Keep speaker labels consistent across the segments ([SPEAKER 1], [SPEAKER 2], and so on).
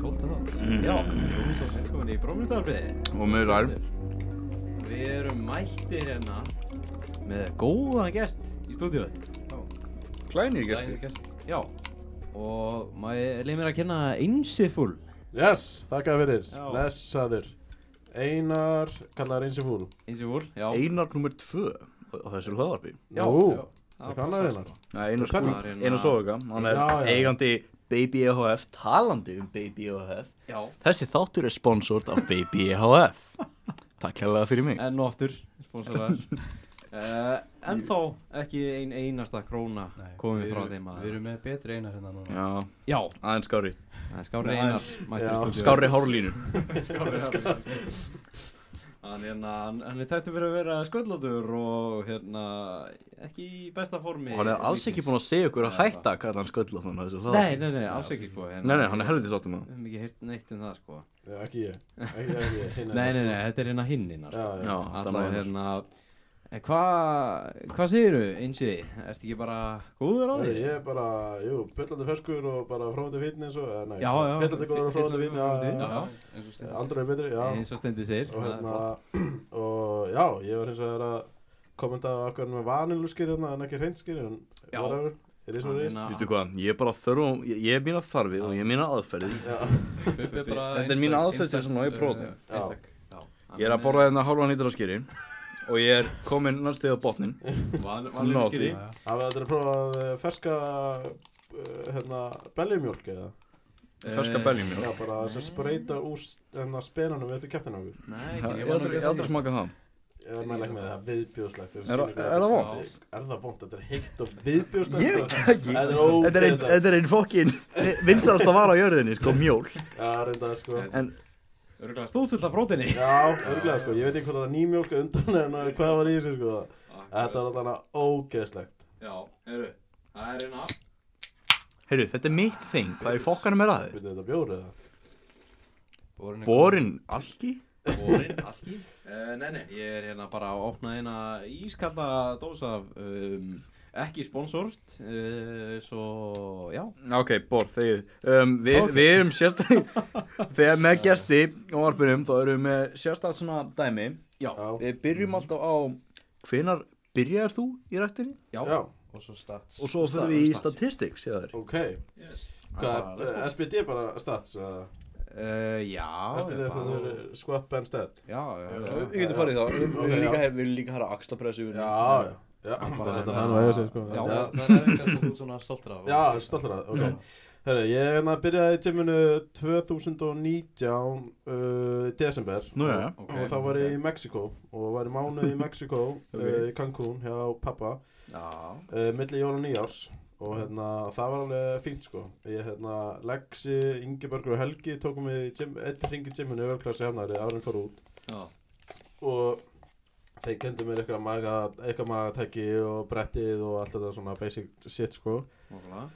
[SPEAKER 1] Tólta þátt. Já, Brómsdal, velkomin í Brómsdalfið.
[SPEAKER 2] Og með rær.
[SPEAKER 1] Við erum mættir hérna með góðan gest í stúdíóði. Glænir
[SPEAKER 2] Klænir gæsti.
[SPEAKER 1] gest. Já, og maður leið mér að kenna Einsifull.
[SPEAKER 3] Yes, þakka fyrir,
[SPEAKER 1] Já.
[SPEAKER 3] blessaður Einar, kallar eins og fúl
[SPEAKER 1] Einsifull, já.
[SPEAKER 2] Einar nummer tvö á þessu hlaðarpi.
[SPEAKER 1] Já,
[SPEAKER 3] Nú,
[SPEAKER 1] já. sko.
[SPEAKER 3] það kallar Einar
[SPEAKER 2] Nei, Einar
[SPEAKER 3] Hvað
[SPEAKER 2] skúl,
[SPEAKER 1] var hérna?
[SPEAKER 2] Einar Soga. Hann er
[SPEAKER 3] Já, já.
[SPEAKER 2] eigandi Baby EHF, talandi um Baby EHF.
[SPEAKER 1] Já.
[SPEAKER 2] Þessi þáttur er sponsort af Baby EHF. Takk hérlega fyrir mig.
[SPEAKER 1] Enn og aftur, sponsorar. uh, en þá ekki ein einasta króna komið frá þeim að...
[SPEAKER 4] Við erum með betri einar hérna núna
[SPEAKER 2] Já,
[SPEAKER 1] Já,
[SPEAKER 2] aðeins skári.
[SPEAKER 1] það er skári
[SPEAKER 3] Nice.
[SPEAKER 1] einar mættur
[SPEAKER 3] Já.
[SPEAKER 1] í stúdíói.
[SPEAKER 2] Skári hárlínu.
[SPEAKER 3] sko.
[SPEAKER 1] Hann, hérna, hann, hann er tættu fyrir að vera sköldlótur og hérna, ekki í besta formi
[SPEAKER 2] Og hann er alls ekki búinn að segja okkur að hætta að kalla hann sköll á þessu
[SPEAKER 1] Nei,
[SPEAKER 2] hlaðarpi.
[SPEAKER 1] nei, nei, alls ekki sko hérna,
[SPEAKER 2] Nei, nei, hann er helviti sáttum að.
[SPEAKER 1] Við höfum ekki heyrt neitt um það sko
[SPEAKER 3] Já, Ekki ég, ekki, ekki ég Einar.
[SPEAKER 1] Nei, nei, nei, þetta er hérna hinn innar
[SPEAKER 3] sko. Já, já,
[SPEAKER 2] Já,
[SPEAKER 1] Allá
[SPEAKER 2] stemma hérna.
[SPEAKER 1] hérna En hvað, hvað segiru einsi? Ertu ekki bara góður á
[SPEAKER 3] Nei,
[SPEAKER 1] því?
[SPEAKER 3] Ég er bara, jú, pillandi ferskur og bara fráðandi fínni eins og eh, Nei,
[SPEAKER 1] Já, já
[SPEAKER 3] pillandi góður og fráðandi fínni já, já,
[SPEAKER 1] Já,
[SPEAKER 4] eins og
[SPEAKER 3] já.
[SPEAKER 4] stund
[SPEAKER 3] Aldrei betri, já
[SPEAKER 1] eins og stendi segir
[SPEAKER 3] Og
[SPEAKER 1] það er
[SPEAKER 3] hérna,
[SPEAKER 1] flott.
[SPEAKER 3] og já, ég var hins vegar að kommenta á okkur með vaniluskir hérna en ekki hreinskir en
[SPEAKER 1] Já.
[SPEAKER 3] whatever, it is what it is
[SPEAKER 1] Hann
[SPEAKER 2] Vistu hvað, ég er bara þörf, ég, ég er mína þarfið og ég er mína aðferði.
[SPEAKER 4] Bubbi er bara
[SPEAKER 2] Þetta er mín aðferð til þess að ná í prótín.
[SPEAKER 1] Já, hann
[SPEAKER 2] Ég er að borða hérna hálfan lítur af skyri og ég er kominn næstu á botnin.
[SPEAKER 1] Van-
[SPEAKER 2] Ná
[SPEAKER 1] Vanlega
[SPEAKER 2] því.
[SPEAKER 1] skýri
[SPEAKER 3] Hafið þetta að prófa að eh, ferska eh, hérna, beljumjólk eða
[SPEAKER 2] Eh, Ferska beljum, já.
[SPEAKER 3] Já, bara sem spreita úr s- hérna, spenanum upp í kæftin á okkur
[SPEAKER 1] Nei,
[SPEAKER 2] Ég hef aldrei- ég hef aldrei smakað það.
[SPEAKER 3] Ég mæla ekki með það, það er viðbjóðslegt
[SPEAKER 2] Er- er það vont?
[SPEAKER 3] Er það vond? Þetta er heitt og viðbjóðslegt
[SPEAKER 2] Ég
[SPEAKER 3] sko.
[SPEAKER 2] veit ekki.
[SPEAKER 3] Þetta er ógeðslegt.
[SPEAKER 2] Þetta er einn- þetta er einn fokkin vinsalasta vara á jörðinni, sko, mjól.
[SPEAKER 3] Já, reynda sko
[SPEAKER 2] En
[SPEAKER 1] Örgulega stóðfull af prótinni
[SPEAKER 3] Já, örglega sko, ég veit ekki hvort það var nýmjólk eða undan en eh, hvað var í þessu sko Þetta var alltaf ógeðslegt
[SPEAKER 1] Já, heyrðu, það er hérna
[SPEAKER 2] heyrðu, þetta er mitt þing, hvað er fokkanum er aðeins?
[SPEAKER 3] Byrjuðu þetta bjór eða?
[SPEAKER 2] Borin alki?
[SPEAKER 1] Borin, alki uh, Nei, nei, ég er hérna bara að opna eina ískalla dós af um, ekki sponsort uh, Svo, já
[SPEAKER 2] Ok, bor, þegið. Um, við,
[SPEAKER 3] Ok.
[SPEAKER 2] við erum sérstaklega, þegar með gesti á varpunum, þá erum við með sérstaklega svona dæmi.
[SPEAKER 3] Já,
[SPEAKER 2] Við byrjum alltaf á, hvenar byrjar þú í rættinni?
[SPEAKER 1] Já,
[SPEAKER 3] já,
[SPEAKER 4] Og svo stats
[SPEAKER 2] Og svo fyrir við í statistics, eða þér.
[SPEAKER 3] ok Hvað, er- eh, SBD bara stats eða?
[SPEAKER 1] Uh, já,
[SPEAKER 3] SBD
[SPEAKER 1] ég
[SPEAKER 3] þetta
[SPEAKER 1] bara-
[SPEAKER 3] er squat bench dead
[SPEAKER 1] já, já, já.
[SPEAKER 2] Við getum farið í það, við
[SPEAKER 3] Ok,
[SPEAKER 2] viljum líka,
[SPEAKER 3] já.
[SPEAKER 2] hef- við viljum líka hæra axlapressu við viljum-
[SPEAKER 3] Já, já Já,
[SPEAKER 1] bara
[SPEAKER 3] bara
[SPEAKER 1] þetta
[SPEAKER 3] þetta
[SPEAKER 1] er
[SPEAKER 3] hann
[SPEAKER 1] að-
[SPEAKER 3] og eiga sér sko
[SPEAKER 1] Já.
[SPEAKER 4] Það það er eitthvað sem þú ert svona stoltur af
[SPEAKER 3] Já, stoltur að, ok Herru, ég hérna byrjaði í tjömminu 2019 uh, desember
[SPEAKER 2] Nú, já, já.
[SPEAKER 3] og þá var ég í Mexiko og var í mánuð í Mexiko uh, í Cancún hjá pappa
[SPEAKER 1] Já,
[SPEAKER 3] uh, milli jól og nýjárs og hérna, það var alveg fínt sko ég hérna, Lexi, Ingebergur og Helgi tókum við í gym, eitt ringi gyminu öfklasi hafnari árum fór út
[SPEAKER 1] já,
[SPEAKER 3] og þeir kendu mér eitthvað maga, eitthvað magatæki og brettið og allt þetta svona basic shit sko
[SPEAKER 1] nokkulega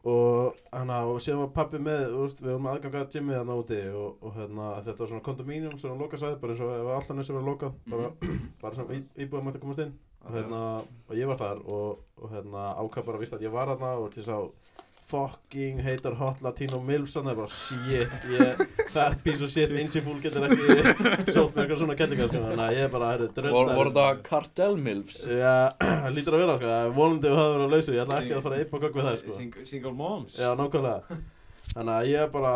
[SPEAKER 3] og hana, og síðan var pappi með þú veist, við vorum aðgangað að gymið þarna úti og, og hérna, þetta var svona kondomínum sem var lokað sæði bara eins og ef allan þessi var lokað
[SPEAKER 2] Mhm.
[SPEAKER 3] bara, bara sem í- íbúið mætti að komast inn og, hérna, og ég var þar og, og hérna, ákvað bara að víst að ég var þarna og til sá fucking heitar hot latino milfs þannig bara shit ég, það er piece of shit eins og fúl getur ekki sótt með eitthvað svona kellingar sko, þannig að ég er bara herri,
[SPEAKER 2] Vor-
[SPEAKER 3] dröndar
[SPEAKER 2] Voru það Cartel Milfs?
[SPEAKER 3] Já, lítur að vera sko, vonandi við höfum verið að lausa, ég ætla ekki að fara að eipa gögg við það sko.
[SPEAKER 1] Sing Single moms
[SPEAKER 3] Já, nákvæmlega Þannig að ég bara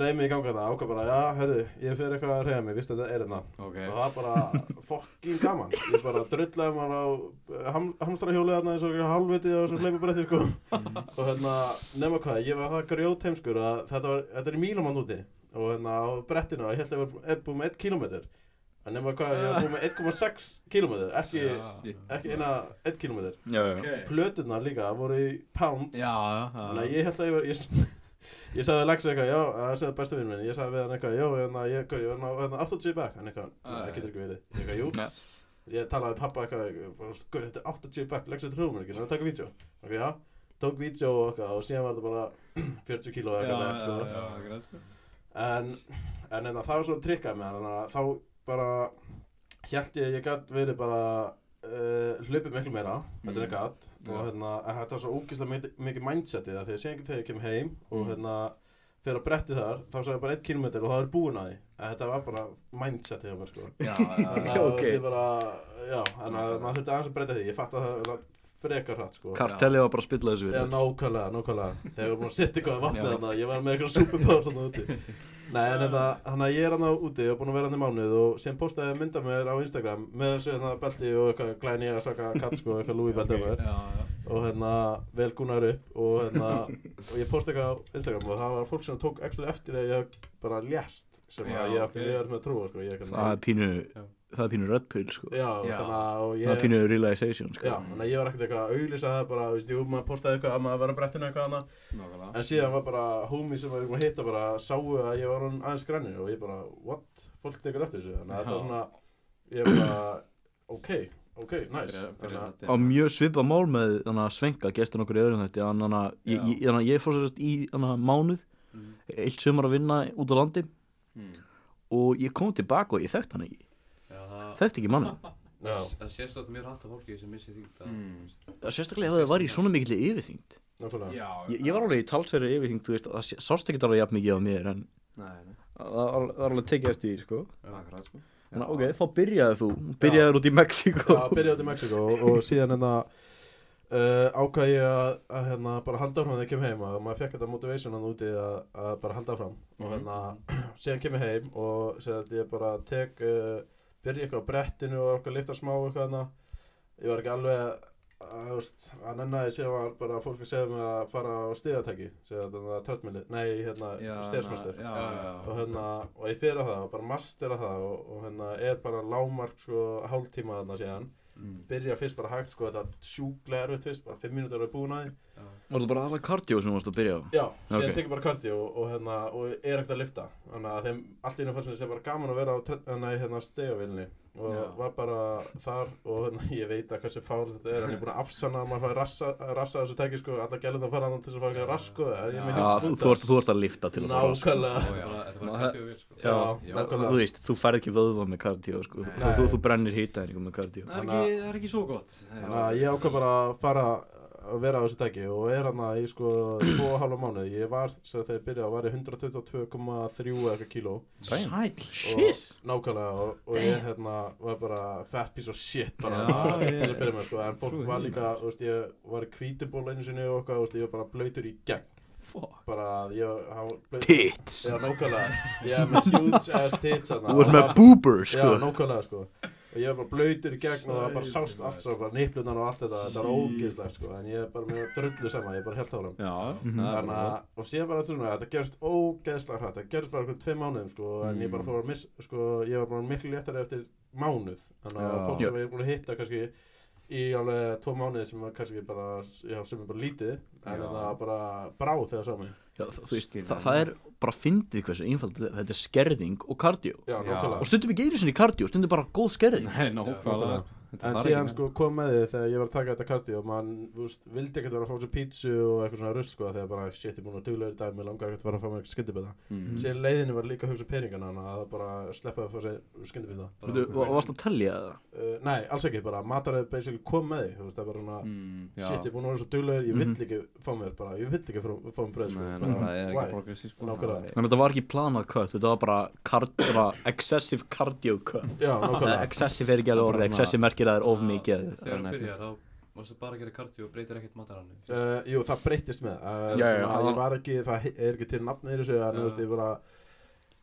[SPEAKER 3] reyð mig í ganga þetta ákvað bara, já, herru, ég fer eitthvað að reyða mig, víst þetta er hérna
[SPEAKER 1] Ok,
[SPEAKER 3] og það var bara fokkin gaman ég bara drullaði maður á eh, ham, hamstrahjóli þarna eins og einhverju halvviti og svo hleypubretti sko og hérna, nema hvað, ég var það grjót heimskur að þetta, var, þetta er í mílumann úti og hérna á brettinu og ég held að ég var eh, búinn með 1 kilometr en nema hvað, ég var búinn með 1,6 kilometr ekki, ekki eina 1 kilometr
[SPEAKER 2] Já, já, já.
[SPEAKER 1] okay.
[SPEAKER 3] plöturnar líka voru í pounds
[SPEAKER 1] Já, já,
[SPEAKER 3] Þannig
[SPEAKER 1] já
[SPEAKER 3] að ég held að ég var, ég, ég sagði Laxi eitthvað, já, það sagði bestu vinn minn, ég sagði við hann eitthvað, já, hérna, ég, gaur, ég var ná- hérna 80 back, hann eitthvað,
[SPEAKER 1] Æ.
[SPEAKER 3] "Nei, það getur ekki verið, ég eitthvað, jú,
[SPEAKER 2] Nei.
[SPEAKER 3] ég talaði við pappa eitthvað, bara, gaur, þetta er 80 back, Laxi trúum mér ekki, þannig að taka vídeo, ok, já, tók vídeo og eitthvað, og síðan var þetta bara 40 kíló eða
[SPEAKER 1] Já,
[SPEAKER 3] eitthvað,
[SPEAKER 1] já,
[SPEAKER 3] left, sko.
[SPEAKER 1] já, greit sko
[SPEAKER 3] en, en hérna, það var svo trikkað með hann, þannig að þá bara, held ég, að ég gætt verið bara, Uh, hlaupið miklu meira, þetta er
[SPEAKER 1] Mm.
[SPEAKER 3] gatt og
[SPEAKER 1] Já.
[SPEAKER 3] hérna, en þetta var svo ógeðslega mikið, mikið mindsetið að þegar ég sé ekki þegar ég kem heim og
[SPEAKER 1] Mm.
[SPEAKER 3] hérna Þegar á bretti þar, þá sagði ég bara 1 km og það er búin að því En þetta var bara mindset hjá mér sko
[SPEAKER 1] Já, já,
[SPEAKER 3] Þannig að
[SPEAKER 2] Ok.
[SPEAKER 3] þetta er bara, já, þannig að maður þurfti aðeins að breyta því Ég fatt að það var frekar hratt sko
[SPEAKER 2] Kartelli var bara að spilla þessu
[SPEAKER 3] Já,
[SPEAKER 2] við
[SPEAKER 3] nákvæmlega, nákvæmlega. Þegar við erum búin að setja eitthvað að vatna
[SPEAKER 2] Já.
[SPEAKER 3] þarna, ég var með eitthvað superpower þarna úti. Nei, en þetta, hann að ég er hann úti og búin að vera hann í mánuð og sem postaði ég mynda mér á Instagram með þessu hérna belti og eitthvað glæni að svaka katt sko, eitthvað lúi belti mér
[SPEAKER 1] já, já.
[SPEAKER 3] og hérna vel gúnar upp og hérna, og ég posta eitthvað á Instagram og það var fólk sem tók actually eftir að ég bara lést sem
[SPEAKER 1] Já,
[SPEAKER 3] að ég átti
[SPEAKER 1] ok.
[SPEAKER 3] okay. ég með að trúa sko, ég
[SPEAKER 2] Það er
[SPEAKER 3] eitthvað,
[SPEAKER 2] pínu
[SPEAKER 4] Já.
[SPEAKER 2] Það er pínu röddpil sko
[SPEAKER 3] já,
[SPEAKER 1] Já.
[SPEAKER 3] þannig að, og
[SPEAKER 2] Það er
[SPEAKER 3] ég,
[SPEAKER 2] pínu realization sko
[SPEAKER 3] já, þannig að ég var ekkert eitthvað að auglýsa það bara, þú veist, jú, maður postaði eitthvað að maður var að brettinu eitthvað annað
[SPEAKER 1] Nákvæmlega.
[SPEAKER 3] En síðan var bara homie sem var búin að hitta bara sáu að ég var hann aðeins granni og ég bara, what? Fólk tekur eftir þessu, þannig að þetta var svona, ég bara, ok, ok, nice.
[SPEAKER 1] Byrja-
[SPEAKER 3] Þannig
[SPEAKER 1] byrja
[SPEAKER 3] að,
[SPEAKER 1] þetta.
[SPEAKER 2] á mjög svipa mál með þannig að svenka gestur okkur í öðrum þetta þannig að ég,
[SPEAKER 1] Já.
[SPEAKER 2] ég, þannig að ég fór sérst í þannig að mánuð
[SPEAKER 4] Mm.
[SPEAKER 2] eitt sumar að vinna út á landi
[SPEAKER 1] Mm.
[SPEAKER 2] og ég kom tilbaka og ég þekkt hann ekki
[SPEAKER 4] Já, það
[SPEAKER 2] þekkt ekki mannin
[SPEAKER 3] já,
[SPEAKER 4] það sést átt mjög rætt af fólki sem missi þýngt að
[SPEAKER 1] Mm.
[SPEAKER 2] sérstaklega ef það var í svona mikilli yfirþyngd
[SPEAKER 3] nákvæmlega.
[SPEAKER 1] Já,
[SPEAKER 2] ég, ég var alveg í talsverið yfirþyngd þú veist, það s- sást ekki alveg jafn mikið á mér en
[SPEAKER 1] Nei, nei,
[SPEAKER 2] það var alveg- það var alveg tekið eftir því sko.
[SPEAKER 1] akkurat sko
[SPEAKER 2] Þannig, að, ok, þá byrjaði þú byrjaði út í Mexiko
[SPEAKER 3] Já, byrjaði út í Mexiko og, og síðan hérna uh, ákvað ég að, að hérna, bara halda áfram þegar ég kem heim og maður fekk þetta motivation hann úti að, að bara halda áfram
[SPEAKER 1] Mhm.
[SPEAKER 3] og hérna, síðan kem ég heim og sér að ég bara tek uh, byrja eitthvað á brettinu og eitthvað lifta smá eitthvað hérna ég var ekki alveg að, að, þú veist, að nenna því síðan var bara fólk að segja mig að fara á stigatæki segja þetta tröttmili, nei hérna
[SPEAKER 1] Já,
[SPEAKER 3] stjærsmestur
[SPEAKER 1] Já, já,
[SPEAKER 3] og hérna, og ég fyrir á það og bara mastera það og, og hérna er bara lámark sko hálftíma þarna síðan
[SPEAKER 1] Mm.
[SPEAKER 3] byrja fyrst bara hægt sko þetta sjúklega erfitt fyrst, bara 5 mínútur eru búin að því
[SPEAKER 2] var það bara aðla kardió sem þú varst að byrja á
[SPEAKER 3] já, síðan
[SPEAKER 2] Ok.
[SPEAKER 3] okay. tekið bara kardi og, og hérna, og er ekkert að lifta þannig að þeim, allt í einu fannst þessi bara gaman að vera á tre- hérna, í, hérna stegavilni og
[SPEAKER 1] Já.
[SPEAKER 3] var bara þar og hérna, ég veit að hversu fár þetta er, hann er búin að afsanna að maður fæði rassa, rassa þessu tæki sko, alla gælum það fara hann til þess að fara ekki að rass sko, er ég með
[SPEAKER 1] Já,
[SPEAKER 2] Já, þú, þú,
[SPEAKER 3] hitt
[SPEAKER 2] ert, þú ert að lifta til að fara sko.
[SPEAKER 1] Já, já.
[SPEAKER 3] nákvæmlega
[SPEAKER 4] Þetta var
[SPEAKER 2] Ná,
[SPEAKER 4] kættið og vel sko
[SPEAKER 3] Já,
[SPEAKER 1] Já,
[SPEAKER 3] nákvæmlega.
[SPEAKER 2] þú veist, þú færð ekki vöðva með kardió sko.
[SPEAKER 1] Nei.
[SPEAKER 2] þú, þú, þú brennir hýta með kardió
[SPEAKER 1] Það er
[SPEAKER 3] Þannig að-
[SPEAKER 1] ekki, það er ekki svo gott
[SPEAKER 3] Þannig að ég ákvað bara að fara að vera á þessu tæki og er hann að ég sko 2,5 mánuð, ég var, sem þegar ég byrjaði, var ég 122,3 eða eitthvað kíló
[SPEAKER 1] Sæll
[SPEAKER 3] og nákvæmlega og, og ég hérna var bara fat piece of shit bara
[SPEAKER 1] Já,
[SPEAKER 3] til
[SPEAKER 1] ég-
[SPEAKER 3] þess að byrja með sko, en fólk
[SPEAKER 1] trúi
[SPEAKER 3] var
[SPEAKER 1] því,
[SPEAKER 3] líka, þú veist, ég var í kvítuból einu sinni og okkar, þú veist, ég var bara blöytur í gegn,
[SPEAKER 1] Fuck
[SPEAKER 3] bara að ég, hann var blöytur,
[SPEAKER 2] Tits
[SPEAKER 3] já nákvæmlega, ég er með huge ass tits hann
[SPEAKER 2] Þú ert með boober sko
[SPEAKER 3] Já, nákvæmlega sko Og ég var bara blöytur í gegn og það bara sást allt svo bara niplunar og allt þetta, þetta var ógeðslegt sko en ég er bara með drullu sama, ég er bara helt áram
[SPEAKER 1] Já,
[SPEAKER 2] Mhm.
[SPEAKER 1] það er
[SPEAKER 3] Þannig
[SPEAKER 1] bara
[SPEAKER 3] að, og síðan bara trúna, þetta gerst ógeðslega hrætt, þetta gerst bara okkur tvei mánuðum sko en ég
[SPEAKER 1] Mm.
[SPEAKER 3] bara fór að miss, sko, ég var bara miklu léttari eftir mánuð Þannig að
[SPEAKER 1] Já.
[SPEAKER 3] fólk sem ég er búin að hitta kannski í alveg tvo mánuði sem var kannski bara, já, sem er bara lítið
[SPEAKER 1] Já.
[SPEAKER 3] en það var bara bráð þegar sá mig
[SPEAKER 2] Já, þa- þú veist,
[SPEAKER 1] Skil
[SPEAKER 2] þa
[SPEAKER 1] hann.
[SPEAKER 2] það er bara fyndið hversu einfald þetta er. Þetta er skerðing og kardió
[SPEAKER 3] Já,
[SPEAKER 1] Já.
[SPEAKER 3] nákvæmlega
[SPEAKER 2] og stundum ekki einu sinni kardió, stundum bara góð skerðing
[SPEAKER 1] Nei, nákvæmlega Þetta
[SPEAKER 3] En
[SPEAKER 1] þarf
[SPEAKER 3] síðan
[SPEAKER 1] ekki
[SPEAKER 3] sko kom með því þegar ég var að taka þetta kardi og mann, þú veist, vildi ekkert vera að fá sér pítsu og eitthvað svona rusl sko þegar bara shit, ég er búin að duglega í dag, mér langar ekkert að vera að fá mér eitthvað skyndibita.
[SPEAKER 1] Mm.
[SPEAKER 3] Síðan leiðinni var líka að hugsa peningana þannig að það bara sleppaði að fá sér skyndibita.
[SPEAKER 2] Þú veitu, og varst að tellja það
[SPEAKER 3] Uh, nei, alls ekki, bara mataræði basically kom með því, þú veist, það var svona,
[SPEAKER 1] Mm, já. Mhm.
[SPEAKER 3] shit, ég er búin að vera svo duglega, ég vill ekki fá mér bara, ég vill ekki fá, fá mér bröð sko.
[SPEAKER 1] Nei,
[SPEAKER 3] bara,
[SPEAKER 1] nei, það er
[SPEAKER 3] why?
[SPEAKER 1] ekki progressi sko
[SPEAKER 3] Nákvæmlega.
[SPEAKER 1] Það er-
[SPEAKER 2] Nei, þetta var ekki planað cut, þetta var bara kardió, excessive cardio cut
[SPEAKER 3] Já,
[SPEAKER 2] Eða
[SPEAKER 3] nákvæmlega.
[SPEAKER 2] Excessive er ekki alveg orðið, excessive merkir að það er of mikið
[SPEAKER 4] Þegar hann byrjar þá Mástu bara að gera kardió og breytir ekkert matarannu
[SPEAKER 3] Uh, jú, það breytist með uh,
[SPEAKER 2] Já, já,
[SPEAKER 3] svona,
[SPEAKER 2] já.
[SPEAKER 3] Ég var ekki, það he- er ekki til nafn í þessu En þú
[SPEAKER 4] Já.
[SPEAKER 3] veist, ég bara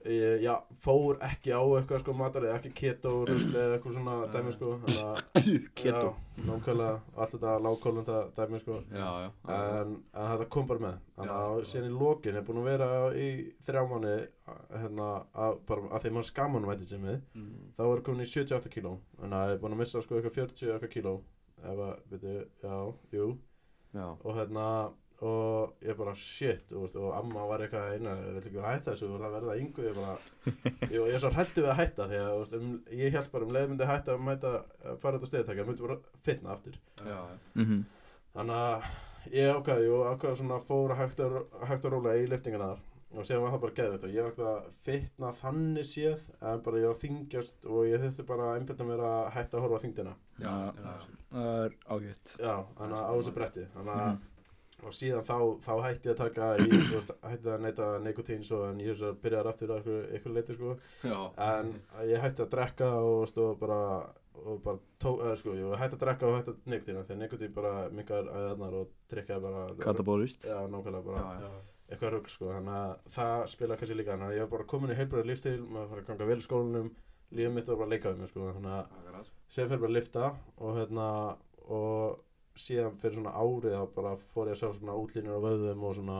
[SPEAKER 3] ég, Já, fór ekki á eitthvað sko matar Ekki keto, rusli eða eitthvað svona
[SPEAKER 4] Já,
[SPEAKER 3] dæmi
[SPEAKER 4] já.
[SPEAKER 3] sko þannig að-
[SPEAKER 2] Keto.
[SPEAKER 3] Já, nákvæmlega, allt þetta lágkólunda dæmi sko
[SPEAKER 1] Já, já
[SPEAKER 3] En, en þetta kom bara með Þannig
[SPEAKER 4] Já,
[SPEAKER 3] að
[SPEAKER 4] já.
[SPEAKER 3] síðan í lokin er búin að vera í þrjá manni Hérna, að, bara að því maður skaman mætti sem við
[SPEAKER 4] Mm.
[SPEAKER 3] Þá var komin í 78 kíló Þannig að ég er búin að missa sko eitthvað 40 eitthvað kíló Ef að, veitu, já, jú
[SPEAKER 1] Já,
[SPEAKER 3] og hérna og ég bara shit þú veist, og amma var eitthvað eina ég vil ekki vera að hætta þessu þú verður að verða yngu ég bara ég, og ég er svo hrættu við að hætta því að þú veist, um, ég held bara um leið myndi hætta að mæta að fara þetta stegatækja myndi bara fitna aftur
[SPEAKER 4] Já,
[SPEAKER 2] Mhm.
[SPEAKER 3] þannig að ég ákvaði og ákvaði svona fór að hægt að hægt að róla í liftingina þar og séðan var það bara geðvægt og ég var ekkert að fitna þannig séð en bara ég var að þingjast og ég þurfti bara að einbyrna mér að hætta að horfa á þingdina
[SPEAKER 1] já
[SPEAKER 4] já
[SPEAKER 2] Það er Mhm. ágætt
[SPEAKER 3] Já, þannig að á þessu bretti þannig að og síðan þá, þá hætti ég að taka ég þú veist, hætti að neyta nikotín svo en ég byrjaði aftur að ykkur leiti sko
[SPEAKER 1] Já,
[SPEAKER 3] en
[SPEAKER 2] Mhm.
[SPEAKER 3] ég hætti að drekka og stó bara og bara tó, eða, sko, ég hætti að drekka og hætti að nikotína þegar nikotín bara mingar aðeðnar og drikkaði bara
[SPEAKER 2] Katabólist
[SPEAKER 3] Já, nákvæmlega bara
[SPEAKER 1] já, já.
[SPEAKER 3] eitthvað rugg sko, þannig að það spila kannski líka, þannig að ég var bara komin í heilbröðu lífstíl, maður fara að ganga vel í skólanum, lífið mitt var bara að leika við mig sko, þannig að
[SPEAKER 1] Akkurat.
[SPEAKER 3] sér fyrir bara að lifta og hérna, og síðan fyrir svona árið þá bara fór ég að sjá svona útlínur á vöðum og svona,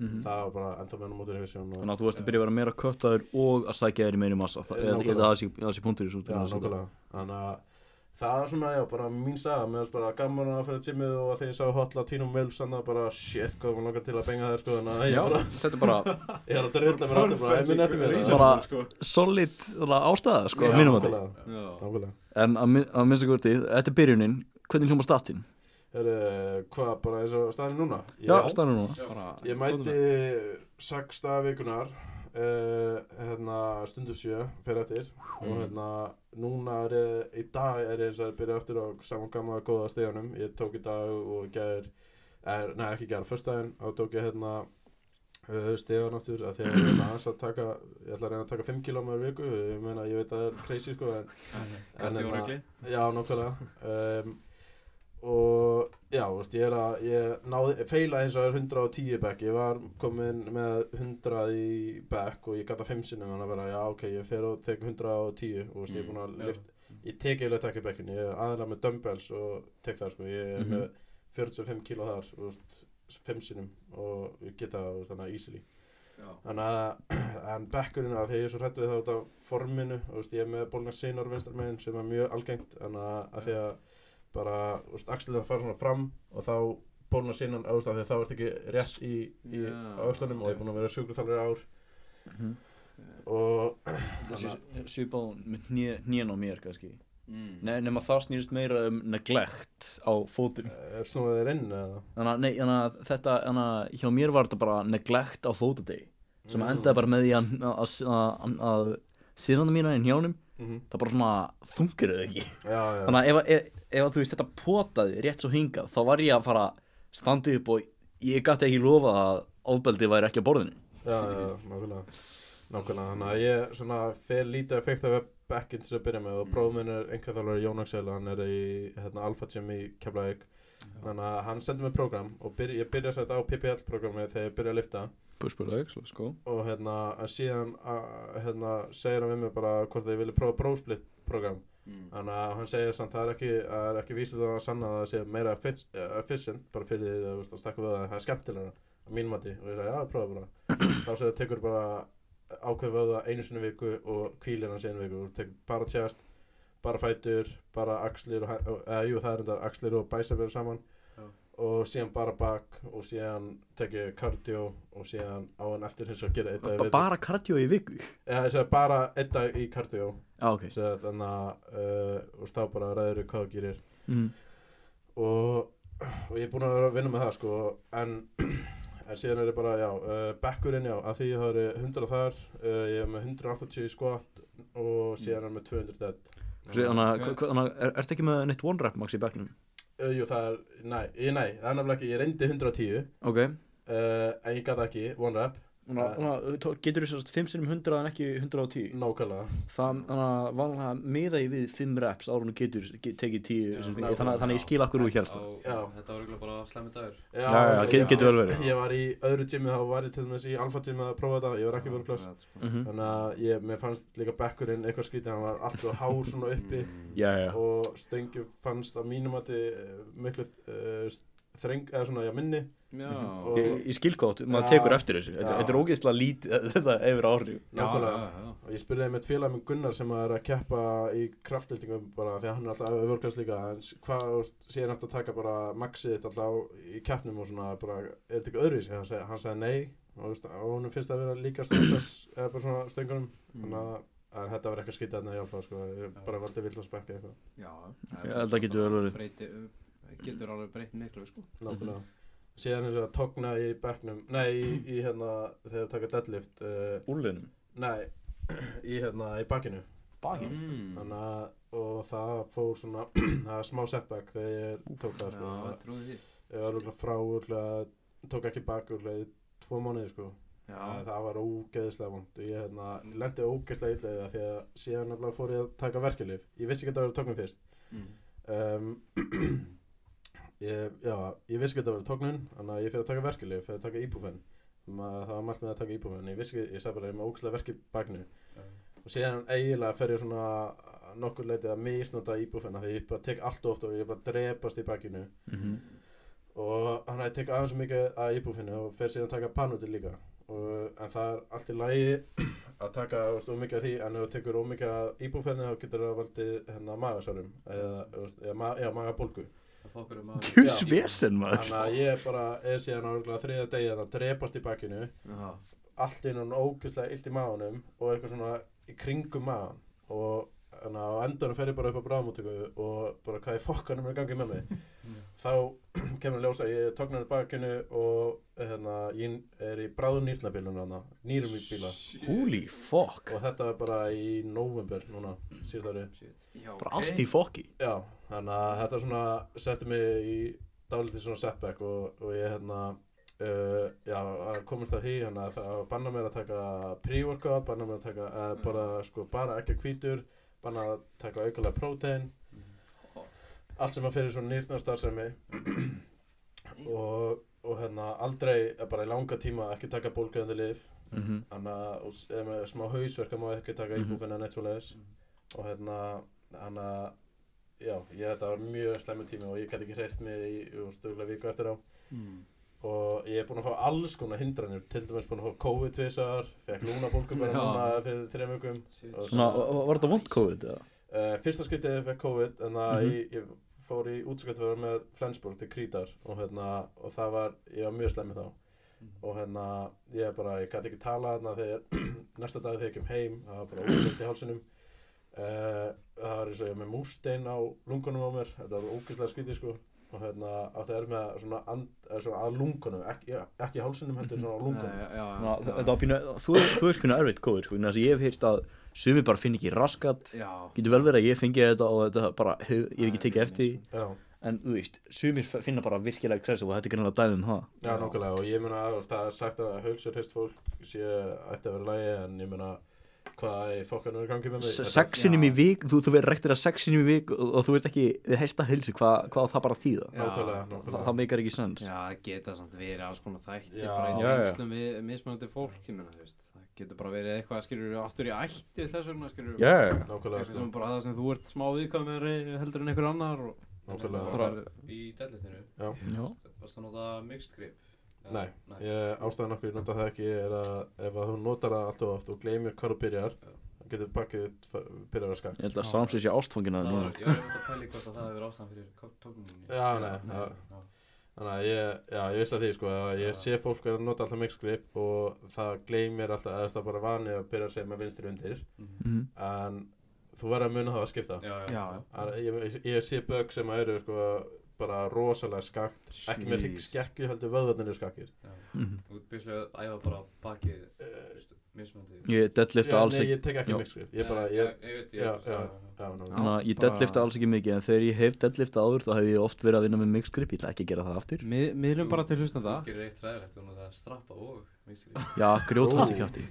[SPEAKER 2] Mhm.
[SPEAKER 3] það var bara enda meðan motivation og,
[SPEAKER 2] Þannig að þú varst að byrja að vera meira köttaður og að sækja þér í meinu massa Það- Ég held ég held að það sé- það sé punktur í svo
[SPEAKER 3] já, nákvæmlega, þannig að það er svona, já, bara mín saga, mér varst bara gaman að fyrir tímið og að þegar ég sá hotla tínum mjöls, þannig að bara, shit, hvað mér langar til að benga þér sko, þannig að
[SPEAKER 2] Já,
[SPEAKER 3] ég bara,
[SPEAKER 2] þetta er bara
[SPEAKER 3] ég er að drilla mér aftur bara, ég minn eftir mér
[SPEAKER 2] Bara- solid þarna, ástæða sko,
[SPEAKER 3] Já,
[SPEAKER 2] að mínum að
[SPEAKER 3] nákvæmlega,
[SPEAKER 1] Já,
[SPEAKER 3] nákvæmlega.
[SPEAKER 2] En að mi- að minnsta hvort þetta er byrjunin Hvernig hljóma statinn?
[SPEAKER 3] Herru, hvað bara eins og staðin núna? Ég,
[SPEAKER 2] Já, staðnum núna
[SPEAKER 1] bara
[SPEAKER 3] Ég mæti sexta vikunar, uh, hérna stundum sjö, fyrir eftir og hérna núna er ég, í dag er ég eins og að byrja eftir á saman gamla góða stegunum. Ég tók í dag og ger, er, nei ekki ger, fyrst daginn og tók ég hérna uh, stegun aftur að því að ég er aðeins að taka, ég ætla að reyna að taka 5 km viku, ég meina ég veit að það er crazy sko en hérna-
[SPEAKER 1] Karti og regli
[SPEAKER 3] Já, nákvæmlega um, Og já, þú veist, ég er að ég náði, feila eins og er 110 bekk ég var komin með 100 í bekk og ég gata 5 sinnum þannig að vera, já, ok, ég fer og tek 110 og þú veist, ég er búin að
[SPEAKER 4] já.
[SPEAKER 3] lift ég tek eiginlega takk í bekkin, ég er aðalega með dumbbells og tek það, sko, ég er
[SPEAKER 1] Mhm.
[SPEAKER 3] með 45 kíló þar, þú veist, 5 sinnum og ég geta það, þú veist, þannig að easily
[SPEAKER 1] Já,
[SPEAKER 3] Þannig að en bekkurinn að því ég er svo hrætt við það út af forminu og veist, ég er með bólna sinar vinstarmegin sem er mjög algengt þannig að, að því að bara úst, axlina fara svona fram og þá bólna sinan að því að þá ert ekki rétt í, í
[SPEAKER 1] Já.
[SPEAKER 3] yeah. axlunum og ég er búinn að vera sjúkurþalari ár og
[SPEAKER 2] Svipað nýjan á mér kannski
[SPEAKER 1] mm.
[SPEAKER 2] Nei, nema það snýrist meira um neglect á fótum
[SPEAKER 3] er eh, snúið þér inn eða
[SPEAKER 2] Þannig að, nei, þannig að þetta, þannig að hjá mér var þetta bara neglect á fótadegi sem
[SPEAKER 3] Mm.
[SPEAKER 2] endaði bara með því að, að, að, að síðanum mína í njánum
[SPEAKER 3] mm
[SPEAKER 2] það bara svona þungir þau ekki
[SPEAKER 3] Já, já,
[SPEAKER 2] þannig að ef, að- ef, ef að þú veist þetta potaði rétt svo hingað þá var ég að fara standið upp og ég gæti ekki lofa að ofbeldi væri ekki á borðinu
[SPEAKER 3] já, já, nákvæmlega Nákvæmlega, þannig að ég svona fer lítið að fekta við bekkinn til þess að byrja með og bróðum minn er einhvern þálega Jón Axel, hann er í hérna, Alfa Gym í Keflavík Þannig að hann sendi mér program og byrj, ég byrja að setja á PPL-programmi þegar ég byrja að lifta
[SPEAKER 2] Push pull legs, let's go
[SPEAKER 3] og hérna, en síðan að, hérna, segir hann við mig bara hvort þið vilja prófa brósplit-program
[SPEAKER 1] Mm.
[SPEAKER 3] þannig að hann segir samt það er ekki, það er ekki vísið að sanna að það sé meira effic- eh, efficient bara fyrir því að, veist, að stakka við það, það er skemmtilega að mín mati og ég sagði já, prófa bara þá segir það tekur bara ákveð vöða einu sinni í viku og kvílir hann sinni í viku og tekur bara tjast, bara fætur bara axlir, og hæ- og- eða jú það er þetta axlir og bæsa verið saman
[SPEAKER 4] Já.
[SPEAKER 3] og síðan bara bak og síðan tekið kardio og síðan á hann eftir hins að gera eitt dag í
[SPEAKER 2] Bara,
[SPEAKER 3] viðbót.
[SPEAKER 2] bara kardio í viku
[SPEAKER 3] Já, ég sagði bara eitt dag í kardio
[SPEAKER 2] Já, ok
[SPEAKER 3] Sem sagt, þannig að uh, og stá bara ræður við hvað þú gerir
[SPEAKER 2] mm.
[SPEAKER 3] og, og ég er búinn að vera að vinna með það sko en, en síðan er ég bara já, uh, bekkurinn já, að því það eru 100 þar uh, ég er með 180 í squat og síðan er ég með 200 dead
[SPEAKER 2] Þannig að, hva- hva- þannig að, er, ertu ekki með neitt one rep max í bekknum?
[SPEAKER 3] uh, Jú það er, næ, ég, nei, það er nefnilega ekki ég reyndi 110 uh,
[SPEAKER 2] Ok
[SPEAKER 3] eh, en ég gata ekki, one rep
[SPEAKER 2] Þannig að- þannig að þú getur þess að 5 sinum 100 en ekki
[SPEAKER 3] Mm.
[SPEAKER 2] 110
[SPEAKER 3] nákvæmlega
[SPEAKER 2] Það, þannig að vanlega miða ég við 5 reps ára hún getur ge- tekið 10 sem-
[SPEAKER 4] Já,
[SPEAKER 3] nákvæmlega.
[SPEAKER 2] þannig, að- þannig að ég skil akkur úr hérsta
[SPEAKER 4] Já,
[SPEAKER 3] Já.
[SPEAKER 4] þetta var eiginlega bara slemmi dagur.
[SPEAKER 3] Já,
[SPEAKER 2] Já, já,
[SPEAKER 3] ok,
[SPEAKER 2] getur getur vel verið
[SPEAKER 3] Ég var í öðru tími þá var ég til dæmis í alfa tími að prófa þetta, ég var ekki verið plass
[SPEAKER 1] Akkurat, sko.
[SPEAKER 2] Mhm.
[SPEAKER 3] Þannig að ég, mér fannst líka bekkurinn eitthvað skrítið, hann var alltaf hár svona uppi
[SPEAKER 2] Já, Mm, já, já.
[SPEAKER 3] og Stengjum fannst að mínum að miklu uh, þreng, eða svona, já, minni
[SPEAKER 1] Já,
[SPEAKER 3] og
[SPEAKER 2] Ég, ég skil gott, maður
[SPEAKER 3] Já.
[SPEAKER 2] tekur eftir þessu Þetta
[SPEAKER 3] Já.
[SPEAKER 2] þetta er ógeðslega lítið, þetta hefur áhrif
[SPEAKER 3] nákvæmlega.
[SPEAKER 1] Já, já, já.
[SPEAKER 3] Og ég spurði þeim eitt félag minn Gunnar sem er að keppa í kraftlýtingum bara því að hann er alltaf öfurklass líka en s- hvað þú veist, sé hann eftir að taka bara maxið þitt alltaf í keppnum og svona bara, er þetta ekki öðruvísi? Hann sagði, hann sagði nei og, þú veist, og hún finnst það að vera líka stressas eða bara svona stöngunum
[SPEAKER 1] Mm.
[SPEAKER 3] þannig að en þetta var eitthvað skítið þarna í alfa sko, ég bara valdi vill að spekka eitthvað
[SPEAKER 1] Já,
[SPEAKER 2] Ég held að getur vel verið.
[SPEAKER 1] breyti, Getur alveg breytt miklu sko
[SPEAKER 3] nákvæmlega síðan eins og að togna í bekknum nei, í, í hérna, þegar taka deadlift uh,
[SPEAKER 2] Úrliðnum
[SPEAKER 3] nei, í hérna, í bakkinu
[SPEAKER 2] Bakið
[SPEAKER 1] Mm.
[SPEAKER 3] þannig að, og það fór svona það er smá setback þegar ég tók það
[SPEAKER 1] Já,
[SPEAKER 3] sko,
[SPEAKER 1] trúði því
[SPEAKER 3] ég var rúglega frá rúglega tók ekki bakurlega í tvo mánuði sko
[SPEAKER 1] Já,
[SPEAKER 3] það, það var ógeðislega vond ég hérna, lendi ógeðislega illa í það því að síðan nefnilega fór ég að taka verkjalif ég vissi ekki að það var tóknum fyrst
[SPEAKER 1] mm.
[SPEAKER 3] um, ég, já, ég vissi ekki að það var tóknum þannig að ég fyrir að taka verkjalif fyrir að taka íbúfen það var margt með að taka íbúfen ég vissi ekki, ég sagði bara að ég er með ógeðislega verk í baknu og síðan eiginlega fer ég svona að nokkur leiti að misnota íbúfen því ég bara tek allt of oft og ég bara drepast í bakinu
[SPEAKER 2] Mhm.
[SPEAKER 3] og hann hafði tekið aðeins of mikið að íbúfinu og fer síðan að taka panúti líka og, en það er allt í lagi að taka þú veist, of mikið af því en ef þú tekur of mikið að íbúfinu þá getur það valdið hérna magasárum eða, þú veist, eða, ma eða magabólgu
[SPEAKER 4] Það fokkur um að
[SPEAKER 2] Djús
[SPEAKER 3] Já.
[SPEAKER 2] vesen maður
[SPEAKER 3] þannig að ég bara er síðan á þriða degi þannig að drepast í bakinu
[SPEAKER 1] Já.
[SPEAKER 3] allt innan ógeðslega illt í maganum og eitthvað svona í kringum magan og þannig að á endanum fer ég bara upp á bráðmóttöku og bara hvað í fokkanum er gangið með mig þá kemur að ljósa ég tóknar í bakinu og hérna, ég er í bráðum nýrnabílum hana, nýrum í bíla
[SPEAKER 2] Holy fuck
[SPEAKER 3] og þetta er bara í november núna, síðast ári
[SPEAKER 4] Shit.
[SPEAKER 1] Já,
[SPEAKER 2] Bara
[SPEAKER 1] ok.
[SPEAKER 2] allt í fokki
[SPEAKER 3] já, þannig að þetta svona setti mig í dálítið svona setback og, og ég hérna uh, já, að komast að því hérna, það að banna mér að taka pre-workout banna mér að taka uh, bara, sko, bara ekki hvítur banna að taka aukulega prótein allt sem að fyrir svona nýrnastarfsemi og, og hérna aldrei bara í langa tíma ekki taka bólgöðandi lif
[SPEAKER 2] Mhm.
[SPEAKER 3] þannig að og s- eða með smá hausverka má ekki taka
[SPEAKER 2] Mhm.
[SPEAKER 3] íbúfinn en eitt svo leiðis og hérna þannig að já, ég, þetta var mjög slemmu tími og ég gæti ekki hreift mig í stöðulega viku eftir á
[SPEAKER 1] Mm.
[SPEAKER 3] og ég er búinn að fá alls konar hindranir til dæmis búinn að fá COVID tvisar fekk lúna bólgum bara
[SPEAKER 1] Já.
[SPEAKER 3] núna fyrir þrejum vikum
[SPEAKER 4] Shit.
[SPEAKER 3] Og
[SPEAKER 2] Svona, var þetta vond COVID eða?
[SPEAKER 3] Uh, fyrsta skiptið ég fekk COVID en það
[SPEAKER 2] Mhm.
[SPEAKER 3] ég, ég fór í útskjöldverðar með Flensborg til Krítar og, hérna, og það var, ég var mjög slemmi þá og hérna, ég bara, ég gæti ekki tala þarna þegar, næsta dag þegar ég kem heim það var bara ógæst í hálsinum uh, það var eins og ég var með mústein á lungunum á mér, þetta var ógæstlega skrítið sko og hérna, að það er með að svona, and, eh, svona að lungunum, ekki, ekki í hálsinum heldur svona á lungunum
[SPEAKER 1] Nei, já,
[SPEAKER 2] Svona,
[SPEAKER 1] já.
[SPEAKER 2] Þetta var pínu, þú, þú hefst pínu erfitt COVID sko, vegna þess að ég hef heyrt að sumi bara finn ekki raskat
[SPEAKER 1] Já,
[SPEAKER 2] Getur vel verið að ég fengi þetta og þetta bara, hef, ég hef ekki
[SPEAKER 1] Nei,
[SPEAKER 2] tekið eftir því.
[SPEAKER 3] Já.
[SPEAKER 2] En þú veist, sumir f- finna bara virkilega kressa og þetta er greinlega dæðum það
[SPEAKER 1] Já.
[SPEAKER 3] Já, nákvæmlega og ég meina þú veist, það er sagt að hölsur hist fólk sé ætti að vera lægi en ég meina hvað í fokkanum er gangið með mig
[SPEAKER 2] Se- Sexinum
[SPEAKER 1] já.
[SPEAKER 2] í vik, þú, þú verður rektur að sexinum í vik og, og þú ert ekki hesta hilsu, hvað hva á það bara að þýða?
[SPEAKER 1] Já.
[SPEAKER 3] Nákvæmlega,
[SPEAKER 2] Þa,
[SPEAKER 3] nákvæmlega
[SPEAKER 2] það meikar ekki sens
[SPEAKER 1] já, það geta samt verið alls konar þætti
[SPEAKER 3] Já.
[SPEAKER 1] bara í
[SPEAKER 2] Já, já.
[SPEAKER 1] tengslum við mismunandi fólk ég meina, þú veist, það getur bara verið eitthvað skilur aftur í ætti þess vegna skilur
[SPEAKER 2] yeah.
[SPEAKER 3] Nákvæmlega,
[SPEAKER 1] eitthvað
[SPEAKER 3] sko
[SPEAKER 1] sem bara það sem þú ert smá viðkvæmari heldur en einhver annar og
[SPEAKER 3] Nákvæmlega
[SPEAKER 1] bara,
[SPEAKER 4] Í deadliftinu,
[SPEAKER 2] Já.
[SPEAKER 4] varst það nota mixed grip? Eða-
[SPEAKER 3] Nei,
[SPEAKER 4] Nei.
[SPEAKER 3] ég, ástæðan okkur ég nota það ekki er að ef að hún notar það allt og oft og gleymir hvað þú byrjar
[SPEAKER 4] Já.
[SPEAKER 3] þá getur bakkið þitt fa- byrjað að vera skakt
[SPEAKER 2] Ég held að Samson sé ástfangin að
[SPEAKER 4] Það
[SPEAKER 2] það
[SPEAKER 4] var,
[SPEAKER 2] núna
[SPEAKER 4] ég var einmitt að pæli hvort að það hefur ástæðan fyrir tókningunni
[SPEAKER 3] Já, nei, það- Þannig að ég, já, ég vissi að því sko að ég
[SPEAKER 4] Já.
[SPEAKER 3] sé fólk er að nota alltaf mixgrip og það gleymir alltaf eða það er bara vanið að byrja að segja með vinstri undir
[SPEAKER 4] Mhm.
[SPEAKER 2] Mhm.
[SPEAKER 3] en þú verður að muna það að skipta
[SPEAKER 4] Já, já,
[SPEAKER 1] Já.
[SPEAKER 3] Að ég, ég- ég sé bögg sem að eru sko, bara rosalega skakt ekki með
[SPEAKER 1] Jeez.
[SPEAKER 3] hryggskekkju heldur vöðarnir eru skakkir
[SPEAKER 2] Mhm.
[SPEAKER 4] Þú ert byrjulega að æfa bara bakið
[SPEAKER 3] uh,
[SPEAKER 4] mismöndi
[SPEAKER 2] Ég deadlifta alls
[SPEAKER 3] nei,
[SPEAKER 2] ekki
[SPEAKER 3] ég tek ekki
[SPEAKER 2] Já.
[SPEAKER 3] mixgrip ég bara, ég,
[SPEAKER 4] Ég veit,
[SPEAKER 3] já,
[SPEAKER 4] ég
[SPEAKER 3] já,
[SPEAKER 4] veit
[SPEAKER 3] já, ná,
[SPEAKER 2] Þannig að ég
[SPEAKER 1] bara-
[SPEAKER 2] deadlifta alls ekki mikið en þegar ég hef deadlifta áður þá hef ég oft verið að vinna með mixed grip, ég ætla ekki að gera það aftur
[SPEAKER 1] mið, miðlum bara til hlustanda
[SPEAKER 4] Þú gerir eitt ræðilegt og það er strappa og mixed grip
[SPEAKER 2] Já, grjót
[SPEAKER 3] Ó.
[SPEAKER 2] hætti kjátti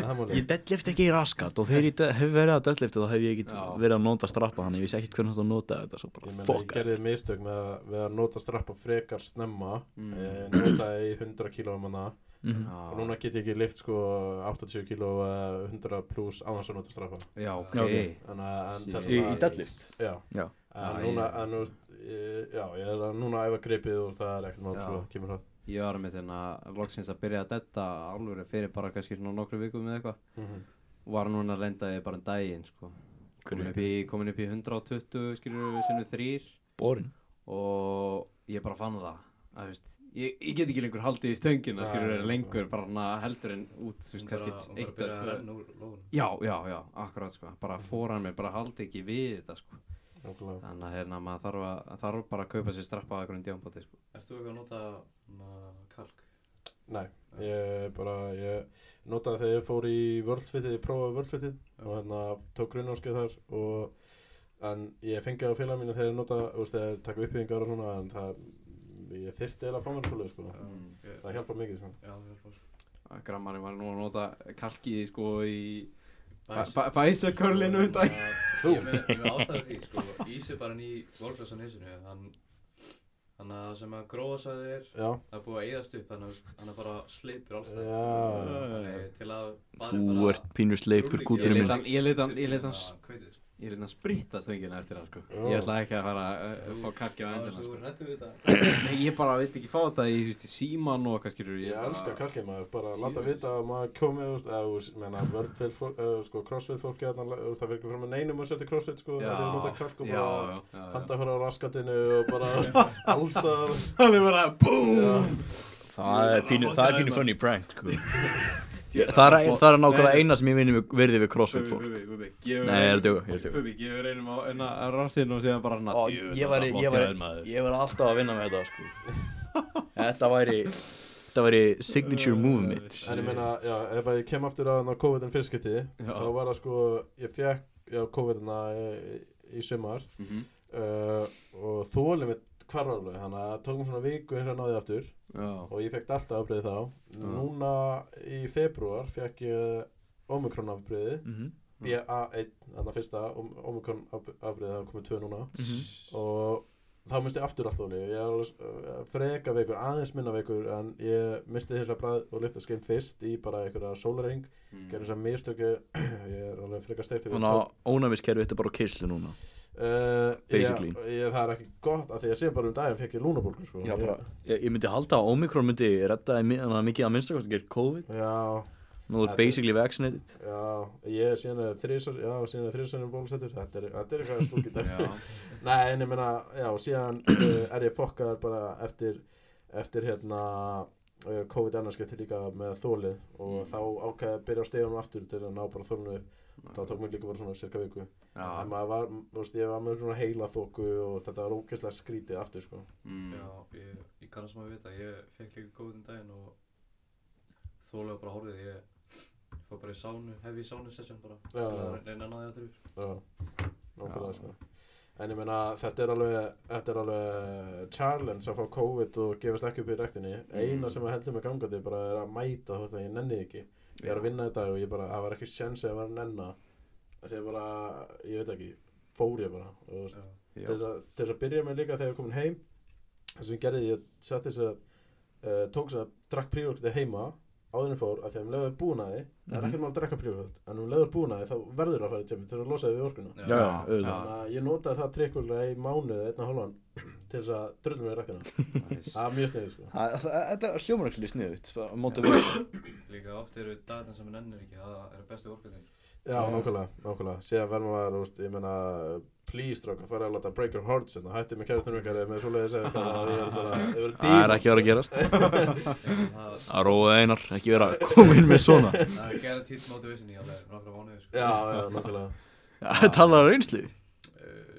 [SPEAKER 3] það máli
[SPEAKER 2] Ég deadlifta ekki í raskat og þegar ég de- hef verið að deadlifta þá hef ég ekki
[SPEAKER 1] Já.
[SPEAKER 2] verið að nota strappa þannig ég vissi ekkert hvernig þetta nota þetta svo
[SPEAKER 3] Ég,
[SPEAKER 2] bara
[SPEAKER 3] meina, ég
[SPEAKER 2] fuck
[SPEAKER 3] gerði mistök með, að- við að nota strappa frekar snemma
[SPEAKER 1] Mm.
[SPEAKER 3] ég notaði í 100 kíló um hana
[SPEAKER 2] Mhm.
[SPEAKER 3] og núna get ég ekki lift sko 80 kíló eða 100 pluss án þess að nota strappa
[SPEAKER 1] já, ok
[SPEAKER 2] Já, ok.
[SPEAKER 3] en, en
[SPEAKER 1] Shit.
[SPEAKER 3] þess
[SPEAKER 2] Í, í
[SPEAKER 3] vegna-
[SPEAKER 2] deadlift
[SPEAKER 3] já,
[SPEAKER 2] Já.
[SPEAKER 3] en
[SPEAKER 1] Já,
[SPEAKER 3] núna,
[SPEAKER 1] ég-
[SPEAKER 3] en, þú veist, ég- já, ég er að núna að æfa gripið og það er ekkert mál
[SPEAKER 1] Já.
[SPEAKER 3] svo kemur það
[SPEAKER 1] ég var með þérna loksins að byrja að detta alvöru fyrir bara kannski svona nokkru vikum eða eitthvað
[SPEAKER 3] mm
[SPEAKER 1] var núna að lenda ég bara en daginn sko. komin, upp í, komin upp í 120 skilur við sinnum þrýr
[SPEAKER 2] Borin
[SPEAKER 1] og ég bara fann það að, veist, ég, ég get ekki lengur haldið í stöngina
[SPEAKER 3] Nei,
[SPEAKER 1] skilur
[SPEAKER 3] nei,
[SPEAKER 1] við
[SPEAKER 3] nei.
[SPEAKER 1] lengur bara hana heldur en út þú veist, kannski
[SPEAKER 4] eitt
[SPEAKER 1] eitt eða
[SPEAKER 4] að
[SPEAKER 1] tvö.
[SPEAKER 4] renna úr lóðunum
[SPEAKER 1] já, já, já, akkurat sko bara
[SPEAKER 3] Mhm.
[SPEAKER 1] fóran mér, bara haldi ekki við þetta sko
[SPEAKER 3] -hmm.
[SPEAKER 1] þannig að hérna, maður þarf, að, þarf bara að kaupa sér strappa á einhvern djámbóti sko.
[SPEAKER 4] Erst þú eitthvað að nota na, kalk?
[SPEAKER 3] Nei, ég bara, ég notaði þegar ég fór í vörlfitið, ég prófaði vörlfitið
[SPEAKER 4] Já.
[SPEAKER 3] og hérna tók grunnáskeið þar og en ég fengi á félag mínu þegar ég nota, þú veist, þegar ég taka uppbyggingar og svona en það ég þyrfti eiginlega að fá mér svoleið sko
[SPEAKER 4] Ég-
[SPEAKER 3] það hjálpa mikið sko
[SPEAKER 4] Já, það hjálpar.
[SPEAKER 1] að grammarinn var nú að nota kalkið sko í
[SPEAKER 4] Bæs-
[SPEAKER 1] bæsakörlinu um dag
[SPEAKER 4] Þú? Ég er með, ég er með ástæði því, sko, Ís er bara ný vorklasan hissinu, hann, hann að sem að gróðasæði er,
[SPEAKER 3] já,
[SPEAKER 4] það er búið að eyðast upp, þannig að hann er bara sleipur alls það.
[SPEAKER 3] já,
[SPEAKER 4] Þannig til að barinn
[SPEAKER 2] Þú ert pínur sleipur
[SPEAKER 4] Rúllíki.
[SPEAKER 1] Ég
[SPEAKER 2] kúturinn
[SPEAKER 1] leit
[SPEAKER 2] minn
[SPEAKER 1] hann, ég leit hann, ég leit hann,
[SPEAKER 4] Kristín, hveitið, sko.
[SPEAKER 1] ég leit hann spritta stöngina eftir hann sko
[SPEAKER 3] Já.
[SPEAKER 1] Ég ætla ekki að fara uh, að fá kalkið á
[SPEAKER 4] Já,
[SPEAKER 1] endina
[SPEAKER 4] þú
[SPEAKER 1] sko
[SPEAKER 4] er hrættu við þetta.
[SPEAKER 1] Nei, ég bara vilt ekki fá þetta í, þú veist, í síman og hvað skilur
[SPEAKER 3] ég elska kalkið maður bara
[SPEAKER 4] Tíu
[SPEAKER 3] láta
[SPEAKER 4] veist.
[SPEAKER 3] vita að maður komi úst, eða, úst, menna, vörnfél, uh, sko, crossfit fólki þarna, úst, það virkar fyrir með neinum að setja crossfit sko,
[SPEAKER 1] Já,
[SPEAKER 3] það er nota kalk og
[SPEAKER 1] já,
[SPEAKER 3] bara
[SPEAKER 1] já, já, já.
[SPEAKER 3] handafara á raskatinu og bara allstað
[SPEAKER 1] Það er bara BOOM
[SPEAKER 2] Það er pínu, það er pínu funny prank sko.
[SPEAKER 1] Ég-
[SPEAKER 2] Það er, það er
[SPEAKER 1] Nei,
[SPEAKER 2] nákvæmlega
[SPEAKER 1] nei.
[SPEAKER 2] eina sem ég vinni við- virði við crossfit fólk Nei, ég er að
[SPEAKER 1] Nei,
[SPEAKER 2] djóka, ég er að djóka.
[SPEAKER 1] Bubi, gefur einum á enna rassinn og síðan bara hann
[SPEAKER 2] Ó, ég væri, ég væri, ég væri alltaf að vinna með þetta sko. Þetta væri Þetta væri signature move mitt
[SPEAKER 3] En ég meina, já, ef að ég kem aftur að þarna COVID-19 fyrstskipti,
[SPEAKER 1] Já.
[SPEAKER 3] þá var það sko, ég fekk, já, COVID-19 í, í sumar uh, og þólið mitt hvarfarlega, þannig að það tók mér svona viku eins og náði aftur og ég fekk alltaf afbreið þá. Núna í februar fekk ég Omikron afbreiði,
[SPEAKER 2] Mhm.
[SPEAKER 3] BA1, þannig að fyrsta Om- Omikron afbreiði, það er komið tvö núna
[SPEAKER 2] Mhm.
[SPEAKER 3] og þá misti ég aftur allt þólið, ég er alveg uh, freka veikur, aðeins minna veikur en ég misti þess að bræð og lyfta skeim fyrst í bara einhverja sólaring gerði þess að mistöku ég er alveg frekar steikt
[SPEAKER 2] Þannig að ónæmiskerfi þetta er bara á keislu núna
[SPEAKER 3] uh,
[SPEAKER 2] Basically.
[SPEAKER 3] ég, ég, það er ekki gott að því að sé bara um daginn fekk ég lúnabólgu sko.
[SPEAKER 2] Já, bara, ég, ég myndi halda að Omikron myndi redda þér mi- þannig að mikið að minnstakosti gegn COVID
[SPEAKER 3] ég, já,
[SPEAKER 2] Nú er
[SPEAKER 3] Þetta-
[SPEAKER 2] basically vaccinated
[SPEAKER 3] já, ég síðan er þrísar já, síðan er þrísar bólusettur þetta er, þetta er eitthvað stúk í dag nei, en ég meina, já, síðan uh, er ég fokkaður bara eftir eftir hérna uh, COVID annarskipti líka með þólið og þá ákæði að byrja á stegunum aftur til að ná bara þólinu upp þá tók mér líka bara svona cirka viku en maður var, þú veist, ég var með svona heila þóku og þetta var ógeðslega skrítið aftur sko.
[SPEAKER 1] mm.
[SPEAKER 4] Já, ég, ég kannast maður vita, ég fekk líka góð um daginn og þólega bara horfið, ég ég fór bara í sánu, heavy sánu session bara, til
[SPEAKER 3] Já,
[SPEAKER 4] að
[SPEAKER 3] já.
[SPEAKER 4] reyna að náði aftur upp.
[SPEAKER 3] Já, nákvæmlega
[SPEAKER 1] Já.
[SPEAKER 3] sko En ég meina, þetta er alveg, þetta er alveg challenge að fá COVID og gefast ekki upp í rektinni. Eina sem að heldur mig gangandi bara er að mæta þótt að ég nenni því ekki. Ég er að vinna í dag og ég bara, það var ekki sjens að ég var að nenna. Þessi ég bara, ég veit ekki, fór ég bara. Og, þú veist,
[SPEAKER 4] Já.
[SPEAKER 3] til þess að- til þess að byrja með líka þegar ég er komin heim, það sem ég gerði, ég sett þess að, uh, tók þess að drakk príorkti heima áðurinn fór að þegar um leiður búnaði, það
[SPEAKER 2] Mhm.
[SPEAKER 3] er ekkert mál að drakka príorkti, en um leiður búnaði þá verður að fara í tjömi til að losa þig við orkuna.
[SPEAKER 2] Já, já, auðvitað
[SPEAKER 3] Þannig að ég notaði það trikkulega í mánuð einna hálfan til þess að drullum við rættina.
[SPEAKER 1] Nice.
[SPEAKER 3] Það er mjög sniðið sko.
[SPEAKER 2] Það- það- Þetta er hljómarækslega sniðut Móta við
[SPEAKER 4] Líka oft eru dagarnir sem við nennir ekki, það eru bestu orkvæðin.
[SPEAKER 3] Já, nákvæmlega, nákvæmlega. Síðan verður maður, úst, ég meina, please stráka, fara að láta break your hearts hérna. Hætti með kærtunum ykkar eða með svoleiðis eða eitthvað að ég verður bara, ég verður
[SPEAKER 2] Það er
[SPEAKER 3] dýr.
[SPEAKER 2] ekki að vera að gerast
[SPEAKER 4] Það
[SPEAKER 2] Að róa einar, ekki vera að koma inn með svona
[SPEAKER 4] það er gerð tíl motivation í alveg nokkra mánuði, sko.
[SPEAKER 3] Já, já, nákvæmlega.
[SPEAKER 2] Talar reynslu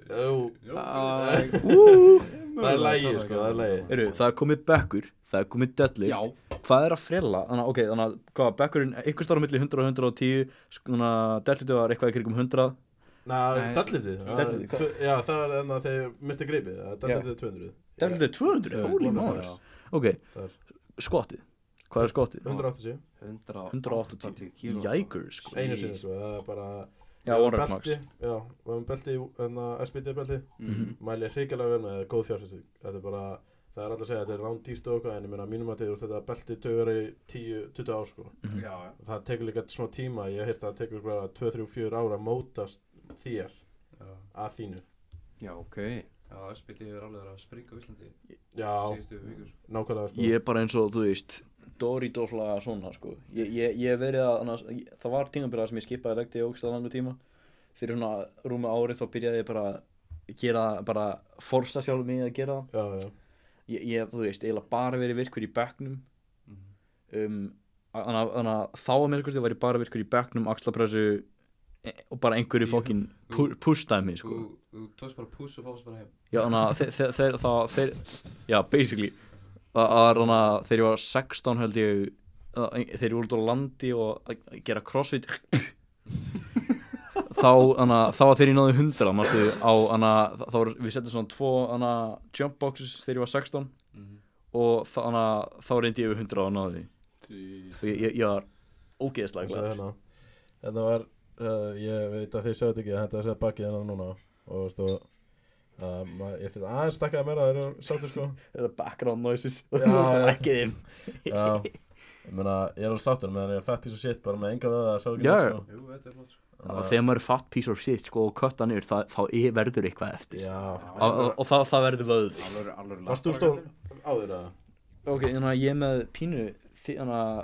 [SPEAKER 4] Uh,
[SPEAKER 3] Jú,
[SPEAKER 4] jú,
[SPEAKER 1] Æ,
[SPEAKER 3] það er lægi sko, það er lægi.
[SPEAKER 2] Eru, það er komið bekkur, það er komið
[SPEAKER 1] Já,
[SPEAKER 2] deadlift Hvað er að frella? Þannig, að, ok, þannig að hvað, bekkurinn, ykkur starf á milli 100 og 110 Svona, deadliftu var eitthvað í kringum 100
[SPEAKER 3] Næ,
[SPEAKER 1] Nei.
[SPEAKER 3] dallitið.
[SPEAKER 2] Deadliftið, hvað?
[SPEAKER 3] Já, það er enna þegar misti gripið, dallitið 200.
[SPEAKER 2] Deadliftu er 200, holy
[SPEAKER 3] Já.
[SPEAKER 2] moly Ok,
[SPEAKER 3] Það er
[SPEAKER 2] skotið, hvað er skotið?
[SPEAKER 3] 180,
[SPEAKER 2] 180
[SPEAKER 1] kíló, sko.
[SPEAKER 2] Jægur, sko
[SPEAKER 3] einu sinni sko, það er bara...
[SPEAKER 2] Já,
[SPEAKER 3] Við varum
[SPEAKER 2] one rep max
[SPEAKER 3] belti- Já, við hefum belti, hérna, þannig að SBT belti
[SPEAKER 1] Mhm.
[SPEAKER 3] mæli hrikilega vel með það, góð fjárfæsting þetta er bara, það er alltaf að segja þetta er rándýrt og eitthvað en ég meina mínum að þetta, þetta belti tögur í 10-20 ár sko
[SPEAKER 2] Mm.
[SPEAKER 1] Já, já.
[SPEAKER 3] það tekur líka smá tíma, ég heyrti að það tekur bara 2-3-4 ár að mótast þér
[SPEAKER 4] já,
[SPEAKER 3] að þínu
[SPEAKER 1] já, ok
[SPEAKER 4] já, SBT er alveg að springa á Íslandi
[SPEAKER 3] já,
[SPEAKER 4] síðustu vikur, sko.
[SPEAKER 3] nákvæmlega sko
[SPEAKER 2] Ég er bara eins og, þú veist Doritoflaga svona, sko Ég, ég, ég hef verið að, annars, ég, það var tímabilið þar sem ég skipaði legdi í ógstað langu tíma Fyrir svona rúmi árið þá byrjaði ég bara að gera, bara forsa sjálf mig að gera það
[SPEAKER 3] já, já,
[SPEAKER 2] Ég, ég þú veist, eiginlega bara verið virkur í bekknum
[SPEAKER 4] Mhm.
[SPEAKER 2] um, Þannig að- þannig að þá að mér sko var ég bara virkur í bekknum, axlapressu e- og bara einhverju fokkin push-dæmi,
[SPEAKER 4] Þú,
[SPEAKER 2] sko
[SPEAKER 4] þú tókst bara pús og fást bara heim.
[SPEAKER 2] Já, þannig að þe- þe- þeir, þá, þeir, já, basically, það það var þannig að þegar ég var 16 held ég, að- þegar ég voru út á landi og að að gera crossfit, þá, þannig að, þá var þegar ég náði 100, manstu, á, þannig að, þá var, við settum svona tvo, þannig að, jump boxes þegar ég var 16
[SPEAKER 4] Mhm.
[SPEAKER 2] og þannig að þá reyndi ég við 100 á að ná því
[SPEAKER 1] Djú-
[SPEAKER 2] og ég, ég, ég var ógeðslega
[SPEAKER 3] sagði
[SPEAKER 2] glad
[SPEAKER 3] hérna hérna var, uh, ég veit að þið sagði ekki þetta er að bakið hérna núna og veistu uh, maður- ég þurfti aðeins stakkaði meira þeir eru sáttu sko
[SPEAKER 2] þetta er background noises
[SPEAKER 3] Já.
[SPEAKER 2] og það er ekki þeim
[SPEAKER 3] já ég meina ég er alveg sáttur meðan ég er fat piece of shit bara með enga veða sá ekki
[SPEAKER 2] Já.
[SPEAKER 3] neitt, sko.
[SPEAKER 4] Jú, þetta er flott sko.
[SPEAKER 2] og þegar maður er fat piece of shit sko og kötta niður þá, þá er- verður eitthvað eftir
[SPEAKER 3] já
[SPEAKER 2] og, og, og það, það verður vöð
[SPEAKER 1] Alvöru, alvöru
[SPEAKER 3] varst þú
[SPEAKER 1] hérna.
[SPEAKER 3] stór áður að
[SPEAKER 2] ok, þannig að ég með pínu þannig að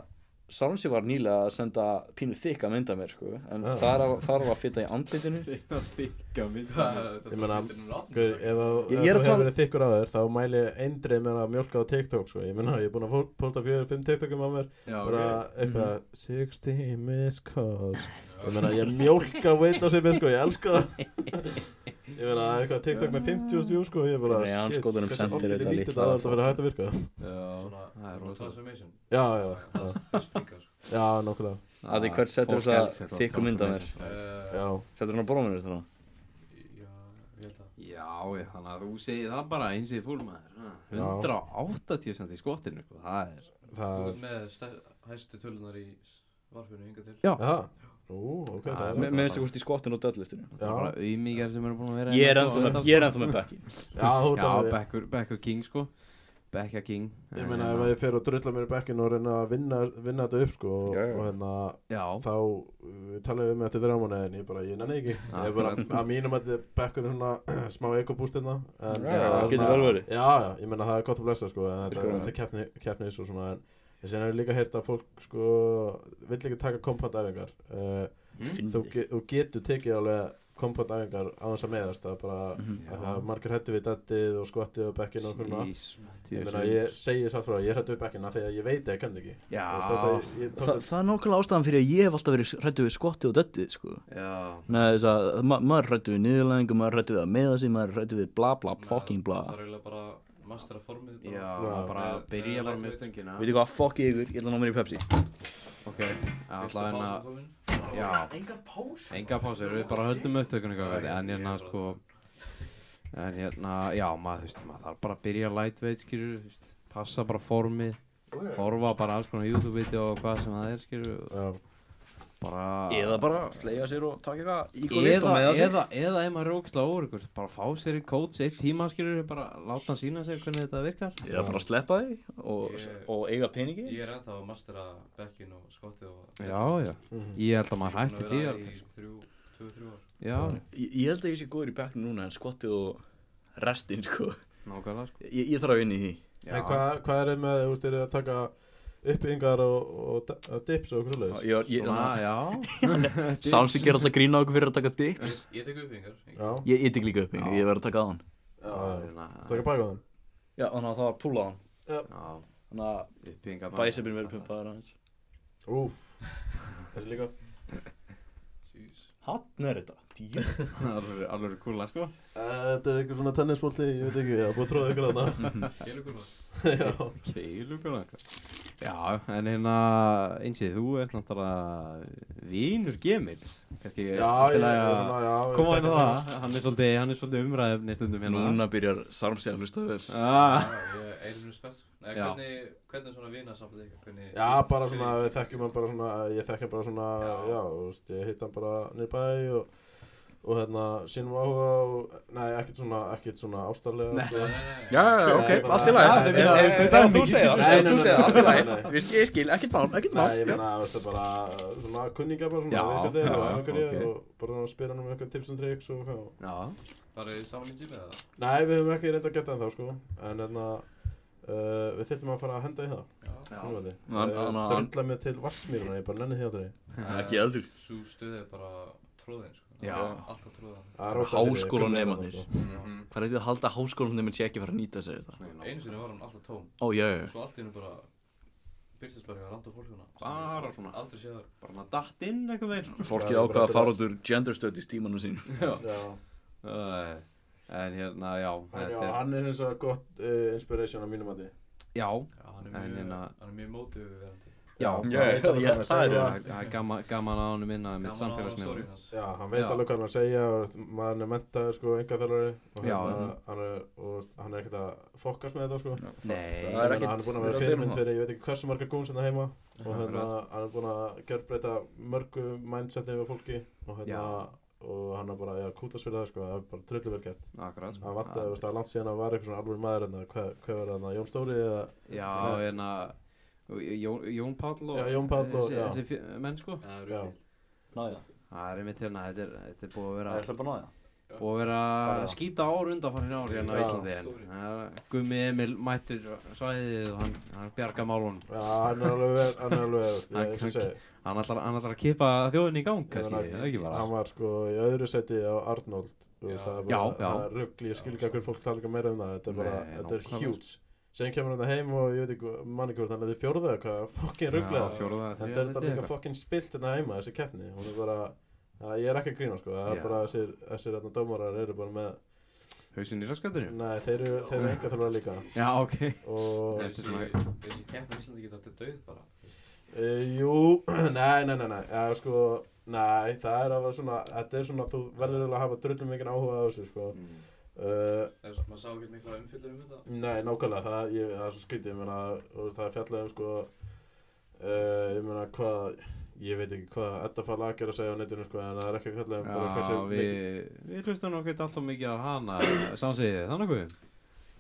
[SPEAKER 2] Sálensi var nýlega að senda pínu þykka mynda mér sko en
[SPEAKER 3] Ah.
[SPEAKER 2] þar, á- þar var fitta í andlitinu
[SPEAKER 1] Þegar þykka mynd
[SPEAKER 4] Þetta
[SPEAKER 3] Ég
[SPEAKER 4] er
[SPEAKER 3] meina,
[SPEAKER 4] þetta er núna átján
[SPEAKER 3] Guð,
[SPEAKER 4] dagar.
[SPEAKER 3] ef að
[SPEAKER 2] Ég-
[SPEAKER 3] ef
[SPEAKER 2] ég er að
[SPEAKER 3] þú hefur
[SPEAKER 2] tala-
[SPEAKER 3] verið þykkur á þér þá mæli ég eindreið með að mjölka á TikTok sko. ég meina ég er búin að fó- posta fjögur, fimm TikTokum á mér
[SPEAKER 1] Já,
[SPEAKER 3] bara
[SPEAKER 1] ok
[SPEAKER 3] eitthvað 60 missed calls ég meina ég mjölka veit á sig minn sko ég elska það ég meina eitthvað TikTok með 50.000 view sko ég er bara
[SPEAKER 2] Nei, andskotanum
[SPEAKER 3] hversu oft
[SPEAKER 2] sendir
[SPEAKER 3] get ég
[SPEAKER 2] þetta
[SPEAKER 3] nýtt
[SPEAKER 2] litla
[SPEAKER 3] þetta að þetta verið hægt að virka
[SPEAKER 1] Já,
[SPEAKER 4] Svona,
[SPEAKER 1] það er
[SPEAKER 4] svona
[SPEAKER 1] rosa
[SPEAKER 4] transformation
[SPEAKER 3] já já já,
[SPEAKER 4] Það það spíkar sko.
[SPEAKER 3] já nokkulega
[SPEAKER 2] Að því hvert setur þessa þykku mynd á mér?
[SPEAKER 4] Eh,
[SPEAKER 3] já
[SPEAKER 2] Settur hann á bróminu þannig
[SPEAKER 4] Já, ég held að
[SPEAKER 1] Já, ég- þannig að þú segir það bara eins og fúl maður ha,
[SPEAKER 3] Já.
[SPEAKER 1] 180 cent í skottinu sko, það er
[SPEAKER 4] Þú
[SPEAKER 3] það
[SPEAKER 4] ert með stær- hæstu tölunar í s- varpinu hinga til
[SPEAKER 1] Já.
[SPEAKER 3] já ú ok það
[SPEAKER 1] Já,
[SPEAKER 3] er
[SPEAKER 2] Me,
[SPEAKER 1] með-
[SPEAKER 3] það.
[SPEAKER 2] með minnstu kosti í skottinu og döllistinu
[SPEAKER 1] það er
[SPEAKER 3] Já.
[SPEAKER 1] bara auðmíkjar sem eru búin að vera
[SPEAKER 2] Ég er
[SPEAKER 1] hérna
[SPEAKER 2] ennþá
[SPEAKER 1] og
[SPEAKER 2] með,
[SPEAKER 1] þetta,
[SPEAKER 2] ég er
[SPEAKER 1] sko.
[SPEAKER 2] ennþá með Becky
[SPEAKER 3] já þú ert
[SPEAKER 1] Já,
[SPEAKER 3] að
[SPEAKER 1] Beckur, Beckur King sko Becka King
[SPEAKER 2] Eh,
[SPEAKER 1] hérna-
[SPEAKER 3] Ég meina
[SPEAKER 2] hérna.
[SPEAKER 3] ef að ég fer og drulla mér í bekkinu og reyna að vinna, vinna þetta upp sko og,
[SPEAKER 2] Já, já.
[SPEAKER 3] og hérna
[SPEAKER 1] Já,
[SPEAKER 3] þá uh, tala við um þetta þrjá mánu en ég bara, ég nenni ekki
[SPEAKER 1] Ah,
[SPEAKER 3] ég er bara, að mínum að þetta bekkinu svona smá ekobúst hérna en,
[SPEAKER 1] Já,
[SPEAKER 3] það er
[SPEAKER 1] getur
[SPEAKER 3] svona-
[SPEAKER 2] vel verið.
[SPEAKER 3] Já, já, ég meina það er gott að blessa sko en þetta,
[SPEAKER 2] Sko.
[SPEAKER 3] þetta er keppni, keppni svo svona en ég sé hef líka heyrt að fólk sko vill ekki taka kompandæfingar uh,
[SPEAKER 1] hm?
[SPEAKER 2] Mm.
[SPEAKER 3] þú, ge- þú getur tekið alveg kompandæfingar á þess að meðast það er bara,
[SPEAKER 2] Mhm.
[SPEAKER 3] að það er margir hættu við dettið og skottið og bekkinu og svona
[SPEAKER 1] Ís,
[SPEAKER 3] Ég meina, ég segi satt frá, ég hrættu upp ekki því að ég veit að ég kenni ekki
[SPEAKER 1] Já,
[SPEAKER 3] Þú veist, þetta- ég
[SPEAKER 2] Þa,
[SPEAKER 3] tók
[SPEAKER 2] það er nákvæmlega ástæðan fyrir að ég hef alltaf verið hrættu við skotti og dötti sko.
[SPEAKER 1] já
[SPEAKER 2] Nei, þess að ma maður hrættu við niðurlæðingu, maður hrættu við að meða sig, maður hrættu við bla bla fucking bla
[SPEAKER 4] Það er eiginlega bara að mastera formið bara.
[SPEAKER 1] Já,
[SPEAKER 3] Já.
[SPEAKER 1] bara
[SPEAKER 4] Með-
[SPEAKER 1] byrja
[SPEAKER 4] með
[SPEAKER 1] bara með
[SPEAKER 4] lightweight.
[SPEAKER 1] stöngina
[SPEAKER 2] Veitu hvað, fuck ykkur, ég ætla að ná mér í Pepsi
[SPEAKER 1] Ok,
[SPEAKER 4] Fyrsta
[SPEAKER 1] allavega
[SPEAKER 4] pásan
[SPEAKER 1] hérna
[SPEAKER 4] komin.
[SPEAKER 1] Já,
[SPEAKER 2] Enga pás
[SPEAKER 1] enga pása, við bara höldum upptökunni
[SPEAKER 4] Já,
[SPEAKER 1] eitthvað
[SPEAKER 4] já,
[SPEAKER 1] En hérna
[SPEAKER 4] ég bara-
[SPEAKER 1] sko En hérna, já, maður, þú veist, maður þarf bara að byrja lightweight, skilur, þú veist Passa bara formið, horfa bara alls konar YouTube-vídeó og hvað sem það er, skilur
[SPEAKER 3] Já,
[SPEAKER 1] Bara
[SPEAKER 2] Eða bara flega sér og taka eitthvað sko. ígólist og
[SPEAKER 1] Ah. Eða,
[SPEAKER 2] meða sig
[SPEAKER 1] eða, eða ef maður er ógislega óryggur, bara fá sér í coach eitt tíma, skilur, bara láta hann sína sig hvernig þetta virkar.
[SPEAKER 2] Eða bara sleppa því og,
[SPEAKER 4] Ég-
[SPEAKER 2] og eiga peningi
[SPEAKER 4] Ég er ennþá að mastera bekkin og skottið og
[SPEAKER 1] Já, já.
[SPEAKER 3] mhm.
[SPEAKER 1] Ég held að maður
[SPEAKER 4] Búin að
[SPEAKER 1] hætti því
[SPEAKER 4] vera
[SPEAKER 1] alveg.
[SPEAKER 4] í þrjú, tvö, þrjú ár
[SPEAKER 1] Já,
[SPEAKER 2] Ég, ég held að ég sé góður í bekknum núna en skottið og restin sko
[SPEAKER 1] nákvæmlega, sko.
[SPEAKER 2] Ég, ég þarf að vinna í því
[SPEAKER 1] Já,
[SPEAKER 3] En hvað hvað er með, þú veist, er það að taka uppbyggingar og, og da- og dips og okkur svoleiðis?
[SPEAKER 2] Ég, ég,
[SPEAKER 1] svona,
[SPEAKER 2] ég,
[SPEAKER 1] já.
[SPEAKER 2] Sáns ekki er alltaf grína okkur fyrir að taka dips
[SPEAKER 4] Ég- Ég tek uppbyggingar
[SPEAKER 3] Já,
[SPEAKER 2] Ég ytti líka upp,
[SPEAKER 1] Já.
[SPEAKER 2] ég verð að taka á hann
[SPEAKER 3] já, já.
[SPEAKER 1] Já,
[SPEAKER 3] taka baka þann
[SPEAKER 2] Já, þannig að það var púla á hann
[SPEAKER 1] já,
[SPEAKER 2] Þannig að
[SPEAKER 1] uppbyggingar.
[SPEAKER 2] bæsepin verið pumpaður hans
[SPEAKER 3] Úf, þessi líka
[SPEAKER 4] Jeez.
[SPEAKER 2] Hann er þetta Djöfull.
[SPEAKER 1] Alveg, alveg kúla, sko.
[SPEAKER 3] Eh, Þetta er einhver svona tennisbólti, ég veit ekki, ég er búið að tróða ykkur þarna
[SPEAKER 4] Félugur maður
[SPEAKER 3] Já,
[SPEAKER 1] Keilu, kúla, sko. Já, en hérna, einsið, þú ert náttúrulega vinur gemils. Kannski,
[SPEAKER 3] já,
[SPEAKER 1] allt í
[SPEAKER 3] ég
[SPEAKER 1] lagi
[SPEAKER 3] er
[SPEAKER 1] að-
[SPEAKER 3] svona, já ég
[SPEAKER 1] Koma inn
[SPEAKER 3] þekki
[SPEAKER 1] á það, hann er svolítið, hann er svolítið umræðefni stundum hérna.
[SPEAKER 2] Núna byrjar Sarmsi að hlusta vel
[SPEAKER 1] Ah.
[SPEAKER 4] Ég erum við spæst sko. Nei,
[SPEAKER 1] Já.
[SPEAKER 4] hvernig, hvernig er svona vina samfélagi ykkar? Hvernig-
[SPEAKER 3] Já, bara svona,
[SPEAKER 4] hvernig-
[SPEAKER 3] við þekkjum hann bara svona, ég þekk hann bara svona, já,
[SPEAKER 4] Já.
[SPEAKER 3] þú veist, ég hitt hann bara niður bæði og, og hérna, sínum áhuga og, nei, ekkert svona, ekkert svona ástarlega.
[SPEAKER 1] Nei.
[SPEAKER 3] sko.
[SPEAKER 2] Já, já,
[SPEAKER 3] ok, allt í lagi. Ef- ef- ef- ef-
[SPEAKER 2] Ef þú segir
[SPEAKER 3] það, ef þú segir það, allt í lagi.
[SPEAKER 2] Ég skil, ekkert mál, ekkert
[SPEAKER 3] Nei, ég meina, þú veist, það bara, svona, kunninga bara svona,
[SPEAKER 1] Já,
[SPEAKER 3] veit hvað þeir
[SPEAKER 1] já,
[SPEAKER 3] og ef okkur ég
[SPEAKER 1] ok.
[SPEAKER 3] er og bara spyr hann um eitthvað tips and tricks og hvað.
[SPEAKER 1] Já,
[SPEAKER 4] Bara í saman í tími eða?
[SPEAKER 3] Nei, við höfum ekki reynda að geta það þá, sko, en hérna, uh, við þyrftum að fara að henda í það,
[SPEAKER 4] Já
[SPEAKER 3] hún veit
[SPEAKER 2] Ná, ná, ná,
[SPEAKER 3] Það
[SPEAKER 2] hann-
[SPEAKER 3] vilja mig til vassmýruna, ég bara nenni því á þeirri.
[SPEAKER 2] Ekki eldur
[SPEAKER 4] Eh, Sú stöð er bara tróðin sko
[SPEAKER 1] Já.
[SPEAKER 4] Alltaf tróðan
[SPEAKER 3] Það er ástæða fyrir því, ég kunni
[SPEAKER 2] Háskólanemarnir.
[SPEAKER 3] það, sko.
[SPEAKER 2] Hvað er þetta að halda háskólanum þegar sé ekki fara að nýta sér þetta?
[SPEAKER 4] Einu sinni var hann alltaf tóm
[SPEAKER 2] Ó, já, já,
[SPEAKER 4] Og svo allt í hennu bara Byrtist bara hjá randa fólkuna
[SPEAKER 1] Bara svona.
[SPEAKER 4] Aldrei séð þar
[SPEAKER 1] bara hann að datt inn einhvern veginn
[SPEAKER 2] já Fólkið ákvað að fara út úr genderstöðis tímanum sín
[SPEAKER 3] Já.
[SPEAKER 1] Æ, En hérna, já
[SPEAKER 3] En já,
[SPEAKER 1] þetta er-
[SPEAKER 3] hann er hins vegar gott uh, eh, inspiration á mínum mati
[SPEAKER 1] Já,
[SPEAKER 4] Já, hann
[SPEAKER 1] En
[SPEAKER 4] er mjög,
[SPEAKER 1] hérna-
[SPEAKER 4] hann er mjög mótiverandi
[SPEAKER 1] Já, um
[SPEAKER 2] Já, já,
[SPEAKER 3] alveg
[SPEAKER 2] já,
[SPEAKER 3] hvað hann er að
[SPEAKER 2] það er
[SPEAKER 3] segja.
[SPEAKER 2] það.
[SPEAKER 1] það er gaman, gaman á hann minna mitt
[SPEAKER 4] Gaman að hafa
[SPEAKER 1] samfélagsmiðlum
[SPEAKER 4] story hans.
[SPEAKER 3] Já, hann veit
[SPEAKER 1] Já.
[SPEAKER 3] alveg hvað hann er að segja og veist, maðurinn er mentaður sko, enga þjálfari og
[SPEAKER 1] Já,
[SPEAKER 3] hérna,
[SPEAKER 1] mhm.
[SPEAKER 3] hann er, og hann er ekkert að fokkast með þetta sko.
[SPEAKER 1] Nei,
[SPEAKER 2] Það
[SPEAKER 3] Ég
[SPEAKER 2] er
[SPEAKER 3] meina,
[SPEAKER 2] ekkert-
[SPEAKER 3] hann er búinn að vera
[SPEAKER 2] við erum að deila um
[SPEAKER 3] fyrirmynd
[SPEAKER 2] það.
[SPEAKER 3] fyrir, ég veit ekki hversu margar gúns hérna heima og
[SPEAKER 4] Já,
[SPEAKER 3] hérna,
[SPEAKER 4] akkurat.
[SPEAKER 3] hann er búinn að gjörbreyta mörgu mindsetni við fólki og hérna, og hann er bara, já, kútast fyrir það sko, það er bara trullu vel gert.
[SPEAKER 1] akkurat sko.
[SPEAKER 3] Hann vantaði, þú veist, það er langt síðan að var eitthvað svona alveg maður hérna, hvað hvað var hérna, Jón Stóri eða,
[SPEAKER 1] Já, en að Jón, Jón Páll og
[SPEAKER 3] Já, Jón Páll og-
[SPEAKER 1] þessi,
[SPEAKER 3] já.
[SPEAKER 1] þessi fjö- menn sko
[SPEAKER 4] Já, það er
[SPEAKER 3] Já.
[SPEAKER 4] ruggl.
[SPEAKER 2] Nája,
[SPEAKER 1] Það er einmitt hérna, þetta er, þetta er búið að
[SPEAKER 2] það
[SPEAKER 1] vera
[SPEAKER 2] er hlöpa nája
[SPEAKER 1] búið að vera
[SPEAKER 3] Farið
[SPEAKER 1] að
[SPEAKER 3] það.
[SPEAKER 1] skýta ár undanfarið ár hérna á
[SPEAKER 3] Já.
[SPEAKER 1] Íslandi en
[SPEAKER 4] Stóri.
[SPEAKER 1] það er- Gummi Emil mættur svæðið og hann, hann bjarga málun
[SPEAKER 3] já, hann er alveg, vel- hann er alveg, þú veist,
[SPEAKER 1] Hann-
[SPEAKER 3] ég- eins og ég segi,
[SPEAKER 1] Hann ætlar, hann ætlar að kippa þjóðinni í gang
[SPEAKER 3] Ég
[SPEAKER 1] kannski,
[SPEAKER 3] meina,
[SPEAKER 1] það er ekki bara
[SPEAKER 3] hann var sko í öðru seti á Arnold þú veist,
[SPEAKER 4] Já.
[SPEAKER 3] það er
[SPEAKER 1] Já,
[SPEAKER 3] bara
[SPEAKER 1] já.
[SPEAKER 3] það er rugl, ég skil ekki af hverju fólk tala ekki meira um það þetta er bara,
[SPEAKER 1] Nei,
[SPEAKER 3] þetta er
[SPEAKER 1] nákvæmlega.
[SPEAKER 3] huge sen kemur hann heim og ég veit ekki manni hvort þannig að þetta er fjórða eða hvað fokkin rugglega
[SPEAKER 1] Já, Fjórða,
[SPEAKER 3] þetta
[SPEAKER 1] þriðja
[SPEAKER 3] er þetta
[SPEAKER 1] sæti
[SPEAKER 3] líka
[SPEAKER 1] eitthvað.
[SPEAKER 3] fokkin spilt hérna heima þessi keppni, hún er bara að, ég er ekki að grína sko,
[SPEAKER 1] Já.
[SPEAKER 3] það er bara þessir, þessir þarna dómarar eru bara með
[SPEAKER 1] Hausinn í raskatunum
[SPEAKER 3] nei, þeir eru, þeir eru enga þarf líka
[SPEAKER 1] Já, ok
[SPEAKER 3] og
[SPEAKER 1] Nei.
[SPEAKER 4] Þessi þessi keppni í Íslandi geta þetta dauð bara.
[SPEAKER 3] e, jú, nei, nei, nei, nei eða sko, nei, það er að vera svona þetta er svona, þú verður eiginlega að hafa drullum mikið áhuga á þessu sko
[SPEAKER 1] Mm.
[SPEAKER 3] uh,
[SPEAKER 4] Það er svona, maður sá ekki mikla umfyllur um þetta.
[SPEAKER 3] Nei, nákvæmlega, það, ég, það er svo skrítið, ég meina, þú veist, það er fjallað um, sko, uh, ég meina, hvað, ég veit ekki hvað Edda Falag er að segja á netinu, sko, en það er ekki fjallað um bara
[SPEAKER 1] Já,
[SPEAKER 3] hversu
[SPEAKER 1] við, við hlustum okkur alltaf mikið á hana samsegið, þannig að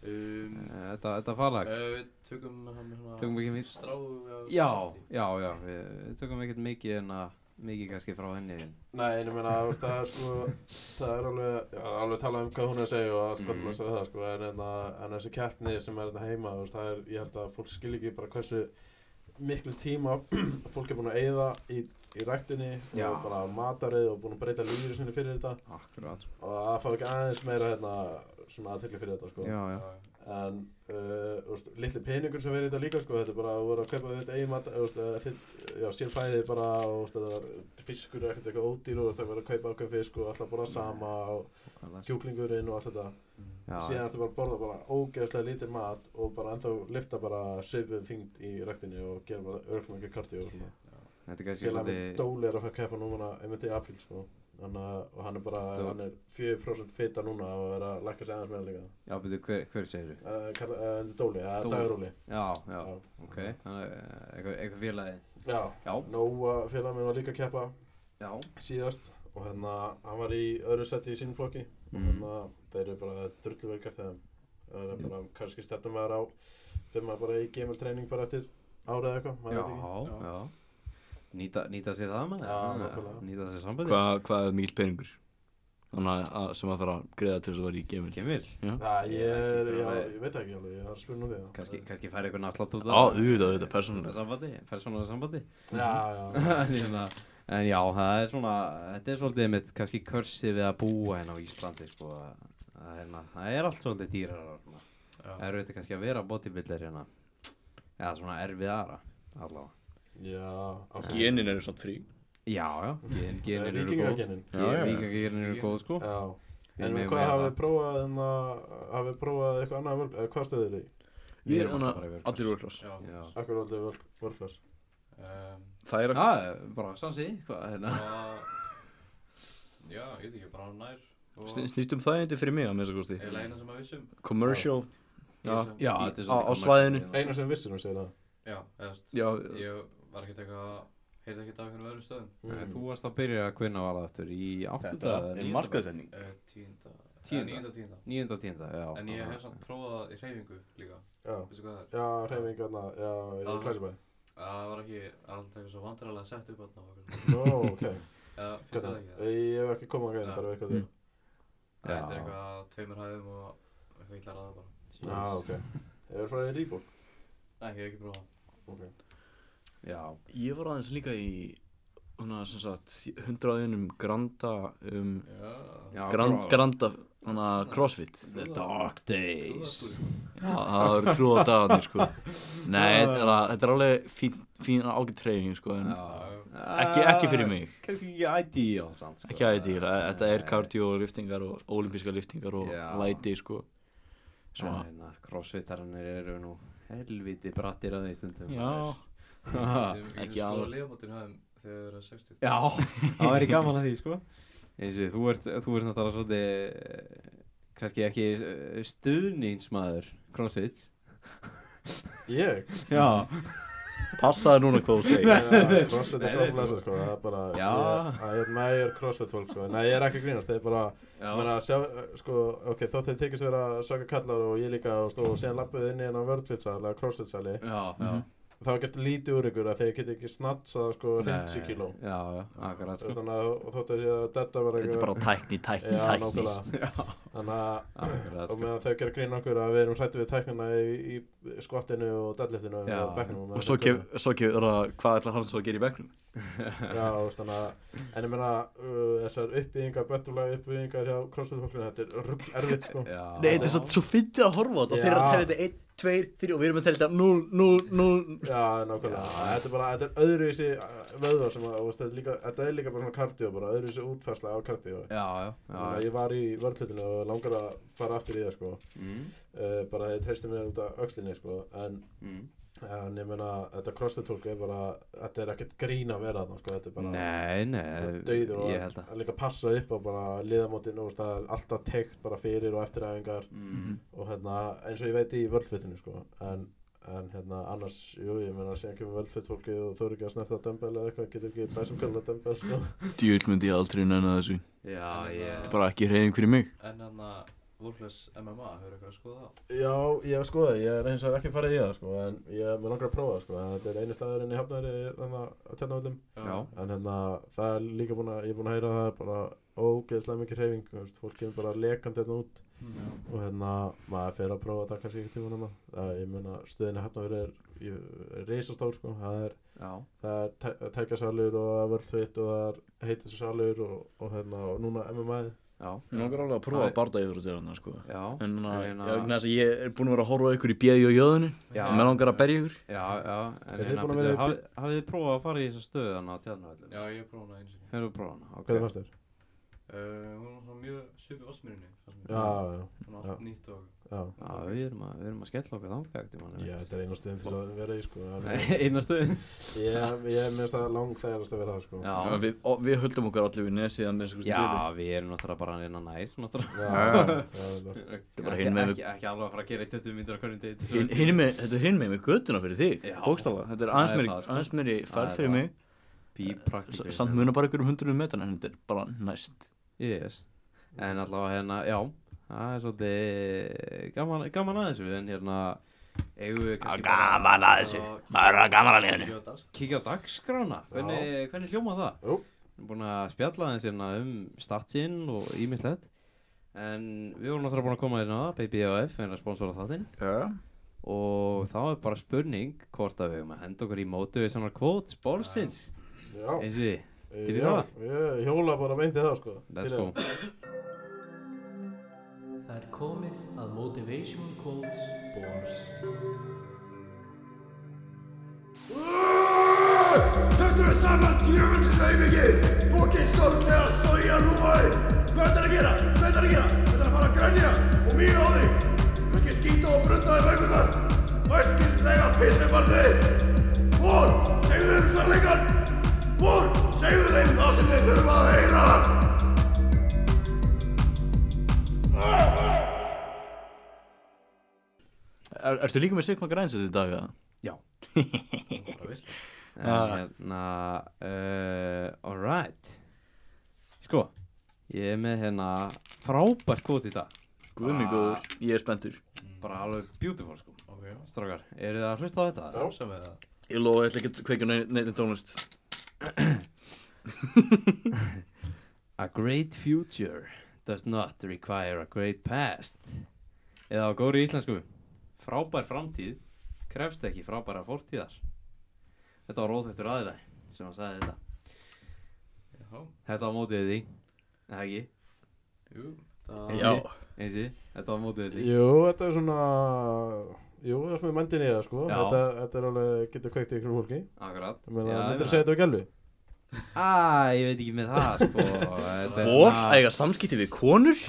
[SPEAKER 4] Um,
[SPEAKER 1] Þetta, þetta falag,
[SPEAKER 4] eh, Við tökum hann
[SPEAKER 1] tökum
[SPEAKER 4] svona
[SPEAKER 1] ekki mér
[SPEAKER 4] stráðu af
[SPEAKER 1] Já,
[SPEAKER 4] salti.
[SPEAKER 1] já, já, við, við tökum ekkert mikið en að mikið kannski frá henni
[SPEAKER 3] Nei, en ég meina, þú veist, það er, sko, það er alveg, já, alveg talað um hvað hún er að segja og allt gott
[SPEAKER 1] Mhm.
[SPEAKER 3] maður að segja það, sko, en, en, en þessi keppni sem er þetta heima, þú veist, það er, ég held að fólk skil ekki bara hversu miklu tíma fólk er búin að eyða í, í ræktinni
[SPEAKER 1] Já.
[SPEAKER 3] og bara matarið og búin að breyta lífið sinni fyrir þetta
[SPEAKER 1] Akkurát
[SPEAKER 3] og að fá ekki aðeins meira hérna, svona aðtekli fyrir þetta sko.
[SPEAKER 1] Já, já,
[SPEAKER 4] Já,
[SPEAKER 3] en uh, úst, litli peningur sem verið þetta líka sko, þetta er bara að voru að kaupa þetta eigin mat úst, uh, þitt, já, sér fæðið bara og úst, þetta, fiskur er ekkert eitthvað ódýr og það verið að kaupa okkur fisk og alltaf bara sama og
[SPEAKER 1] alveg.
[SPEAKER 3] kjúklingurinn og allt þetta
[SPEAKER 1] já,
[SPEAKER 3] síðan ertu bara að borða bara ógeðslega lítið mat og bara ennþá lifta bara svipuð þyngd í ræktinni og gera bara örgum ekki karti og svona
[SPEAKER 1] þetta er kannski
[SPEAKER 3] Félag minn
[SPEAKER 1] svolítið
[SPEAKER 3] Dóli er að fara að keppa núna einmitt í apríl sko. Þannig að, og hann er bara,
[SPEAKER 1] Dó-
[SPEAKER 3] hann er 4% fita núna og er að lækka sig aðeins meira líka.
[SPEAKER 1] Já, betur, hver, hver segir þú?
[SPEAKER 3] Uh, kalla, uh, Dóli, uh,
[SPEAKER 1] Dóli.
[SPEAKER 3] Dagaróli.
[SPEAKER 1] Já, já,
[SPEAKER 3] Já.
[SPEAKER 1] ok, þannig eh, eitthvað, eitthvað félagi
[SPEAKER 3] Já,
[SPEAKER 1] Já,
[SPEAKER 3] Nóa félag minn var líka að keppa
[SPEAKER 1] já,
[SPEAKER 3] síðast og hérna, hann var í öðru seti í sínum flokki og
[SPEAKER 1] Mm.
[SPEAKER 3] hérna, þeir eru bara drulluverkar þeim. Það er bara, kannski stættum maður á, fyrir maður bara í gemil treyning bara eftir árið eða eitthvað,
[SPEAKER 1] já,
[SPEAKER 3] maður veit ekki.
[SPEAKER 4] Já.
[SPEAKER 1] já Nýta, nýta sér það með
[SPEAKER 3] Já, nákvæmlega.
[SPEAKER 1] Nýta sér sambandi
[SPEAKER 2] Hvað hvað er mikil peningur? Þannig að- að sem að þarf að greiða til þess að vera í geimil
[SPEAKER 1] Kemil,
[SPEAKER 3] Já, ég er,
[SPEAKER 1] Ég
[SPEAKER 3] já,
[SPEAKER 1] veit ekki.
[SPEAKER 3] ég veit ekki alveg, ég er að spyrja nú því það.
[SPEAKER 1] kannski, kannski fær eitthvað náttúrulega út
[SPEAKER 2] Á, auðvitað, auðvitað, persónulega.
[SPEAKER 1] Sambandi, persónulega sambandi
[SPEAKER 3] Já, já,
[SPEAKER 1] en, hérna, en já, það er svona þetta er svolítið mitt kannski körsið við að búa hérna á Íslandi sko, að- að hérna, það er allt svolítið dýrar
[SPEAKER 4] já.
[SPEAKER 1] erfitt er kannski að vera bodybuilder hérna eða svona erfiðara allavega
[SPEAKER 3] já, ástæðan.
[SPEAKER 2] Genin eru svona frí
[SPEAKER 1] já, já, gen, genin eru góð
[SPEAKER 3] Vikingagenin.
[SPEAKER 2] Já, já, já.
[SPEAKER 1] vikingagenin eru góð sko
[SPEAKER 3] Já,
[SPEAKER 1] Við
[SPEAKER 3] en
[SPEAKER 1] megum
[SPEAKER 3] hvað
[SPEAKER 1] vera
[SPEAKER 3] hafið
[SPEAKER 1] það.
[SPEAKER 3] prófað en að hafið prófað eitthvað annað vörk, eða hvað stöðir þið? í?
[SPEAKER 1] Við
[SPEAKER 2] Við
[SPEAKER 1] erum
[SPEAKER 2] erum
[SPEAKER 1] alltaf bara í
[SPEAKER 2] hana
[SPEAKER 1] world
[SPEAKER 2] allir workloss
[SPEAKER 4] Já.
[SPEAKER 1] já,
[SPEAKER 3] Akkur er aldrei vörk, vörklas
[SPEAKER 4] Um,
[SPEAKER 2] Það er
[SPEAKER 1] já
[SPEAKER 2] ekkert
[SPEAKER 1] bara sansi hvað, hérna.
[SPEAKER 4] og- Já, ég veit ekki, bara hann nær. og-
[SPEAKER 2] Sn- Snýst um það eitthvað fyrir mig að minnst að kosti
[SPEAKER 4] Eiginlega eina sem að vissum.
[SPEAKER 2] Commercial Já.
[SPEAKER 1] já,
[SPEAKER 2] Í-
[SPEAKER 1] þetta er
[SPEAKER 2] á- á
[SPEAKER 1] svolítið hérna.
[SPEAKER 2] svæðinu.
[SPEAKER 3] Einar sem vissir um segir það
[SPEAKER 4] Já, eða st-
[SPEAKER 2] Já,
[SPEAKER 4] ég var ekkert eitthvað, heyrði ekkert af einhvern öðrum stöðum.
[SPEAKER 1] Mm. þú varst að byrja að kvinna var það eftir í áttunda
[SPEAKER 2] þetta
[SPEAKER 1] eða
[SPEAKER 2] er
[SPEAKER 1] níunda?
[SPEAKER 2] markaðsending
[SPEAKER 4] Eh, Tíunda. eh,
[SPEAKER 1] Tíunda?
[SPEAKER 4] Níunda, tíunda.
[SPEAKER 1] níunda og tíunda, já
[SPEAKER 4] En ég hef samt prófað í hreyfingu líka,
[SPEAKER 3] Já,
[SPEAKER 4] veistu hvað það er?
[SPEAKER 3] já, reyfingarna, já, í
[SPEAKER 1] Ah.
[SPEAKER 4] Já.
[SPEAKER 3] klæsibæ
[SPEAKER 4] Það var ekki, það er alltaf eitthvað svo vandrarlega sett upp þarna og okkur.
[SPEAKER 3] Nó, ok,
[SPEAKER 4] Eða, finnst þetta
[SPEAKER 3] hvernig,
[SPEAKER 4] ekki það?
[SPEAKER 3] ég hef ekki komað að
[SPEAKER 4] Já.
[SPEAKER 1] Ah.
[SPEAKER 3] greina, bara veikar þig
[SPEAKER 1] Mm. Já.
[SPEAKER 4] Þetta er eitthvað á tveimur hæðum og eitthvað illa ræða bara.
[SPEAKER 3] Já, Ah, ok, hefur frá þig rýbúk
[SPEAKER 4] Nei, ég hef ekki prófað.
[SPEAKER 3] Ok,
[SPEAKER 1] já,
[SPEAKER 2] Ég var aðeins líka í Þannig sem sagt Hundraðunum Granda um
[SPEAKER 4] Já.
[SPEAKER 1] já
[SPEAKER 2] grand,
[SPEAKER 1] frá-
[SPEAKER 2] Granda Þannig að crossfit
[SPEAKER 1] The Dark Days
[SPEAKER 2] Já, það eru trúða dagarnir sko Nei, þetta er, að- þetta er alveg fín, fín ágætt treyning sko en ekki, ekki fyrir mig,
[SPEAKER 1] Kanski Ah, ekki ideal samt sko.
[SPEAKER 2] ekki aðeins til Þetta er cardio og liftingar og olimpíska liftingar og
[SPEAKER 1] Já.
[SPEAKER 2] læti sko Svo,
[SPEAKER 1] Svona Crossfittarannir eru nú helviti brattir að því stundum
[SPEAKER 2] já,
[SPEAKER 4] Ekki
[SPEAKER 2] Ekki alveg.
[SPEAKER 4] alveg. Ég hef skoðað liðamótin hæðum þegar þeir eru 60.
[SPEAKER 1] Ah, Já, það væri gaman að því, sko eins og þú ert, þú ert náttúrulega svolítið eh, kannski ekki eh, stuðningsmaður CrossFit
[SPEAKER 3] Ég?
[SPEAKER 1] Já,
[SPEAKER 2] Passaði núna hvað þú segir
[SPEAKER 3] Já, crossfit
[SPEAKER 1] Nei,
[SPEAKER 3] er
[SPEAKER 1] nei.
[SPEAKER 3] góð blessa sko, það er bara,
[SPEAKER 1] Já.
[SPEAKER 3] ég, að ég, nei, ég er crossfit fólk sko, nei, ég er ekki að grínast, þeir bara,
[SPEAKER 1] já,
[SPEAKER 3] Mér að sjá, uh, sko, ok, þótt þeir tekist vera að söka kallar og ég líka og stóð og síðan lappuði inn í hennan vörðfitsal eða crossfitsali
[SPEAKER 1] já, já.
[SPEAKER 3] þá er gert lítið úr ykkur að þeir geti ekki snatsað, sko, 50
[SPEAKER 1] Nei,
[SPEAKER 3] kíló
[SPEAKER 1] Eh, Já, já, akkurat, sko
[SPEAKER 3] Þannig að og þótt þeir sé að detta vera
[SPEAKER 2] Þetta er bara tækni, tækni,
[SPEAKER 3] Já,
[SPEAKER 2] tækni
[SPEAKER 3] nákvæmlega Þannig að,
[SPEAKER 1] Akkurat,
[SPEAKER 3] og
[SPEAKER 1] sko
[SPEAKER 3] meðan þau gera grín okkur að við erum hrættu við tæknina í, í skottinu og deadliftinu
[SPEAKER 1] Já.
[SPEAKER 3] og bekknum meðan
[SPEAKER 2] Og svo
[SPEAKER 3] þeir gera-
[SPEAKER 2] kef- svo kefur það hvað ætlar hann svo að gera í bekknum
[SPEAKER 3] Já, þú veist, þannig að, en ég meina, uh, þessar uppbyggingar, bettulega uppbyggingar hjá crossfitfólkinu, þetta er rugg erfitt, sko
[SPEAKER 1] Já,
[SPEAKER 2] Nei, þetta er svo, svo fyndið að horfa á þetta
[SPEAKER 3] Já.
[SPEAKER 2] Þeir eru að telja þetta 1, 2, 3 og við erum að telja þetta 0, 0, 0
[SPEAKER 3] Já, nákvæmlega, þetta er bara, þetta er öðruvísi uh, vöðvar sem að, þú veist, þetta er líka, þetta er líka bara svona kardió, bara öðruvísi útfærsla á kardió
[SPEAKER 1] Já, já,
[SPEAKER 3] Þannig að
[SPEAKER 1] já
[SPEAKER 3] ég var í vörðlutinu og langar að fara aftur í það, sko
[SPEAKER 1] mm,
[SPEAKER 3] uh, bara þeir treystu mér út af öxlinni, sko en,
[SPEAKER 1] mm.
[SPEAKER 3] en ég meina, þetta crossfit-tólk er bara, þetta er ekkert grín að vera þarna, sko, þetta er bara
[SPEAKER 1] Nei,
[SPEAKER 3] bara
[SPEAKER 1] nei,
[SPEAKER 3] dauður
[SPEAKER 1] ég held
[SPEAKER 3] og
[SPEAKER 1] að
[SPEAKER 3] að líka passa upp á bara liðamótinu, þú veist, það er alltaf teikt bara fyrir og eftir æfingar
[SPEAKER 1] mm.
[SPEAKER 3] og hérna, eins og ég veit í völdfittinu sko, en, en hérna, annars jú, ég meina, síðan kemur völdfitt fólkið og þú eru ekki að snerta dömbel eða eitthvað, getur ekki bæsumkjöla dömbel, sko
[SPEAKER 2] Djúl myndi ég aldrei nenni þessu
[SPEAKER 1] Já,
[SPEAKER 4] Þetta
[SPEAKER 1] ég
[SPEAKER 4] er
[SPEAKER 2] bara ekki reyðing fyrir mig
[SPEAKER 4] En hann að Wolfless MMA, hefur eitthvað að skoða það?
[SPEAKER 3] Já, ég hef skoðað, ég er eins og ekki farið í það, sko en ég, mér langar að prófa, það, sko, en þetta er eini staðurinn í hafnari, hérna, á tjarnavöldum
[SPEAKER 1] Já,
[SPEAKER 3] en hérna, það er líka búin að, ég er búin að heyra að það er bara ógeðslega mikið hreyfing, þú veist, fólk kemur bara lekandi hérna út
[SPEAKER 4] Já.
[SPEAKER 3] og hérna, maður fer að prófa þetta kannski ekki tíma hérna, ég meina, stöðinni hafnari er, er reisastór, sko, það er
[SPEAKER 1] já,
[SPEAKER 3] það er tæ- tækjasalur og það er vörðfitt og það er heitissalur og, og hérna og núna MMA
[SPEAKER 1] já
[SPEAKER 2] Ég langar alveg að
[SPEAKER 1] Það
[SPEAKER 2] prófa
[SPEAKER 1] er-
[SPEAKER 2] að barda yfir þetta hérna sko
[SPEAKER 1] Já,
[SPEAKER 2] En þannig að-
[SPEAKER 1] En að-
[SPEAKER 2] ég- vegna þess að ég er búin að vera að horfa á ykkur í bjöði og jöðinu
[SPEAKER 1] Já.
[SPEAKER 2] Og mér langar að berja ykkur
[SPEAKER 1] já, já En
[SPEAKER 3] Eruð þið
[SPEAKER 1] hérna,
[SPEAKER 3] búin að
[SPEAKER 1] byrju,
[SPEAKER 3] vera í
[SPEAKER 1] hafið hafið þið prófað að fara í þessa stöðu hann á tjarnarvöldum?
[SPEAKER 4] Já, ég prófaði hana einu sinni.
[SPEAKER 1] Hefur þú prófað hana?
[SPEAKER 3] hvað
[SPEAKER 1] Ok.
[SPEAKER 3] er fannst þér?
[SPEAKER 4] Uh, hún var svona mjög svipið Osmirinni, fannst mér.
[SPEAKER 3] Já,
[SPEAKER 1] Mm.
[SPEAKER 3] já,
[SPEAKER 4] Hún var allt nýtt og...
[SPEAKER 3] já,
[SPEAKER 1] Já, við erum að, við erum að skella okkar þangagt í manni
[SPEAKER 3] já, þetta er eina stöðin til að vera í sko en
[SPEAKER 1] Einna stöðin
[SPEAKER 3] ég, ég minnst það lang þægilegast að vera það sko
[SPEAKER 1] Já.
[SPEAKER 2] Við, og við höldum okkar allir við nesið að minnst
[SPEAKER 1] Já, við erum náttúrulega bara hann innan nær náttúrulega.
[SPEAKER 3] já, já, já,
[SPEAKER 1] Ekki,
[SPEAKER 2] er bara hinum megin
[SPEAKER 1] ekki, ekki alveg að fara að gera í 20 mínútur á hvernig date
[SPEAKER 2] Hin, hinum með, þetta er hinn með mig göttuna fyrir þig,
[SPEAKER 1] Já.
[SPEAKER 2] bókstala Þetta er
[SPEAKER 1] Það
[SPEAKER 2] aðeins
[SPEAKER 1] er
[SPEAKER 2] meiri-
[SPEAKER 1] það, sko.
[SPEAKER 2] aðeins meiri
[SPEAKER 1] Það
[SPEAKER 2] færð
[SPEAKER 1] er
[SPEAKER 2] fyrir
[SPEAKER 1] það.
[SPEAKER 2] mig S-
[SPEAKER 1] Bípraktikri
[SPEAKER 2] Samt munar bara ykkur um hundruðum metan en þetta er bara næst
[SPEAKER 1] Yes En allavega hérna, já Það er svolítið gaman, gaman að þessu En hérna eigum við kannski bara
[SPEAKER 2] Gaman að þessu, maður er að gaman að liðinu
[SPEAKER 4] Ég var dansk.
[SPEAKER 1] Kíkja á dagskrána Hvernig, hvernig hljóma það?
[SPEAKER 3] Jú.
[SPEAKER 1] Við erum búin að spjalla aðeins hérna um startsinn og ímislegt En við vorum náttúrulega búin að koma hérna Baby AF, en að sponsora þáttinn
[SPEAKER 2] Já,
[SPEAKER 1] Og þá er bara spurning hvort að við höfum að henda okkur í mótu við svona kvót spórsins
[SPEAKER 3] já,
[SPEAKER 1] eins og því,
[SPEAKER 3] já,
[SPEAKER 1] til í
[SPEAKER 3] já
[SPEAKER 1] það?
[SPEAKER 3] ég hjóla bara meint í það sko
[SPEAKER 1] let's
[SPEAKER 3] Til í
[SPEAKER 1] go
[SPEAKER 3] það.
[SPEAKER 5] Það er komið að Motivation Quotes Bors.
[SPEAKER 6] Takk við saman, djöfnir leimingi, fokkin sorglega soja rúmaði. Hvað þetta er að gera? Hvað þetta er að gera? Þetta er að fara að grænja og mýja á þig. Kannski skýta og brunda í vegurnar. Æskilslega písni barnið. Vor, segðu þeim sannleikan. Vor, segðu þeim það sem þeir þurfa að heyra.
[SPEAKER 2] er, Ertu líka með Sigma Græns þetta í dag eða?
[SPEAKER 1] Já
[SPEAKER 4] Hún var bara veist.
[SPEAKER 1] En hérna uh, Alright Sko Ég er með hérna frábært kvot í dag
[SPEAKER 2] Guðmi
[SPEAKER 1] Bara-
[SPEAKER 2] góður, ég er spenntur
[SPEAKER 1] Bara alveg beautiful sko
[SPEAKER 4] Ok, já.
[SPEAKER 1] Strákar, eru þið að hlusta á þetta?
[SPEAKER 4] Rosa með það.
[SPEAKER 2] Ég lofa, ég ætla ekki að kveikja neitt tónlist
[SPEAKER 1] A great future does not require a great past Eða á góri íslensku Frábær framtíð krefst ekki frábæra fórtíðar Þetta var róðhættur aðila sem að sagði þetta
[SPEAKER 4] Já,
[SPEAKER 1] Þetta var mótið því Er Það ekki,
[SPEAKER 4] jú.
[SPEAKER 1] Ah.
[SPEAKER 4] Það...
[SPEAKER 2] Já,
[SPEAKER 1] eins og þetta var mótið því
[SPEAKER 3] jú, þetta er svona jú, það er með mendin í það sko
[SPEAKER 1] Já.
[SPEAKER 3] þetta, þetta er alveg, getur kveikt í ykkur fólki
[SPEAKER 1] Akkurat
[SPEAKER 3] ég meina,
[SPEAKER 1] Já,
[SPEAKER 3] myndir
[SPEAKER 1] meina-
[SPEAKER 3] að segja þetta á gælu
[SPEAKER 1] Æ, ég veit ekki með það sko Þetta er
[SPEAKER 2] og
[SPEAKER 1] svona-
[SPEAKER 2] að eiga samskipti við konur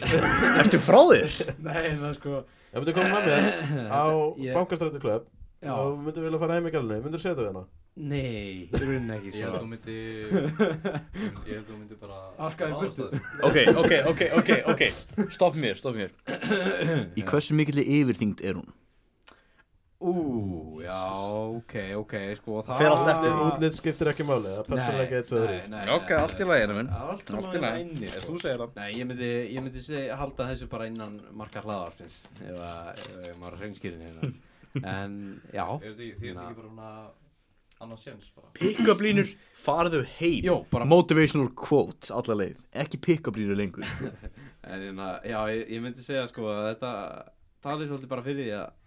[SPEAKER 2] Ertu frá þér?
[SPEAKER 1] Nei, það er sko
[SPEAKER 3] ég myndi koma með mér á
[SPEAKER 1] Ég-
[SPEAKER 3] bankastrættu klöpp
[SPEAKER 1] Já.
[SPEAKER 3] og myndir vilja fara heim í gælunni, myndir að segja þetta við hana
[SPEAKER 1] Nei, í rauninni ekki
[SPEAKER 4] Ég held að
[SPEAKER 1] sko.
[SPEAKER 4] hún myndi Ég held að hún myndi bara
[SPEAKER 1] Arka í
[SPEAKER 4] bara
[SPEAKER 1] burtu.
[SPEAKER 4] ráðast á þig.
[SPEAKER 2] Ok, ok, ok, ok, ok Stopp mér, stopp mér Í hversu mikilli yfirþyngd er hún?
[SPEAKER 1] Ú, já, ok, ok, sko það
[SPEAKER 2] Fer allt eftir.
[SPEAKER 3] Útlit skiptir ekki máli, það er persónlega eitt
[SPEAKER 1] Nei,
[SPEAKER 3] öðru
[SPEAKER 1] nei, nei,
[SPEAKER 2] Ok,
[SPEAKER 1] nei,
[SPEAKER 2] allt í
[SPEAKER 1] nei.
[SPEAKER 2] lagi, ennum minn
[SPEAKER 1] Allt sem
[SPEAKER 2] Allt í
[SPEAKER 1] að
[SPEAKER 2] lagi.
[SPEAKER 1] inni,
[SPEAKER 2] Ef
[SPEAKER 1] sko.
[SPEAKER 2] þú segir það
[SPEAKER 1] Nei, ég myndi, ég myndi seg, halda þessu bara innan marka hlaðarfins ef að- ef ég maður hreinskýrin hérna En, já
[SPEAKER 4] Er þetta ekki, þið er
[SPEAKER 1] Na.
[SPEAKER 4] ekki bara svona Annars sjens bara
[SPEAKER 2] Pick-up línur, farðu heim
[SPEAKER 1] Jó, bara
[SPEAKER 2] Motivational quotes, alla leið Ekki pick-up línur lengur
[SPEAKER 1] En, hérna, já, ég, ég myndi segja sko að þetta talir svolítið bara fyrir því að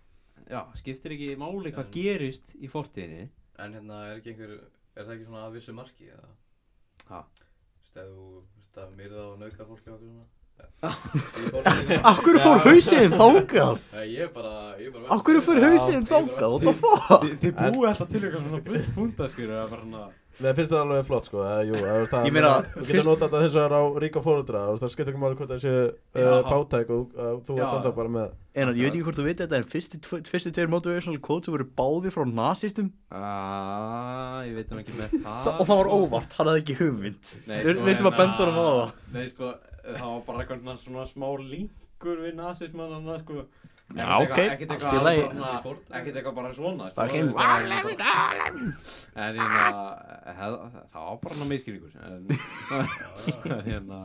[SPEAKER 1] Já, skiptir ekki máli hvað
[SPEAKER 4] En-
[SPEAKER 1] gerist í fortíðinni
[SPEAKER 4] En hérna er ekki einhver Er það ekki svona að vissu marki eða
[SPEAKER 1] Ha?
[SPEAKER 4] Stæðu Þú veist að myrða og nauðgar fólki og okkur svona Ég bara-
[SPEAKER 2] Akkur fór hausinn þangað?
[SPEAKER 4] Nei, ég er bara Ég er bara
[SPEAKER 2] Akkur fór hausinn þangað? What the fuck?
[SPEAKER 1] Þið búið alltaf til eitthvað svona bullpunta skilur að bara svona
[SPEAKER 3] Mér finnst það alveg flott sko, eða jú, eða þú veist það
[SPEAKER 2] Ég meina,
[SPEAKER 3] Þú
[SPEAKER 2] fyrst-
[SPEAKER 3] getur notað þetta þess að það er á ríka fóröldra, þú veist það skiptir ekki máli hvort það séu uh,
[SPEAKER 1] Já.
[SPEAKER 3] fátæk og uh, þú
[SPEAKER 1] Já.
[SPEAKER 3] ert alltaf bara með
[SPEAKER 2] Einar, ég veit ekki hvort þú veit þetta en fyrstu, tve- fyrstu tveir motivational quotes voru báði frá nasistum
[SPEAKER 1] Aaaa, "Ah, ég veit hann ekki með það
[SPEAKER 2] Þa, og það var
[SPEAKER 1] sko.
[SPEAKER 2] óvart, hann hafði ekki hugmynd
[SPEAKER 1] Nei,
[SPEAKER 2] Við- við ætlum að
[SPEAKER 1] hérna-
[SPEAKER 2] benda honum á það.
[SPEAKER 1] Nei, sko, það var bara eitthvað svona smá líkur við nasismannana, sko
[SPEAKER 2] Já,
[SPEAKER 1] Ekkert
[SPEAKER 2] ok,
[SPEAKER 1] eitthvað- ekkert
[SPEAKER 2] allt í
[SPEAKER 1] eitthvað alveg
[SPEAKER 2] lagi.
[SPEAKER 1] svona- Ekkert eitthvað bara svona sko.
[SPEAKER 2] Bara ekki-
[SPEAKER 1] Það var eitthvað- En hérna, hef- það var bara svona miskilningur En en hérna,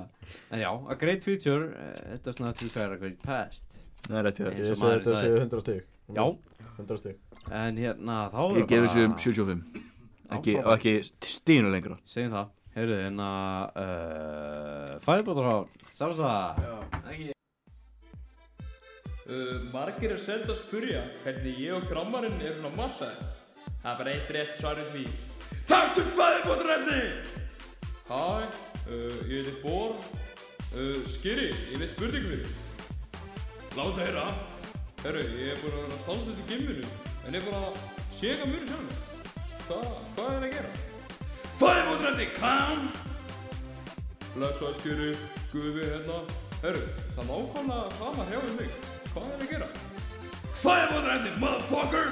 [SPEAKER 1] en já, a great future eh, It does not require a great past
[SPEAKER 2] Það er rétt hjá
[SPEAKER 1] Eins
[SPEAKER 3] Ég
[SPEAKER 1] og
[SPEAKER 3] segi
[SPEAKER 1] maðurinn
[SPEAKER 3] þetta
[SPEAKER 1] sagði.
[SPEAKER 3] séu 100 stík
[SPEAKER 1] Já,
[SPEAKER 3] 100 stík
[SPEAKER 1] en hérna, þá
[SPEAKER 2] Ég gefi þessu um 75
[SPEAKER 1] Já,
[SPEAKER 2] ekki,
[SPEAKER 1] frábært.
[SPEAKER 2] og ekki stínu lengra
[SPEAKER 1] Segjum það, heyrðu, hérna uh, Fæðbóttur á, sása
[SPEAKER 7] Uh, margir er send að spurja hvernig ég og grammarinn er svona massaði. Það er bara eitt rétt svarið því. Taktum fæðibótrenni! Hæ, uh, ég heiti Bór. Uh, Skiri, ég veit spurningu fyrir. Láta heyra. Herru, ég er búin að vera að stálsa þetta í gimminu, en ég er bara að séka mjög sjálfur. Hvað, hvað er að gera? Fæðibótrenni, kam! Blessaði skjöru, guði hérna Herru, það er nákvæmlega sama hjá við mig Hvað er að gera? Fæðabóðræðni, motherfucker!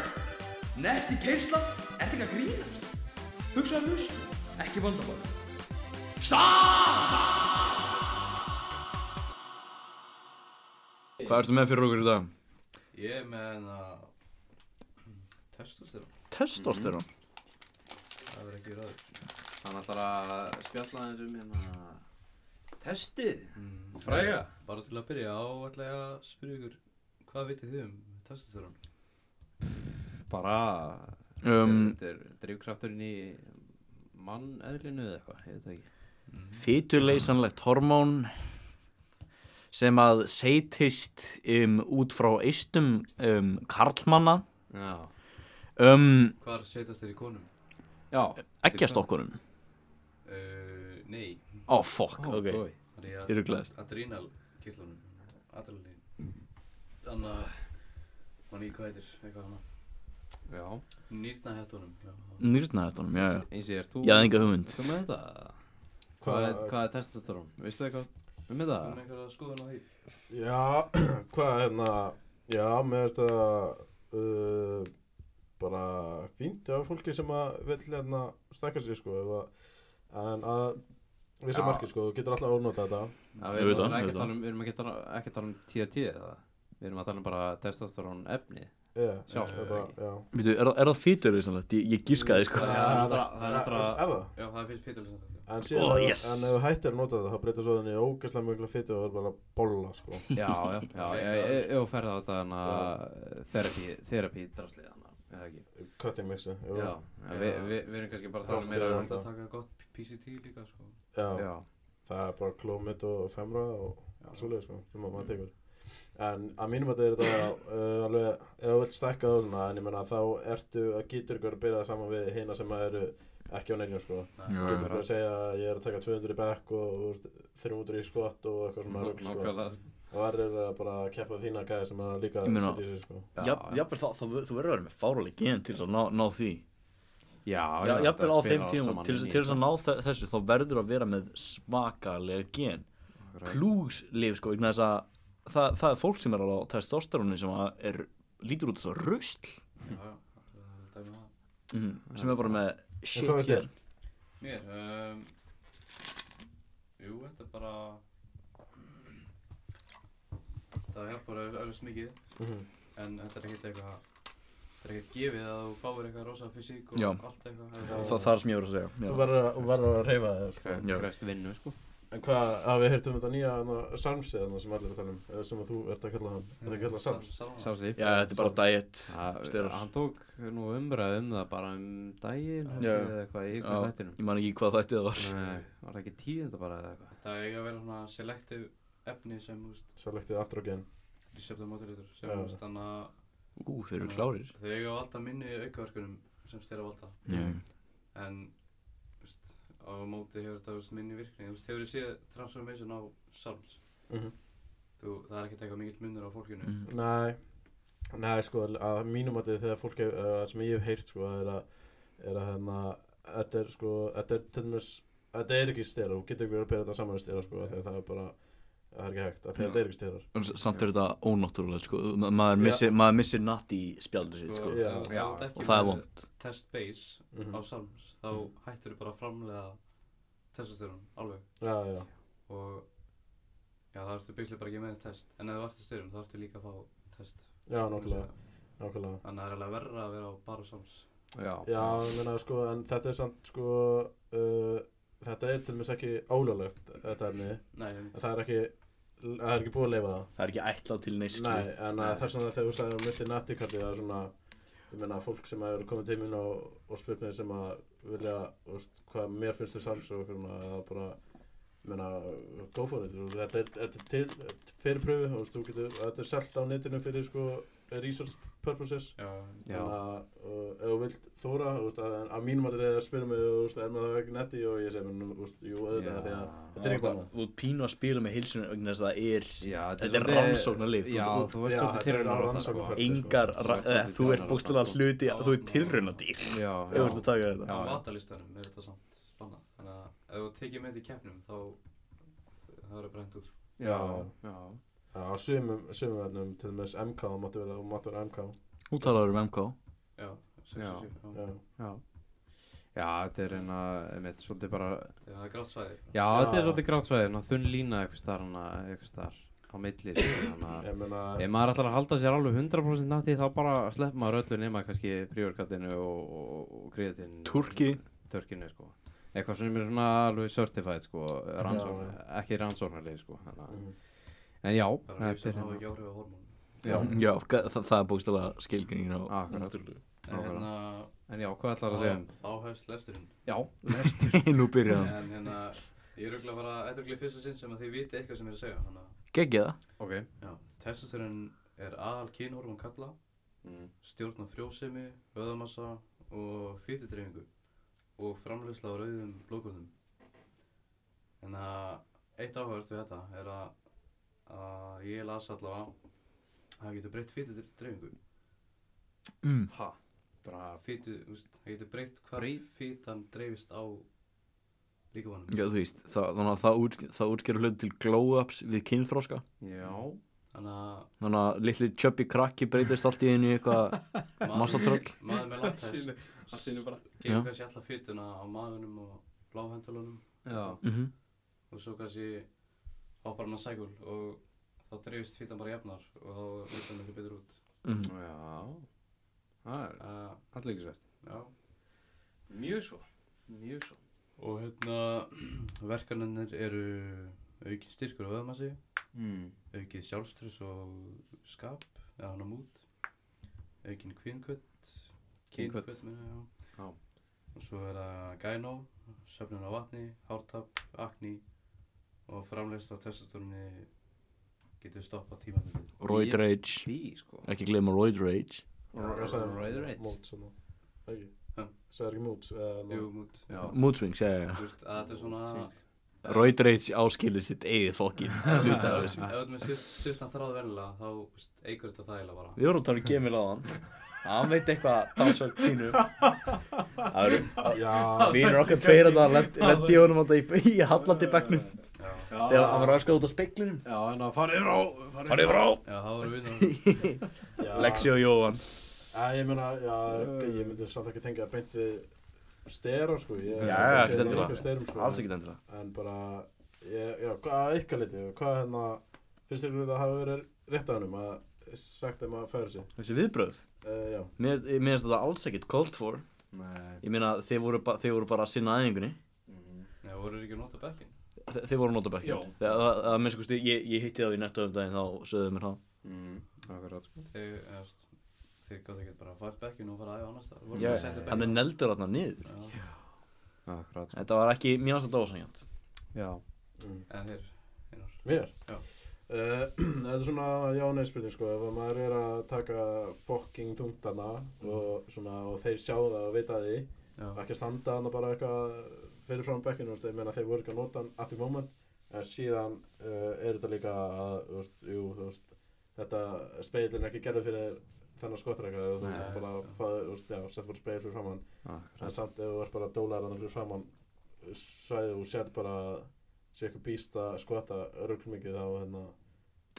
[SPEAKER 7] Netti keisla, ert ekki að grínast? Hugsaði hlust, ekki vandamál Stað!
[SPEAKER 2] Hvað ertu með fyrir okkur í dag?
[SPEAKER 4] Ég er með hérna Testosterón
[SPEAKER 2] Testosterón
[SPEAKER 4] Það verður ekki ráður
[SPEAKER 1] Hann ætlar að spjalla aðeins um hérna testið og fræga
[SPEAKER 4] Bara til að byrja á ætla ég að spyrja ykkur Hvað vitið þið um testosterón?
[SPEAKER 1] bara
[SPEAKER 2] um,
[SPEAKER 1] þetta er drivkrafturinn í manneðlinu eða eitthvað, ég veit það ekki
[SPEAKER 2] Mhm. Fyturleysanlegt hormón sem að seytist um, út frá eistum um, karlmanna
[SPEAKER 1] Já,
[SPEAKER 2] um,
[SPEAKER 4] Hvar setjast þér í konum?
[SPEAKER 1] já,
[SPEAKER 2] eggjastokkunum
[SPEAKER 4] Uh, nei,
[SPEAKER 2] Ó, oh, fuck,
[SPEAKER 1] Ó,
[SPEAKER 2] ok
[SPEAKER 1] boy.
[SPEAKER 4] það er
[SPEAKER 2] Ég
[SPEAKER 4] ég
[SPEAKER 2] ruglaðist.
[SPEAKER 4] adrenal kirtlunum Adrenalin Þannig að Man ekki hvað heitir, eitthvað hana
[SPEAKER 1] já,
[SPEAKER 4] Nýrnahettunum já.
[SPEAKER 2] Nýrnaðastónum, já, já
[SPEAKER 1] eins og er þú
[SPEAKER 2] Ég hafði enga hugmynd
[SPEAKER 1] þú með þetta? Hvað
[SPEAKER 3] Hvað-
[SPEAKER 1] er, hvað er testosterón? Veistu eitthvað um
[SPEAKER 4] Þú með
[SPEAKER 1] þetta?
[SPEAKER 4] einhverja skoðun á því?
[SPEAKER 3] Já, hvað hérna Já, mér finnst það uh, bara fínt af fólki sem að vill hérna stakka sig sko ef að, en að vissi
[SPEAKER 1] Já.
[SPEAKER 3] marki sko, þú getur alltaf ónota þetta
[SPEAKER 1] Já,
[SPEAKER 2] Auðvitað,
[SPEAKER 1] Við erum náttúrulega ekki að
[SPEAKER 2] auðvitað.
[SPEAKER 1] tala um- við erum ekki að tala- ekki að tala um 10-10 eða Við erum að tala um bara testosterón efni
[SPEAKER 3] yeah,
[SPEAKER 1] Sjálf,
[SPEAKER 3] er bara,
[SPEAKER 1] ekki?
[SPEAKER 3] já.
[SPEAKER 2] Býtu, er, það- er það fyturleysanlegt? Ég, ég giskaði, sko
[SPEAKER 1] Já, það er náttúrulega- það er náttúrulega-
[SPEAKER 3] Er það?
[SPEAKER 4] Já, það er fyrst fyrir þess
[SPEAKER 3] En síðan,
[SPEAKER 2] Oh,
[SPEAKER 3] ef-
[SPEAKER 2] yes.
[SPEAKER 3] en ef þú hættir að nota þetta, þá breytir svo þenni í ógeðslega mjög fytu og það er bara að bolla sko
[SPEAKER 1] Já, já, já, ég- ég- ég ferði á þetta hana therapy, therapy draslið hana, eða ekki
[SPEAKER 3] Cutting mixi, jú
[SPEAKER 1] Já, en við vi, vi erum kannski bara að tala
[SPEAKER 3] Já,
[SPEAKER 1] meira
[SPEAKER 3] já. Mm.
[SPEAKER 4] Það er
[SPEAKER 1] um
[SPEAKER 4] alltaf að taka gott PCT líka sko
[SPEAKER 3] Já.
[SPEAKER 1] Já,
[SPEAKER 3] það er bara klómit og femra og allt svoleiðis sko, sem að maður tekur en að mínum að þetta er þetta uh, alveg, ef þú vilt stækka það svona en ég meina þá ertu að getur ykkur að byrja það saman við hina sem að eru ekki á neinu sko,
[SPEAKER 2] Já,
[SPEAKER 3] getur
[SPEAKER 2] já.
[SPEAKER 3] bara að segja að ég er að taka 200 í bekk og þú veist, 300 í skott og eitthvað svona rugl sko,
[SPEAKER 1] nákvæmlega
[SPEAKER 3] og verður að bara að keppa þína gæði sem að líka
[SPEAKER 2] Ég meina-
[SPEAKER 3] setja í sig sko
[SPEAKER 1] Já,
[SPEAKER 2] Jafn- Jafnvel, þá- þá ver- þú verður að vera með fáraleg gen til þess að ná, ná því
[SPEAKER 1] Já,
[SPEAKER 2] Já,
[SPEAKER 1] þetta
[SPEAKER 2] Jafnvel á
[SPEAKER 1] spilar
[SPEAKER 2] þeim
[SPEAKER 1] allt
[SPEAKER 2] tíma
[SPEAKER 1] saman
[SPEAKER 2] til,
[SPEAKER 1] inn
[SPEAKER 2] þess-
[SPEAKER 1] í
[SPEAKER 2] til þess að ná þe- þessu þá verður að vera með svakalega gen
[SPEAKER 1] Akkurat.
[SPEAKER 2] Klúgsleif, sko, vegna þess að það, það er fólk sem er alveg á testosteróni sem að er, lítur út svo rusl
[SPEAKER 4] Já, já, það er dæmi um það
[SPEAKER 2] Mhm. sem er bara með shit
[SPEAKER 3] hvað veist
[SPEAKER 2] hér
[SPEAKER 3] þér?
[SPEAKER 4] Mér, um, jú, þetta er bara, það hjálpar auðvitað mikið,
[SPEAKER 3] Mhm.
[SPEAKER 4] en þetta er ekkert eitthvað, þetta er ekkert gefið að þú fáir eitthvað rosa fysík og
[SPEAKER 2] Já.
[SPEAKER 4] allt eitthvað. eða
[SPEAKER 2] það það
[SPEAKER 4] þú-
[SPEAKER 2] er það sem ég voru að segja
[SPEAKER 3] Þú
[SPEAKER 2] já.
[SPEAKER 3] verður að- þú verður að reyfa þig sko.
[SPEAKER 2] Já.
[SPEAKER 1] Krefst vinnu, sko
[SPEAKER 3] En hvað, að við heyrtum þetta nýja hana, Samsið hana, sem allir er að tala um eða sem að þú ert að kalla hann Þetta er að kalla Sams
[SPEAKER 4] Sam-
[SPEAKER 1] Sá
[SPEAKER 4] Sam-
[SPEAKER 1] sig
[SPEAKER 2] já, þetta er bara diet
[SPEAKER 1] Það-
[SPEAKER 2] sterar.
[SPEAKER 1] Hann tók nú umræð um það bara um daginn
[SPEAKER 2] Já.
[SPEAKER 1] eða eitthvað í ykkur
[SPEAKER 2] Já.
[SPEAKER 1] þættinum
[SPEAKER 2] ég man ekki hvað þætti það var
[SPEAKER 1] Nei, var það ekki tíðinda bara eða eitthvað
[SPEAKER 4] Þetta eiga að vera svona selective efni sem, þú veist,
[SPEAKER 3] Selektið androgen
[SPEAKER 4] receptor modulator, sem,
[SPEAKER 3] Já.
[SPEAKER 4] þú veist, þannig að
[SPEAKER 2] ú, þeir eru klárir
[SPEAKER 4] Þau eiga að valda minni aukaverkunum sem styrra valda en þú veist, á móti hefur þetta þú veist, minni virkni Þú veist, hefur þið séð transformation á Salms
[SPEAKER 3] Mhm.
[SPEAKER 4] Þú, það er ekkert eitthvað mikill munur á fólkinu
[SPEAKER 2] Mhm.
[SPEAKER 3] Nei, nei sko, að mínum að þegar fólk hef, uh, sem ég hef heyrt sko, er að, er að hérna, þetta er sko, þetta er til dæmis, þetta er ekki stera, þú getur ekki verið að bera þetta saman við stera sko, þegar það er bara, það er ekki hægt, af því að
[SPEAKER 2] Já.
[SPEAKER 3] þetta er ekki stera.
[SPEAKER 2] En s- samt er þetta ónáttúrulega sko. Ma- maður, missir, maður missir natt í spjaldur sitt sko.
[SPEAKER 3] já.
[SPEAKER 4] ef- ef
[SPEAKER 1] Já,
[SPEAKER 4] þú ert ekki
[SPEAKER 2] og það er
[SPEAKER 4] með
[SPEAKER 2] vond
[SPEAKER 4] Test base
[SPEAKER 3] Mm
[SPEAKER 4] á Salms þá hættir þau bara að framlega testastörun alveg
[SPEAKER 3] Já, já,
[SPEAKER 4] og já, það ertu byggslega bara ekki með test en ef þú ertu styrum þá ertu líka að fá test
[SPEAKER 3] já, nokkulega, nokkulega.
[SPEAKER 4] Þannig að það er alveg verra að vera á bara Salms
[SPEAKER 3] Já, ég meina sko, en þetta er samt sko, uh, þetta er til dæmis ekki ólöglegt, þetta efni,
[SPEAKER 4] Nei, um,
[SPEAKER 3] en það er ekki, það er ekki búið að leifa það.
[SPEAKER 2] það er ekki ætlað til sko. neyslu
[SPEAKER 3] Nei, en að þess vegna þegar þú sagðir að misti nattikallið það er svona, ég meina fólk sem hefur komið til mín og, og spurt mér sem að vilja, þú veist, hvað mér finnst þú sams og okkur, eða bara ég meina, go for it, þú veist, þetta er, þetta er til, þetta er fyrir pröfu, þú veist, þú getur þetta er selt á netinu fyrir, sko, resource purposes
[SPEAKER 4] já,
[SPEAKER 1] Já.
[SPEAKER 3] þannig að uh, ef þú vilt þóra, þú veist, að, að mínum að þetta spyrir mig, þú veist, er maður það ekki netti og ég segi, menn, þú veist, jú, auðvitað, því að
[SPEAKER 1] Já.
[SPEAKER 3] þetta er ekki
[SPEAKER 2] það þú ert pínu að spila með heilsunum vegna þess að það er
[SPEAKER 1] Já,
[SPEAKER 2] Þetta er
[SPEAKER 1] svolítið-
[SPEAKER 2] rannsóknarlyf, þú
[SPEAKER 1] Já,
[SPEAKER 2] ert-
[SPEAKER 1] þú veist
[SPEAKER 3] Já,
[SPEAKER 1] svolítið
[SPEAKER 3] þetta er
[SPEAKER 1] tilraunarbrota, sko.
[SPEAKER 3] rannsóknarferð.
[SPEAKER 2] engar
[SPEAKER 1] Þú
[SPEAKER 2] ra-
[SPEAKER 1] ert svolítið
[SPEAKER 2] eða, þú ert
[SPEAKER 1] tilraunarbrota,
[SPEAKER 2] bústulega
[SPEAKER 1] sko.
[SPEAKER 2] hluti þú ert tilraunadýr ef
[SPEAKER 1] Já,
[SPEAKER 2] þú
[SPEAKER 1] já,
[SPEAKER 2] ert að taka þetta
[SPEAKER 4] á
[SPEAKER 1] Já, já.
[SPEAKER 4] matalistanum er þetta samt bannað þannig að ef þú tekið með þetta í keppnum þá það verður brent út
[SPEAKER 1] já, já
[SPEAKER 3] Já, á sumum, sumum verðnum, til dæmis MK, þú máttu vera, þú máttu vera MK,
[SPEAKER 2] þú talar um MK
[SPEAKER 4] já, 67
[SPEAKER 1] Já.
[SPEAKER 4] já.
[SPEAKER 3] já.
[SPEAKER 1] Já, já þetta er hérna, einmitt, svolítið bara
[SPEAKER 4] það er grátt svæði
[SPEAKER 1] Já, þetta er
[SPEAKER 3] Já.
[SPEAKER 1] svolítið grátsvæðin og þunn lína eitthvað starf hana, eitthvað starf á milli sko, þannig að
[SPEAKER 3] Ég meina,
[SPEAKER 1] Ef maður ætlar að halda sér alveg 100% nátti þá bara slepp maður öllu nema kannski príorkattinu og, og, og kriðatinn
[SPEAKER 2] Turki
[SPEAKER 1] Turkinu sko Eitthvað sem er svona alveg certified sko rannsókn,
[SPEAKER 3] Já,
[SPEAKER 1] ekki rannsóknarleg sko þannig að
[SPEAKER 3] mhm.
[SPEAKER 1] En já,
[SPEAKER 4] það er líf
[SPEAKER 1] þetta er
[SPEAKER 4] sem hafa
[SPEAKER 1] hérna
[SPEAKER 4] ekki áhrif á hormónum
[SPEAKER 1] Já,
[SPEAKER 2] já, Ah, þa það er bústulega skilgjöngin á
[SPEAKER 1] akkurat
[SPEAKER 4] en hérna
[SPEAKER 1] En já, hvað ætlar að segja um?
[SPEAKER 4] þá- þá hefst lesturinn
[SPEAKER 1] Já, lestur
[SPEAKER 2] nú byrja það
[SPEAKER 4] en hérna ég er auðvitað bara þetta er auðvitað fyrsta sinn sem að þið viti eitthvað sem ég er að segja þannig að
[SPEAKER 2] geggja það
[SPEAKER 1] Ok
[SPEAKER 4] já, testosterun er aðal kynhormón kalla
[SPEAKER 1] mm.
[SPEAKER 4] stjórna frjósemi, vöðamassa og fýtudreyfingu og framleysla á rauðum blókurðum. En að eitt áhört við þetta er að, að ég las allavega að það getur breytt fýtudreyfingu.
[SPEAKER 2] mm.
[SPEAKER 1] Ha, bara
[SPEAKER 4] Fýtu, úst, það getur breytt hvað fýtan dreifist á líkamannum.
[SPEAKER 2] já, þú veist, það, þannig að það, útsk það útskjör hlut til glow-ups við kynþróska
[SPEAKER 1] Já
[SPEAKER 4] Þannig að
[SPEAKER 2] þannig að litli chubby krakki breytist allt í einu í eitthvað massatröll
[SPEAKER 4] maður með láttest
[SPEAKER 1] Allt innu bara
[SPEAKER 2] Já.
[SPEAKER 4] gefur kannski alla fýtuna á maðunum og bláhendalunum
[SPEAKER 1] Já,
[SPEAKER 2] mm
[SPEAKER 4] og svo kannski hoppar hann á sækul og þá dreifist fýtan bara jafnar og þá lítur hann miklu betur út
[SPEAKER 2] -hmm.
[SPEAKER 1] já Það er
[SPEAKER 4] uh,
[SPEAKER 1] aðleikisvert
[SPEAKER 4] já
[SPEAKER 1] Mjög svo Mjög svo
[SPEAKER 4] og hérna verkanirnir eru aukið styrkur og öðmassi
[SPEAKER 1] mm.
[SPEAKER 4] aukið sjálfstress og skap eða hann á mút aukin kvínkvöld
[SPEAKER 1] Kynkvöll.
[SPEAKER 4] meina já.
[SPEAKER 1] Já.
[SPEAKER 4] og svo er það gænó söfnun á vatni, hártapp, akni og framleysla á testastórunni getur stoppað tímabilið
[SPEAKER 2] roid rage
[SPEAKER 1] Því sko
[SPEAKER 2] ekki gleyma roid rage
[SPEAKER 3] Hvað sagði hann?
[SPEAKER 1] Rider Raids.
[SPEAKER 3] Móts og nú. Ekki?
[SPEAKER 4] Ha?
[SPEAKER 3] Sagði ekki móts? eða nú?
[SPEAKER 4] Jú, mút
[SPEAKER 1] Já.
[SPEAKER 2] mood swings, já, já, já
[SPEAKER 4] Þú veist, að þetta er svona
[SPEAKER 1] Svík.
[SPEAKER 2] roid rage áskilið sitt eigið fokkin hluta af þessu
[SPEAKER 4] Ef þú ert með stutt- stuttan þráð vennilega þá þú veist, eigur þetta þægilega bara
[SPEAKER 2] við vorum að tala um gemil á hann hann veit eitthvað dansar tínu það eru
[SPEAKER 3] Já,
[SPEAKER 2] vinur okkar tveir að það lendi í honum alltaf í, í hallandi bekknum
[SPEAKER 4] Já,
[SPEAKER 2] þegar hann var öskað út á speiklinum
[SPEAKER 3] já, en að fara yfir á,
[SPEAKER 2] farið frá
[SPEAKER 4] já það voru við
[SPEAKER 3] Já.
[SPEAKER 2] Lexi og Jóhann
[SPEAKER 3] Já, ég meina, já, ég myndi samt ekki tengja beint við stera, sko.
[SPEAKER 2] Já,
[SPEAKER 3] Ég, ég
[SPEAKER 2] já,
[SPEAKER 3] sé
[SPEAKER 2] ekkert
[SPEAKER 3] það
[SPEAKER 2] endilega.
[SPEAKER 3] líka sterum, sko,
[SPEAKER 2] alls ekkert endilega
[SPEAKER 3] En bara, ég, já, hvað- að ykkar liti, hvað hérna, finnst ykkur þetta að hafa verið rétt á hennum að sagt þeim að færa sig?
[SPEAKER 2] þessi viðbröð,
[SPEAKER 3] Uh, já,
[SPEAKER 2] mér mér finnst þetta alls ekkert cold for,
[SPEAKER 8] Nei.
[SPEAKER 2] ég meina þeir voru, ba þeir voru bara að sinna aðingunni
[SPEAKER 1] Mm-hmm.
[SPEAKER 4] Nei, voru ekki að nota bekkin?
[SPEAKER 2] Þe- þeir voru að nota bekkin
[SPEAKER 8] Jó.
[SPEAKER 2] Það- það- það minnst kosti, ég, ég hitti þá í netto um daginn þá sögðu mér það
[SPEAKER 8] Mm.
[SPEAKER 1] Akkurat, sko.
[SPEAKER 4] Þeir, eða, þú veist, þeir gátt ekki bara að fara bekkin og fara að æfa annars staðar. Voru
[SPEAKER 2] Já,
[SPEAKER 4] bara að senda
[SPEAKER 2] hann er
[SPEAKER 4] bekkinn.
[SPEAKER 2] neldur þarna niður
[SPEAKER 4] Já,
[SPEAKER 1] Akkurat, sko.
[SPEAKER 2] þetta var ekki, mér finnst þetta ósangjant
[SPEAKER 1] Já.
[SPEAKER 3] mm.
[SPEAKER 4] eða þeir, einar.
[SPEAKER 3] mér?
[SPEAKER 4] Já.
[SPEAKER 3] Uh, þetta er svona já nei spurning sko, ef að maður er að taka fokking tungdana og, svona, og þeir sjá það og vita því
[SPEAKER 4] Já,
[SPEAKER 3] ekki að standa hann bara eitthvað fyrir fram bekkinu, þú veist, ég meina þeir voru ekki að nota hann at the moment, en síðan uh, er þetta líka að, þú veist, jú, þú veist, þetta speilin ekki gerði fyrir þennan skottreika og þú
[SPEAKER 4] Nei.
[SPEAKER 3] bara, faður, þú veist, já, sett bara speil fyrir framann, en samt ef þú ert bara dólar hann fyrir framann, sæðu og sér bara, sé eitthvað býst að skotta örugl mikið þá, hérna,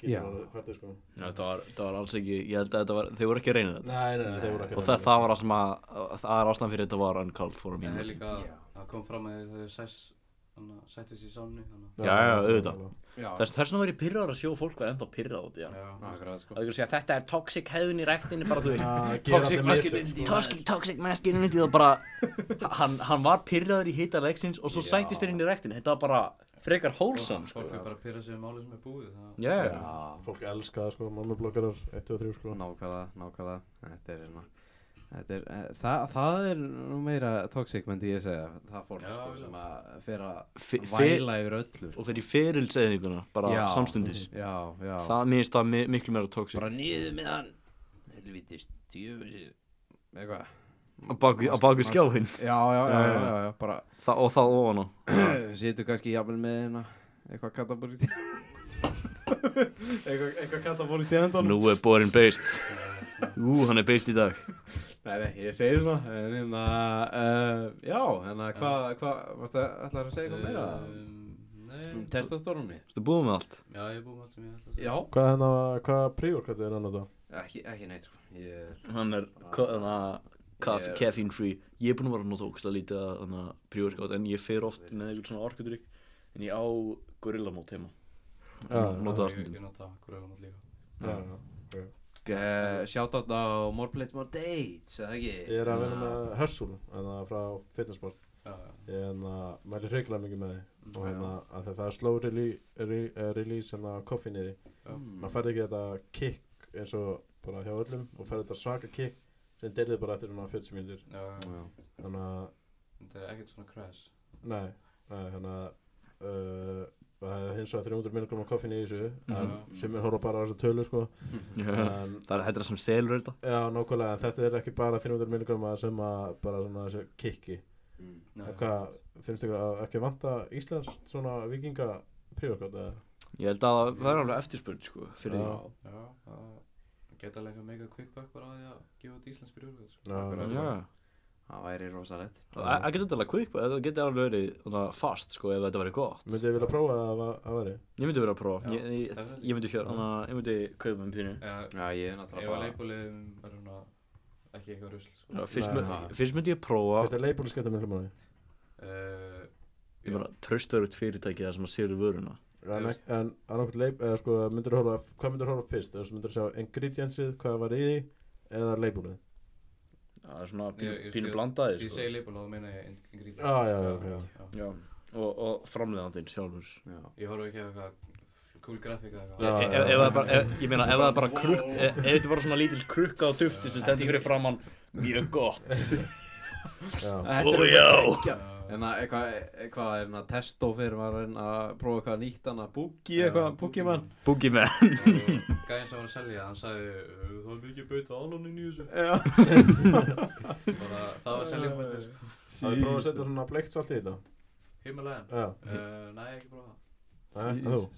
[SPEAKER 1] Já.
[SPEAKER 3] getur það fært sko.
[SPEAKER 2] þetta var, þetta var alls ekki, ég held að þetta var, þeir voru ekki að reyna þetta
[SPEAKER 3] Nei, nei, nei, þeir voru ekki að
[SPEAKER 2] og
[SPEAKER 3] reyna
[SPEAKER 2] það, það var það sem að, það er ástæðan fyrir þetta var uncalled for
[SPEAKER 4] en
[SPEAKER 2] mér
[SPEAKER 4] þeir líka,
[SPEAKER 1] Já.
[SPEAKER 4] það kom fram að þeir- þeir sæs, þannig að sættu sér í sánni, þannig
[SPEAKER 2] Já, já, auðvitað.
[SPEAKER 1] Já,
[SPEAKER 2] Þess, þess vegna var ég pyrraður að sjó fólk var ennþá pyrrað út, já.
[SPEAKER 4] að, já,
[SPEAKER 1] akkurat, sko.
[SPEAKER 2] Það er að segja, þetta er toxic hefðin í rektinni, bara þú veist.
[SPEAKER 3] Að gera
[SPEAKER 1] Toxic
[SPEAKER 3] allir mistök, sko.
[SPEAKER 1] masculinity.
[SPEAKER 2] Toxic, toxic masculinity, það bara, hann, hann var pyrraður í hita leiksins og svo
[SPEAKER 1] Já.
[SPEAKER 2] sættist þér inn í rektinni. Þetta var bara frekar hólsam, sko.
[SPEAKER 4] Fólk er bara að pyrra sig um máli sem er búið, þannig
[SPEAKER 2] Já, já.
[SPEAKER 1] Já.
[SPEAKER 3] Fólk elska það sko, mammublokkarar 1, 2, 3 sko.
[SPEAKER 1] Nákvæmlega, nákvæmlega Þetta er svona Þetta er, eh, það, það er nú meira toxic myndi ég segja, það fólk
[SPEAKER 4] Já,
[SPEAKER 1] sko
[SPEAKER 4] já.
[SPEAKER 1] sem að fer að
[SPEAKER 2] Fe- fe-
[SPEAKER 1] væla yfir öllu sko.
[SPEAKER 2] Og fyrir ferilseðinguna, bara
[SPEAKER 1] Já.
[SPEAKER 2] samstundis.
[SPEAKER 1] Já, já
[SPEAKER 2] Það minnst það mi miklu meira toxic.
[SPEAKER 1] Bara niður með hann Helvítist, djöfis Eitthvað
[SPEAKER 2] Á baku, á baku
[SPEAKER 1] Mas-
[SPEAKER 2] skjáinn.
[SPEAKER 1] Já, já, já,
[SPEAKER 2] Já,
[SPEAKER 1] já,
[SPEAKER 2] já.
[SPEAKER 1] já, já bara
[SPEAKER 2] Þa- Og það ofan á.
[SPEAKER 1] Situr kannski jafnvel með hérna Eitthvað katabólist Eitthvað, eitthvað katabólist í endanum
[SPEAKER 2] Nú er borin beist. Ú, hann er beist í dag.
[SPEAKER 1] Nei, nei, ég segi svona En hérna, uh, já, hérna, hvað, hvað, varstu að, ætlar að segja eitthvað meira?
[SPEAKER 4] Ehm,
[SPEAKER 1] um Mm.
[SPEAKER 4] Nei,
[SPEAKER 1] Testastórumni?
[SPEAKER 2] Þú búið með allt.
[SPEAKER 4] já, ég er búið með allt sem ég ætla að segja.
[SPEAKER 1] Já
[SPEAKER 3] Hvað er hérna, hvað prívorkvæði er hann á það?
[SPEAKER 1] Ekki, ekki neitt sko Ég er
[SPEAKER 2] Hann er ka- þarna, kaf,
[SPEAKER 1] Ég er-
[SPEAKER 2] caffeine free Ég er búinn að vera að nota ógst að lítið að þannig að príorkátt En ég fer oft með einhvern svona orkudrykk En ég á gorillamót heima
[SPEAKER 3] Já,
[SPEAKER 2] Ég Nota það
[SPEAKER 4] Ég
[SPEAKER 2] stundum
[SPEAKER 4] ég nota græðan líka.
[SPEAKER 3] Já, já.
[SPEAKER 1] uh, Shoutout á More Plates More Dates eða ekki
[SPEAKER 3] Ég er að vinna með Hörsul, en það frá fitnessport
[SPEAKER 4] Já, já.
[SPEAKER 3] Ég er hérna, mæli hreiklega mikið með því Og
[SPEAKER 4] Já.
[SPEAKER 3] hérna, af því að það er slow rele- re- eh, release hérna koffin í því
[SPEAKER 1] mm.
[SPEAKER 3] Maður færði ekki þetta kick eins og bara hjá öllum Og færði þetta svaka kick sem deyrði bara eftir hérna 40 mínútur
[SPEAKER 4] Já, já.
[SPEAKER 1] Já.
[SPEAKER 3] Þannig að,
[SPEAKER 4] Þetta er ekkert svona crash.
[SPEAKER 3] nei, nei, hérna uh, Það er hins vegar 300 milligram koffin í þessu En
[SPEAKER 4] Mhm.
[SPEAKER 3] sem er horfa bara á þessa tölu, sko
[SPEAKER 1] Mm.
[SPEAKER 2] Já.
[SPEAKER 3] En
[SPEAKER 2] Það er þetta er sem selur þetta
[SPEAKER 3] Já, nákvæmlega, en þetta er ekki bara 300 milligrama sem að bara svona þessu kikki
[SPEAKER 4] Já,
[SPEAKER 3] En Hvað, finnst ykkur að ekki vanta Íslands svona vikinga príorkátt eða?
[SPEAKER 2] Ég held að það er alveg eftirspurn sko Fyrir
[SPEAKER 3] Já.
[SPEAKER 2] því
[SPEAKER 4] Já, það geta alveg mega quickback bara á því að gefa út Íslands byrjúrgöð sko.
[SPEAKER 3] Já,
[SPEAKER 2] Já.
[SPEAKER 1] Það væri rosalegt
[SPEAKER 2] Það getur alveg quick Það getur alveg verið þarna fast sko Ef þetta verið gott
[SPEAKER 3] myndi ég vilja prófa að það var- að veri?
[SPEAKER 2] Ég myndi vera að prófa
[SPEAKER 4] Já.
[SPEAKER 2] Ég- Ég ég myndi fjör Þannig
[SPEAKER 3] Mm.
[SPEAKER 2] að ég myndi kaupa um pínu
[SPEAKER 4] Eða,
[SPEAKER 1] Já, ég er
[SPEAKER 4] ef að
[SPEAKER 1] náttúrulega bara
[SPEAKER 4] leikbúliðum er svona ekki eitthvað rusl sko.
[SPEAKER 2] Já, Fyrst
[SPEAKER 3] Nei.
[SPEAKER 2] mun- fyrst myndi ég prófa
[SPEAKER 3] Fyrst er leifbúli skipta miklu máli
[SPEAKER 4] uh,
[SPEAKER 2] Ég bara tröstaður fyrirtæki það sem að selur vöruna
[SPEAKER 3] En, ek- en annarkvæmt leif, eða sko, myndir þú horfa, hvað myndir þú horfa fyrst? Þú veist, myndir þú sjá ingredientsið, hvað var í því eða leifbúlið?
[SPEAKER 2] Það er svona
[SPEAKER 4] Ég-
[SPEAKER 2] pínu-
[SPEAKER 4] ég
[SPEAKER 2] pínu
[SPEAKER 4] skil-
[SPEAKER 2] blandaði
[SPEAKER 4] Því ég
[SPEAKER 2] sko
[SPEAKER 4] segi leikbúlið þá meina ég ingrítið
[SPEAKER 3] Já, Ah, já, já, já.
[SPEAKER 2] Já, og, og framleiðandinn sjálfur
[SPEAKER 1] Já,
[SPEAKER 4] Ég horf ekki á eitthvað cool grafík eða
[SPEAKER 3] Já.
[SPEAKER 4] eitthvað
[SPEAKER 2] Ef ef það er E- bara, ef, ég meina, ef það er bara krukk, ef ef þetta er bara svona lítil krukka á dufti sem stendur fyrir framann, mjög gott,
[SPEAKER 3] Já,
[SPEAKER 1] Þetta
[SPEAKER 2] og
[SPEAKER 1] er-
[SPEAKER 2] já,
[SPEAKER 1] En að eitthvað, eitthvað er hérna testó fyrir var að reyna að prófa eitthvað nýtt hann að búki eitthvað, búki mann
[SPEAKER 2] boogie man,
[SPEAKER 4] Gæðin sem var að selja, hann sagði "Uh, Það er mikið bauta ánónin í þessu
[SPEAKER 1] Já,
[SPEAKER 4] Bara, Það var selja bætið sko.
[SPEAKER 3] það er prófa að setja svona bleikt salt í þetta
[SPEAKER 4] Himmalæðin
[SPEAKER 3] Já,
[SPEAKER 4] uh, Nei, ekki bara
[SPEAKER 3] það er þú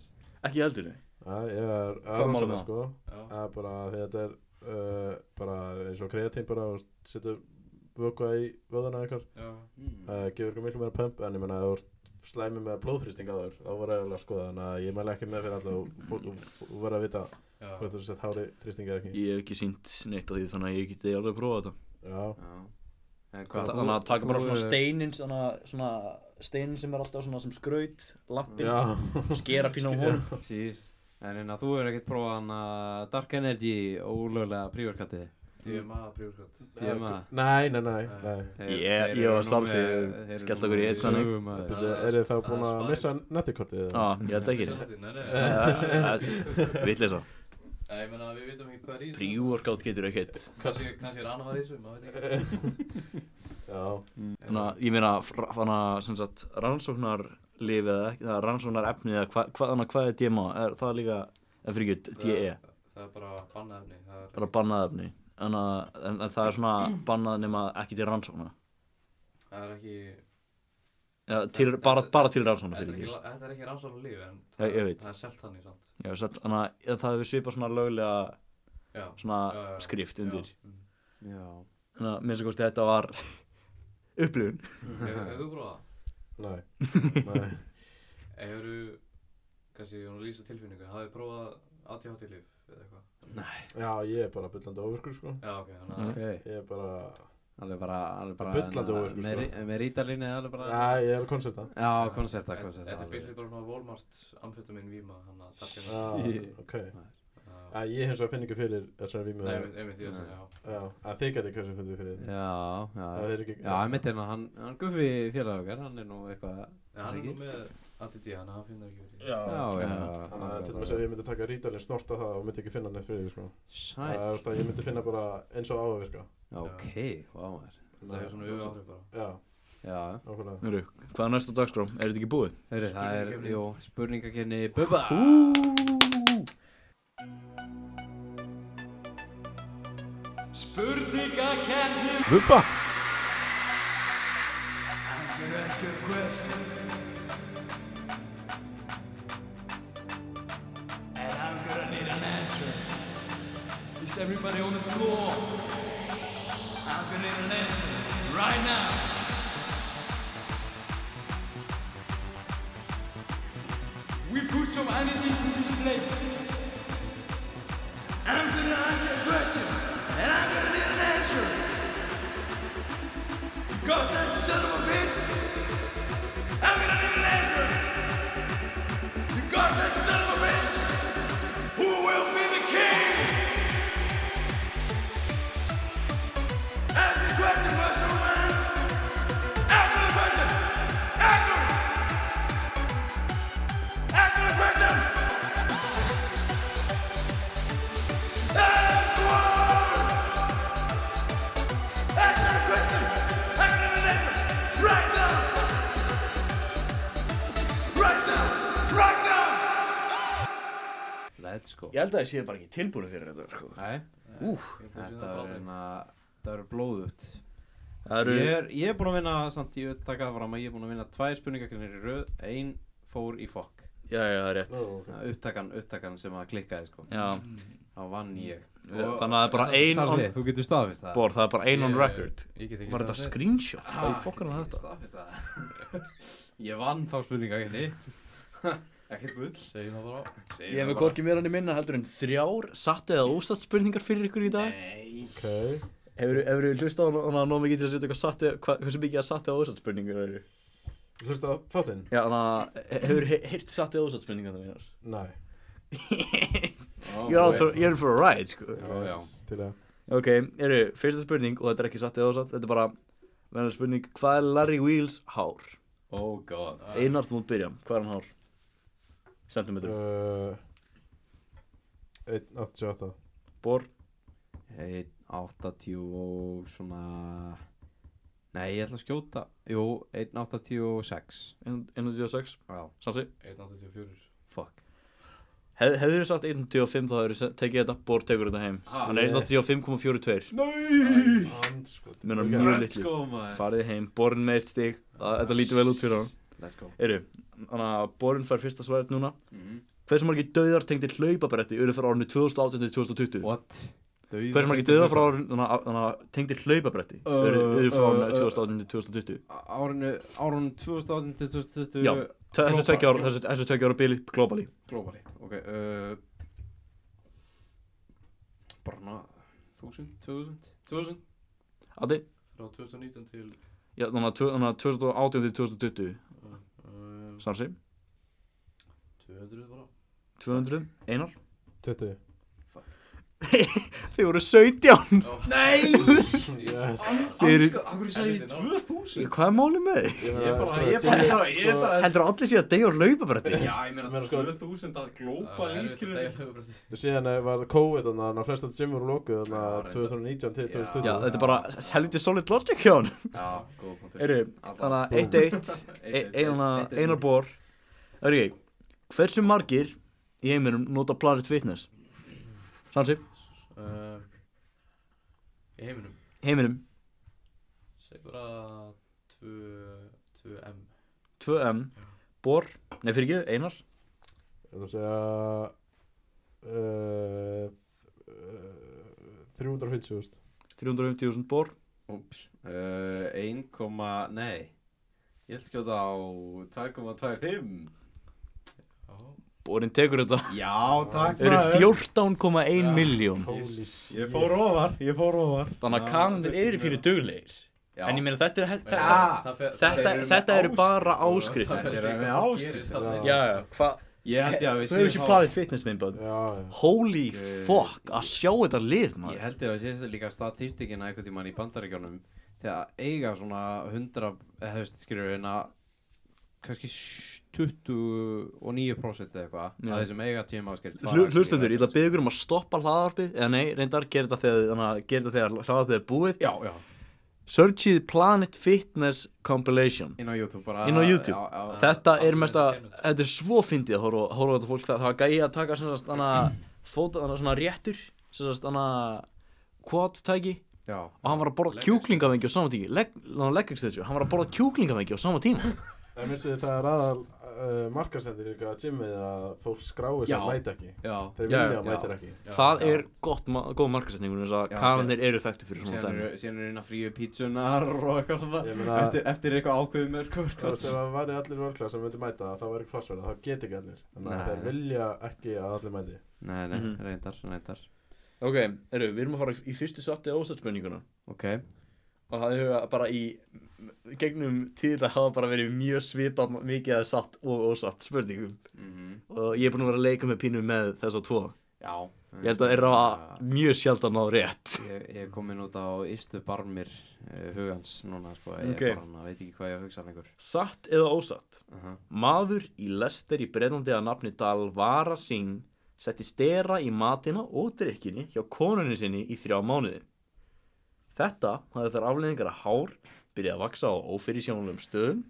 [SPEAKER 2] ekki heldur þið,
[SPEAKER 3] Já, ég er
[SPEAKER 2] Hvað málum
[SPEAKER 3] aðra
[SPEAKER 2] það?
[SPEAKER 3] sko
[SPEAKER 4] það Já,
[SPEAKER 3] að bara því að þetta er uh, bara eins og kreatín bara og setja vökva í vöðuna ykkar
[SPEAKER 4] já,
[SPEAKER 3] uh, gefur ykkur miklu meira pump en ég meina að þú ert slæmi með blóðþrýsting á þér þá voru eiginlega að skoða þannig að ég mæla ekki með fyrir alla og fólk og voru að vita
[SPEAKER 4] Já,
[SPEAKER 3] hvort þú sett hári þrýsting eða ekki
[SPEAKER 2] Ég hef ekki sínt neitt á því þannig að ég geti alveg prófað þetta
[SPEAKER 3] já,
[SPEAKER 1] En
[SPEAKER 3] Hvað-
[SPEAKER 1] þú-
[SPEAKER 2] Þannig að taka bara
[SPEAKER 1] þú,
[SPEAKER 2] svona
[SPEAKER 1] eh,
[SPEAKER 2] steinin svona, svona steinin sem er alltaf svona sem skraut lampin,
[SPEAKER 3] já,
[SPEAKER 2] skera pínu á honum
[SPEAKER 1] Jeez. En en að þú hefur ekkert prófað hann að Dark Energy ólöglega prívarkatið
[SPEAKER 4] DMA prífurkvæmt
[SPEAKER 1] DMA
[SPEAKER 3] nei, nei, nei, nei.
[SPEAKER 2] Ég- ég var sjálfsögðu skellt okkur í einn þannig.
[SPEAKER 1] þannig
[SPEAKER 3] Byrju, eru þið þá búin að missa nettikortið eða?
[SPEAKER 2] Já, ég held ekki Eh,
[SPEAKER 4] Nei, nei,
[SPEAKER 2] Vitleisa
[SPEAKER 4] Nei, ég meina við vitum ekki hvað er í þessu.
[SPEAKER 2] Pre-workout getur ekkert
[SPEAKER 4] Kannski, kannski er annað var í þessu, maður veit ekki
[SPEAKER 3] já,
[SPEAKER 2] Þannig að ég meina fra- þannig að sem sagt rannsóknar eða ekki, það er rannsóknar efni eða hva, hva, þannig að hvað er DMA er það líka, en fyrir ekki DE
[SPEAKER 4] Það- Það er bara bannað efni Það er
[SPEAKER 2] bara bannað efni en, að, en, en það er svona bannað nema ekki til rannsókna
[SPEAKER 4] Það er ekki
[SPEAKER 2] ja, til, bara, bara til rannsókna
[SPEAKER 4] Þetta er
[SPEAKER 2] fyrir
[SPEAKER 4] ekki,
[SPEAKER 2] ekki
[SPEAKER 4] þetta er ekki rannsóknar líf en
[SPEAKER 2] Já, ég veit.
[SPEAKER 4] það er selt þannig samt
[SPEAKER 2] Já, satt, þannig að eða það hefur svipað svona löglega
[SPEAKER 4] Já,
[SPEAKER 2] svona
[SPEAKER 4] Já, já, já.
[SPEAKER 2] skrift undir
[SPEAKER 4] Já, mm.
[SPEAKER 1] Já
[SPEAKER 2] þannig að minnst að kosti þetta var upplifun
[SPEAKER 4] Hefur hefur þú prófað?
[SPEAKER 3] nei, nei.
[SPEAKER 4] það? Hefur þú, kannski, hún lýsa tilfinningu Hafið prófað 80-80 líf eða eitthvað?
[SPEAKER 3] já, ég er bara byllandi ofurkur sko
[SPEAKER 4] Já, ok, þannig að
[SPEAKER 1] Ok
[SPEAKER 3] ég er bara,
[SPEAKER 1] Hann er bara Hann er bara hérna,
[SPEAKER 3] Bullandi óvirkur, sko.
[SPEAKER 1] með rí- Með rítalinni Það er bara
[SPEAKER 3] nei, ég er að koncepta
[SPEAKER 1] Já, koncepta
[SPEAKER 4] Þetta-
[SPEAKER 1] koncepta
[SPEAKER 4] Þetta er byrðið bara svona Walmart amfetamin víma hann að takja
[SPEAKER 3] já,
[SPEAKER 1] Ég-
[SPEAKER 3] Ah, ok já, ég hins vegar finn ekki fyrir þessari vímu
[SPEAKER 4] Nei,
[SPEAKER 3] já,
[SPEAKER 4] einmitt, einmitt, ég veist
[SPEAKER 1] Nei.
[SPEAKER 4] það, já
[SPEAKER 3] en þið gæti kannski fundið fyrir því
[SPEAKER 1] Já,
[SPEAKER 3] það
[SPEAKER 1] já
[SPEAKER 3] er ekki
[SPEAKER 1] Já, ég mitt hérna Hann, hann guffi félag okkar Hann er nú eitthvað
[SPEAKER 4] En hann er nú
[SPEAKER 1] Ekki?
[SPEAKER 4] með ADD, þannig að hann finnur ekki fyrir því.
[SPEAKER 3] já,
[SPEAKER 1] Já, já
[SPEAKER 3] þannig að til dæmis ef ég myndi taka rítalinn snorta það og myndi ekki finna neitt fyrir því sko það er
[SPEAKER 1] Sæt
[SPEAKER 3] alltaf, ég myndi finna bara eins og áverka
[SPEAKER 1] Ok, vá maður
[SPEAKER 4] Það er svona auðvitað bara
[SPEAKER 3] já,
[SPEAKER 1] Já,
[SPEAKER 3] nákvæmlega
[SPEAKER 2] Heru, hvað er næsta dagskrá, er þetta ekki búið?
[SPEAKER 1] Heyri, það er,
[SPEAKER 4] Spurningakeppni.
[SPEAKER 1] jú, spurningakenni Bubba
[SPEAKER 7] Spurningakeppnin
[SPEAKER 3] Bubba
[SPEAKER 7] And I'm gonna need an answer. Is everybody on the floor? I'm gonna need an answer right now. We put some energy into this place. I'm gonna ask you a question, and I'm gonna need an answer. You got that son of a bitch? I'm gonna need an answer. You got that son of a bitch? Who will be the king? Ask the question, Buster Man. Ask the question. Ask him. Ask the question. Ask one. Ask the question. I'm gonna deliver right now. Right now. Right now.
[SPEAKER 1] Let's go
[SPEAKER 2] Ég held að ég sé bara ekki tilbúinu fyrir þetta sko.
[SPEAKER 1] Nei,
[SPEAKER 4] Ég held að það sé
[SPEAKER 1] þetta
[SPEAKER 4] það
[SPEAKER 1] er
[SPEAKER 4] bráðum.
[SPEAKER 1] hérna Það eru blóðut
[SPEAKER 2] Það eru
[SPEAKER 1] ég er, ég er búinn að vinna, samt ég vil taka það fram að ég er búinn að vinna tvær spurningakennir í röð Ein fór í fokk
[SPEAKER 2] Já, já, það er rétt
[SPEAKER 3] Nú, ok.
[SPEAKER 1] Það er Upptakan, upptakan sem að klikkaði sko
[SPEAKER 2] Já,
[SPEAKER 1] Þá vann ég
[SPEAKER 2] Þannig að það er bara ein on
[SPEAKER 1] Salli, þú getur staðfist það
[SPEAKER 2] board, það er bara ein on
[SPEAKER 4] Ég-
[SPEAKER 2] record
[SPEAKER 4] Ég get ekki
[SPEAKER 2] Var þetta
[SPEAKER 4] staðfest.
[SPEAKER 2] screenshot?
[SPEAKER 1] Ah,
[SPEAKER 2] Hvað í fokkanum er
[SPEAKER 1] ég
[SPEAKER 2] þetta?
[SPEAKER 1] staðfest það. Ég vann þá spurningakenni Ekkert bull
[SPEAKER 4] Segjum það bara
[SPEAKER 1] Segir
[SPEAKER 2] Ég hef
[SPEAKER 1] það
[SPEAKER 2] með
[SPEAKER 1] bara.
[SPEAKER 2] korki meira enn í minna heldur en þrjár satt eða ósatt spurningar fyrir ykkur í dag
[SPEAKER 1] Nei
[SPEAKER 3] ok,
[SPEAKER 2] Hefur þú hlustað á hana nóg mikið til að setja eitthvað satt eða, hva, hversu mikið að satt eða ósatt spurningar eru?
[SPEAKER 3] hlusta á þáttinn?
[SPEAKER 2] Já, þannig að hefur heyrt satt eða ósatt spurningar það mínar?
[SPEAKER 3] nei,
[SPEAKER 1] Ó,
[SPEAKER 2] Ég er
[SPEAKER 1] ok.
[SPEAKER 2] out for- ég er in for a ride, sko
[SPEAKER 1] Já, já.
[SPEAKER 3] til að
[SPEAKER 2] Ok, eru, fyrsta spurning, og þetta er ekki satt eða ósatt, þetta er bara venjuleg spurning, hvað er Larry Wheels hár?
[SPEAKER 1] Oh god
[SPEAKER 2] Einar, þú mútt byrja, hvað er hann hár? Centimeter,
[SPEAKER 3] uh, 1.88
[SPEAKER 2] bor,
[SPEAKER 1] 1.80 og svona Nei, ég ætla að skjóta Jú, 1.86
[SPEAKER 2] 1.26,
[SPEAKER 1] Já,
[SPEAKER 2] samsi
[SPEAKER 4] 184
[SPEAKER 1] fuck
[SPEAKER 2] Hef, Hefðu þið sagt 1.25 þá hefur þið tekið þetta, bor tekur þetta heim Hann er 1.85.42
[SPEAKER 3] hans sko
[SPEAKER 2] Menar
[SPEAKER 3] Ok.
[SPEAKER 2] mjög litlu
[SPEAKER 1] maður
[SPEAKER 2] Farið heim, borinn með eitt stig Það- Þetta lítur vel út fyrir hann
[SPEAKER 1] Let's go
[SPEAKER 2] Eru, þannig að borinn fær fyrsta svaret núna
[SPEAKER 1] Mhm.
[SPEAKER 2] Hversu margir döðar tengdi hlaupabretti urðu fyrir árinu 2018-2020?
[SPEAKER 1] What? Dauða-
[SPEAKER 2] Hversu margir döða frá þannig að- þannig að tengdir hlaupabretti
[SPEAKER 1] Ö,
[SPEAKER 2] eru eru frá
[SPEAKER 1] ö, ö.
[SPEAKER 2] 2018-2020
[SPEAKER 1] Árinu, árinu 2018 til 2020
[SPEAKER 2] Já. Þessu
[SPEAKER 1] Glópa-
[SPEAKER 2] tvekja ára, þessu, þessu tvekja ára bili globally
[SPEAKER 1] Globally, ok uh, Barna 1000, 2000, 2000
[SPEAKER 2] Addi,
[SPEAKER 4] Frá 2019 til
[SPEAKER 2] já, þannig að tvö- þannig að 2018 til 2020
[SPEAKER 4] um,
[SPEAKER 2] Samsi,
[SPEAKER 4] 200 bara
[SPEAKER 2] 200, einar
[SPEAKER 3] 20
[SPEAKER 2] Þið voru 17
[SPEAKER 3] yes.
[SPEAKER 2] Þið eru,
[SPEAKER 1] Akkur
[SPEAKER 4] sagði ég
[SPEAKER 1] 2000
[SPEAKER 2] hvað er málið með þið?
[SPEAKER 3] Ég
[SPEAKER 1] Ég
[SPEAKER 3] meina,
[SPEAKER 1] bara,
[SPEAKER 3] svona,
[SPEAKER 1] ég bara,
[SPEAKER 3] Jimmy-
[SPEAKER 1] ég
[SPEAKER 3] sko-
[SPEAKER 1] bara
[SPEAKER 2] Heldur allir sér að degja á hlaupabretti?
[SPEAKER 1] Já, ég meina
[SPEAKER 3] Meina, sko-
[SPEAKER 1] 2000 að glópa
[SPEAKER 4] Það er erfitt að
[SPEAKER 1] lískilur
[SPEAKER 4] dæla hlaupabretti.
[SPEAKER 3] Síðan eh, var COVID þannig að flest að gym voru lokuð þannig
[SPEAKER 1] Já,
[SPEAKER 3] að
[SPEAKER 1] reyndar.
[SPEAKER 3] 2019 til
[SPEAKER 1] Já.
[SPEAKER 3] 2020
[SPEAKER 2] Já, þetta er bara helviti solid logic hjá hann
[SPEAKER 1] Já, góð punktur
[SPEAKER 2] Eru, þannig að 1-1 Einar einar bor Eru ég, hversu margir í heiminum nota Planet Fitness? Samsi,
[SPEAKER 4] Um, Í heiminum
[SPEAKER 2] heiminum
[SPEAKER 4] Segð bara 2M
[SPEAKER 2] 2M, bor, nei fyrir ekki, einar
[SPEAKER 3] Þetta segja uh, uh, 350.000
[SPEAKER 2] 350.000 bor
[SPEAKER 1] Úps uh, 1, nei Ég ætla að skjóta á 2,25
[SPEAKER 2] Borinn tekur þetta
[SPEAKER 1] Já, takk
[SPEAKER 2] Þau eru 14,1 miljón
[SPEAKER 3] Holy shit
[SPEAKER 1] Ég fór ofar, ég fór ofar
[SPEAKER 2] Þannig að kanandir eru pínu duglegir
[SPEAKER 1] Já,
[SPEAKER 2] En ég meina þetta er þetta,
[SPEAKER 1] Ah,
[SPEAKER 2] þetta, þetta eru bara áskrift
[SPEAKER 1] það
[SPEAKER 4] Það
[SPEAKER 1] fer
[SPEAKER 4] er
[SPEAKER 1] eftir
[SPEAKER 4] með
[SPEAKER 1] hvað
[SPEAKER 4] áskrift
[SPEAKER 1] gerist
[SPEAKER 4] þarna
[SPEAKER 3] þarna.
[SPEAKER 2] Já,
[SPEAKER 4] inni.
[SPEAKER 2] já, hvað
[SPEAKER 1] ég held ég að við
[SPEAKER 2] Þau eru ekki plaðið fitness minn bönn
[SPEAKER 3] Já, já
[SPEAKER 2] Holy
[SPEAKER 1] Eh,
[SPEAKER 2] fuck, að sjá þetta lið
[SPEAKER 1] Ég
[SPEAKER 2] maður
[SPEAKER 1] held ég að sé líka statistikina eitthvað tímann í bandaríkjónum þegar eiga svona 100 eða hefst skilur en að hérna, kannski 29% eða eitthvað
[SPEAKER 2] Já.
[SPEAKER 1] að þessum eiga tíma áskrift
[SPEAKER 2] Hlu- Hlustendur, ég ætla að byggja um að stoppa hlaðarpið Eða nei, reyndar, gera þetta þegar, þannig að gera þetta þegar hlaðarpið er búið
[SPEAKER 1] Já, já,
[SPEAKER 2] Searchið Planet Fitness Compilation
[SPEAKER 1] inn á YouTube bara
[SPEAKER 2] Inn á YouTube.
[SPEAKER 1] Já, já,
[SPEAKER 2] Þetta
[SPEAKER 4] Alveg
[SPEAKER 2] er mest að,
[SPEAKER 4] entertainment.
[SPEAKER 2] þetta er svo fyndið að horfa horfa á þetta fólk, það það var gæi að taka sem sagt þannig að fóta þannig svona réttur, sem sagt þannig að quad tæki
[SPEAKER 1] já,
[SPEAKER 2] og hann var að borða
[SPEAKER 4] Leg
[SPEAKER 2] kjúklingavengi á sama tíma, leg, hann leg extension, hann var að borða kjúklingavengi á sama tíma.
[SPEAKER 3] Það missuði það er aðal uh, markasendir í eitthvað að gymmið að fólk skrái
[SPEAKER 1] Já.
[SPEAKER 3] sem mæta ekki
[SPEAKER 1] já.
[SPEAKER 3] Þeir
[SPEAKER 2] Já,
[SPEAKER 3] vilja
[SPEAKER 1] já.
[SPEAKER 3] að mæta ekki
[SPEAKER 4] Já,
[SPEAKER 2] það
[SPEAKER 1] já.
[SPEAKER 2] er gott, ma- góð markasetningur, þess að
[SPEAKER 1] Já,
[SPEAKER 2] kananir eru þekktu fyrir svona
[SPEAKER 1] Síðan
[SPEAKER 2] dæmi.
[SPEAKER 1] eru- síðan eru inn að fríu pítsunar og eitthvað svona
[SPEAKER 3] Ég meina-
[SPEAKER 1] eftir, eftir eitthvað ákveðum er
[SPEAKER 3] Það var sem að væri allir vörkla sem myndi mæta þá væri klassverða, það geti ekki allir Þannig
[SPEAKER 1] Nei.
[SPEAKER 3] að þeir vilja ekki að allir mæti
[SPEAKER 1] Nei, nei,
[SPEAKER 2] Mhm.
[SPEAKER 1] reyndar, reyndar
[SPEAKER 2] Ok, eru, við erum að fara í fyrstu satti ástæðspönninguna
[SPEAKER 1] Ok,
[SPEAKER 2] og það hefur bara í gegnum tíð að hafa bara verið mjög svipað mikið að satt og ósatt spurningum og ég er búin að vera að leika með pínu með þessa tvo
[SPEAKER 1] já
[SPEAKER 2] ég held að þeir ráða mjög sjaldan á rétt
[SPEAKER 1] Ég, ég er komin út á ystu barmir uh, hugans núna sko, ég
[SPEAKER 2] Ok.
[SPEAKER 1] okay. bara hann, veit ekki hvað ég að hugsa lengur.
[SPEAKER 2] satt eða ósatt
[SPEAKER 1] Uh -huh.
[SPEAKER 2] maður í lester í bretlandi að nafni Dalvara Singh setti stera í matina og drikkinni hjá konunni sinni í þrjá mánuði þetta hafði þar afleðingar að hár byrjaði að vaksa á ófyrir stöðum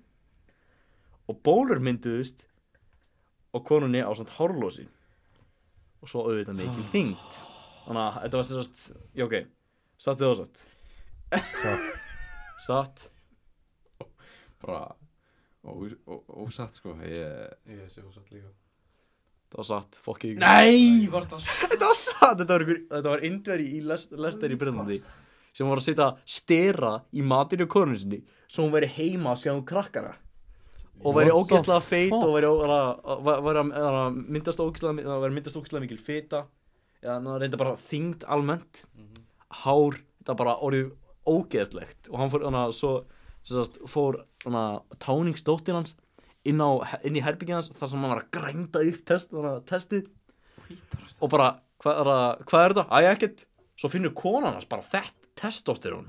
[SPEAKER 2] og bólur mynduðust og konunni á samt hárlósi og svo auðvitað mikil þyngd þannig að þetta var sérst já ok, satt eða ósatt
[SPEAKER 3] Satt.
[SPEAKER 2] satt
[SPEAKER 1] Bara ó- ó- ósatt sko, ég...
[SPEAKER 4] Ég sé hún satt líka
[SPEAKER 2] Það var satt, fokkið ykkur
[SPEAKER 1] Nei, var það svo?
[SPEAKER 2] Þetta var satt, þetta var, ykkur, þetta var indveri í lest,
[SPEAKER 1] Mm,
[SPEAKER 2] lester í Breitlandi sem var að setja stera í matinu konun sinni svo hún væri heima að sjá um krakkana og væri
[SPEAKER 1] What the
[SPEAKER 2] ógeðslega feit
[SPEAKER 1] fuck?
[SPEAKER 2] og væri, væri, væri, væri, að- að- að myndast ógeðslega mi- að væri myndast ógeðslega mikil fita eða ná, reynda bara þyngd almennt
[SPEAKER 1] Mhm.
[SPEAKER 2] hár, þetta bara orðið ógeðslegt og hann fór hana, svo, sem sagt, fór hana, táningsdóttir hans inn, á, inn í herbyggin hans þar sem hann var að grænda upp test, hana, testið og bara, hvað er, að, hvað er þetta? Æ, ekkert Svo finnur konan hans bara þett testosterón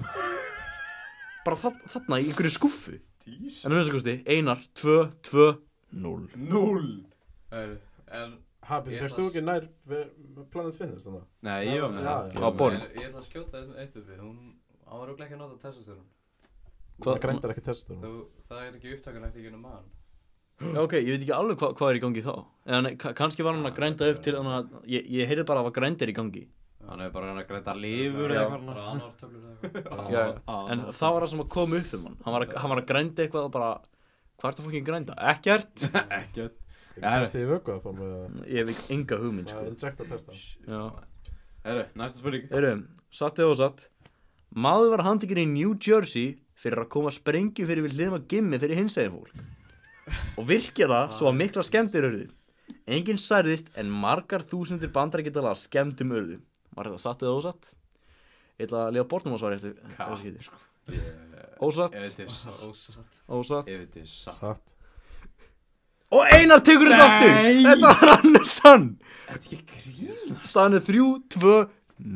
[SPEAKER 2] Bara þa þarna í einhverju skuffu
[SPEAKER 1] Dís?
[SPEAKER 2] En að minnst kosti, einar, tvö, tvö, núll
[SPEAKER 1] Null!
[SPEAKER 4] Heyrðu, En
[SPEAKER 3] Habi,
[SPEAKER 4] Ég
[SPEAKER 3] fyrst
[SPEAKER 4] ætla
[SPEAKER 3] þú
[SPEAKER 4] að-
[SPEAKER 3] ekki nær við- Planet Fitness þannig
[SPEAKER 1] Nei, ég var með
[SPEAKER 3] Já,
[SPEAKER 1] það.
[SPEAKER 3] já.
[SPEAKER 2] Á borðinu.
[SPEAKER 4] Ég ég ætla að skjóta þetta eitt uppi Hún Hann var örugglega ekki að nota testosterón
[SPEAKER 3] Það grændar ekki testur
[SPEAKER 4] Þú, það er ekki upptakanlegt í gennum maðan
[SPEAKER 2] Já, ok, ég veit ekki alveg hva hvað er í gangi þá En kannski var hann að grænda upp til hana, ég, ég heyrði bara að var grændir í gangi
[SPEAKER 1] Hann hefur bara hann að greita lifur eða eitthvað.
[SPEAKER 4] Bara
[SPEAKER 1] annað.
[SPEAKER 4] annar töflur eða eitthvað
[SPEAKER 2] Já,
[SPEAKER 1] á,
[SPEAKER 2] En
[SPEAKER 1] á.
[SPEAKER 2] það var það sem að koma upp um hann Hann var að, hann var að grænda eitthvað og bara Hvað ertu að fokkin grænda? Ekkert
[SPEAKER 1] Ekkert.
[SPEAKER 3] Ég kasti í vöku að fá með
[SPEAKER 2] Ég hef ekki enga hugmynd,
[SPEAKER 3] að
[SPEAKER 2] sko
[SPEAKER 3] injecta testa
[SPEAKER 2] Já.
[SPEAKER 1] Herru, næsta spurning
[SPEAKER 2] Erum, satt eða ósatt Maður var handikinn í New Jersey fyrir að koma sprengju fyrir við hliðum að gimmi fyrir hinsegin fólk og virkja það svo að mikla skemmtir örðu Enginn særðist en margar þúsundir bandar geta að skemmtum örðu Var þetta satt eða ósatt? Ég ætla að lifa bortum á svari eftir
[SPEAKER 1] Ka- sko.
[SPEAKER 2] þessu skiti.
[SPEAKER 1] Ef
[SPEAKER 2] Ósatt,
[SPEAKER 1] þetta er satt
[SPEAKER 4] Ósatt
[SPEAKER 2] ósatt
[SPEAKER 1] Ef þetta er satt
[SPEAKER 3] Satt
[SPEAKER 2] Og Einar tekur þetta aftur
[SPEAKER 1] Nei.
[SPEAKER 2] Þetta var Andersson
[SPEAKER 1] Er þetta ekki grín?
[SPEAKER 2] Staðan er 3, 2,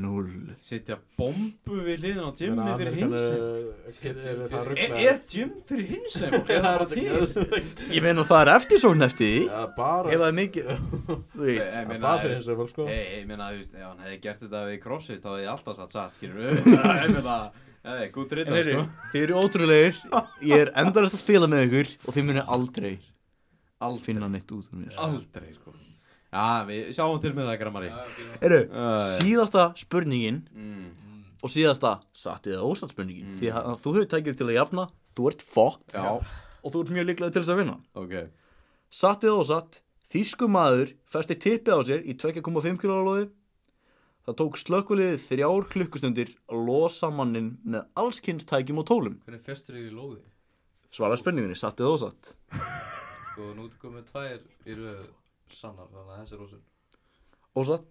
[SPEAKER 2] 0
[SPEAKER 1] Setja bombu við hliðin á Jimmy fyrir hinsem
[SPEAKER 3] hinsinn Það
[SPEAKER 1] Er,
[SPEAKER 3] rugglaði
[SPEAKER 1] er Jim fyrir hinsem? Er það bara til?
[SPEAKER 2] Ég meina það er eftirsókn eftir því
[SPEAKER 3] Já,
[SPEAKER 2] Ef það
[SPEAKER 3] bara
[SPEAKER 2] er mikið Þú veist
[SPEAKER 1] Ég meina,
[SPEAKER 3] Bara
[SPEAKER 1] þú
[SPEAKER 3] fyrir
[SPEAKER 1] veist,
[SPEAKER 3] hinsinn fólk sko
[SPEAKER 1] Hei, ég meina, þú veist, ef hann hefði gert þetta við crossfit þá hefði ég alltaf satt satt, skilur við Ég meina, hei, gútt
[SPEAKER 2] En
[SPEAKER 1] rittar,
[SPEAKER 2] heyri,
[SPEAKER 1] sko
[SPEAKER 2] Þið eru ótrúlegir Ég er endarast að spila með ykkur Og þið munir aldrei Finna neitt út um mér
[SPEAKER 1] Aldrei, sko Já, við sjáum til með það, grammari
[SPEAKER 2] Eru,
[SPEAKER 1] Æ.
[SPEAKER 2] síðasta spurningin
[SPEAKER 1] Mm.
[SPEAKER 2] Og síðasta Satt eða ósatt spurningin Því að þú hefur tækið til að jafna Þú ert fokkt
[SPEAKER 1] Já,
[SPEAKER 2] Og þú ert mjög líklega til þess að vinna
[SPEAKER 1] ok
[SPEAKER 2] Satt eða ósatt Þýsku maður festi tippið á sér Í 2,5 kg lóði Það tók slökkuliðið þrjár klukkustundir að losa mannin með allskynstækjum og tólum.
[SPEAKER 4] Hvernig festur ég í lóði?
[SPEAKER 2] Svara spurningunni, satt eða ósatt?
[SPEAKER 4] Sko, nú ertu komið tvær í röð sannar, þannig að þessi er ósatt
[SPEAKER 2] Ósatt?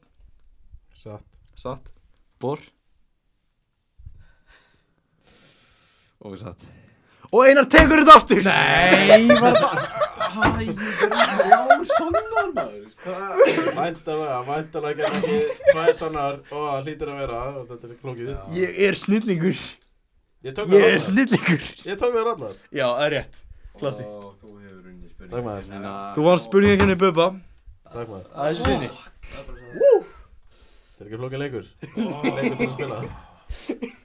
[SPEAKER 3] Satt
[SPEAKER 2] Satt Bor
[SPEAKER 1] Og satt
[SPEAKER 2] Og Einar tekur þetta aftur Nei
[SPEAKER 3] Væntalega, væntalega gerði ekki Það er sannar og það hlýtur að vera og Þetta er klókið
[SPEAKER 2] Ég er snillingur
[SPEAKER 3] Ég
[SPEAKER 2] Ég
[SPEAKER 3] tók það
[SPEAKER 2] er
[SPEAKER 3] allar
[SPEAKER 2] snillingur
[SPEAKER 3] Ég tók það allar
[SPEAKER 2] Já, það er rétt Klassik
[SPEAKER 1] Og þú hefur unni spurning
[SPEAKER 3] Takk maður
[SPEAKER 2] Þú vannst spurningin henni Bubba
[SPEAKER 3] Takk maður
[SPEAKER 2] Það er sinni
[SPEAKER 3] Þetta er ekki klókið leikur Leikur til að spila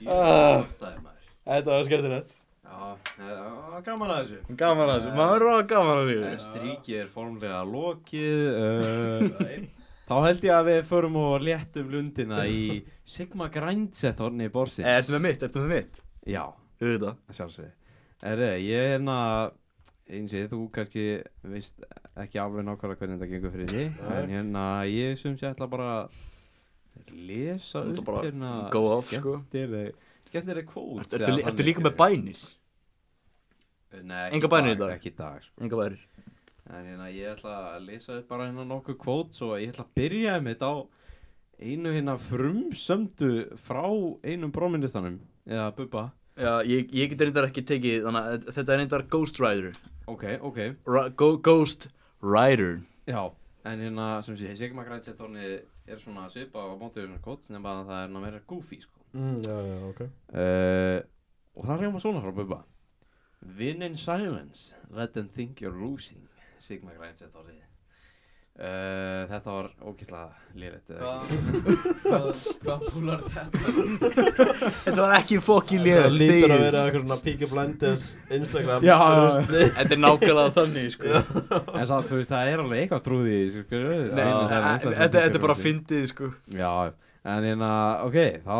[SPEAKER 2] Ah.
[SPEAKER 1] Já,
[SPEAKER 2] Þetta var skemmtilegt
[SPEAKER 1] það var gaman að þessu
[SPEAKER 2] Gaman að þessu Maður er á gaman að
[SPEAKER 1] En
[SPEAKER 2] lífi
[SPEAKER 1] Stríkið er formlega lokið uh, Þá held ég að við förum og léttum lundina í Sigma Grindsett horni í borsins
[SPEAKER 2] Eh, Ertu með mitt, ertu með mitt
[SPEAKER 1] Já,
[SPEAKER 2] Þú veit það
[SPEAKER 1] að sjálfsögðu Erre, ég er hérna eins og þú kannski veist ekki alveg nákvæmlega hvernig þetta gengur fyrir þig
[SPEAKER 3] Nei.
[SPEAKER 1] en hérna ég sem sé ætla bara að lesa
[SPEAKER 2] Þetta
[SPEAKER 1] upp
[SPEAKER 2] bara
[SPEAKER 1] hérna
[SPEAKER 2] go off, sko.
[SPEAKER 1] skemmtileg- skemmtileg kvót
[SPEAKER 2] Ertu, ertu, ertu líka með bænis
[SPEAKER 1] Nei, ekki
[SPEAKER 2] Enga bænir í
[SPEAKER 1] dag,
[SPEAKER 2] dag?
[SPEAKER 1] Ekki í dag sko.
[SPEAKER 2] Enga værir
[SPEAKER 1] En hérna ég ætla að lesa upp bara hérna nokkuð kvót og ég ætla að byrja um þetta á einu hérna frumsömdu frá einum bróminnistanum eða bubba
[SPEAKER 2] Já, ég, ég get reyndar ekki tekið Þannig að þetta er reyndar Ghost Rider
[SPEAKER 1] Ok, ok
[SPEAKER 2] Ra go Ghost Rider
[SPEAKER 1] Já, en hérna sem sé, Sigma Grænsettorni er svona svipa á mótið svona kóts nema að það er ná meira goofy sko.
[SPEAKER 3] Mm, Já, já, ok
[SPEAKER 1] uh, Og það reyma svona frá Bubba Win in silence, let them think you're losing Sigma Grænsettorni uh, Þetta var ógislega lýrætt
[SPEAKER 4] Hvað, hvað, hvað búlar þetta?
[SPEAKER 2] Þetta var ekki fokkin
[SPEAKER 3] Það lítur að
[SPEAKER 2] liðan
[SPEAKER 3] vera eitthvað svona Peaky Blinders Instagram
[SPEAKER 1] Já, já, já.
[SPEAKER 2] Þetta er nákvæmlega þannig sko
[SPEAKER 1] En samt, þú veist, það er alveg eitthvað trúði í þessu, sko,
[SPEAKER 2] Nei,
[SPEAKER 1] Win in
[SPEAKER 2] þetta
[SPEAKER 1] silence, let them think
[SPEAKER 2] þetta
[SPEAKER 1] you're
[SPEAKER 2] er bara
[SPEAKER 1] losing.
[SPEAKER 2] fyndið sko
[SPEAKER 1] Já, en hérna, ok, þá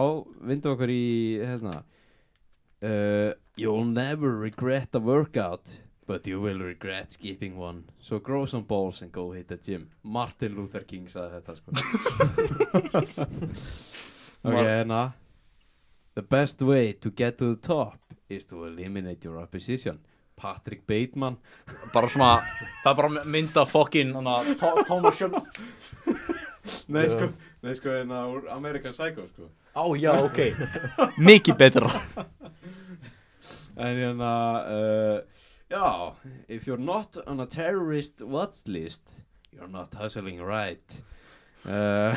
[SPEAKER 1] vindum við okkur í, hérna uh, You'll never regret a workout But you will regret skipping one So grow some balls and go hit the gym Martin Luther King sagði þetta sko Ok,
[SPEAKER 2] Mar-
[SPEAKER 1] hérna The best way to get to the top Is to eliminate your opposition Patrick Bateman
[SPEAKER 2] bara svona, það er bara mynda fokkin Thomas Sjöfn
[SPEAKER 1] Nei
[SPEAKER 3] sko,
[SPEAKER 1] nei sko, hérna úr American Psycho sko
[SPEAKER 2] Á já, ok Mikið betra
[SPEAKER 1] En hérna, uh, já, if you're not on a terrorist watch list, you're not hustling right. Uh,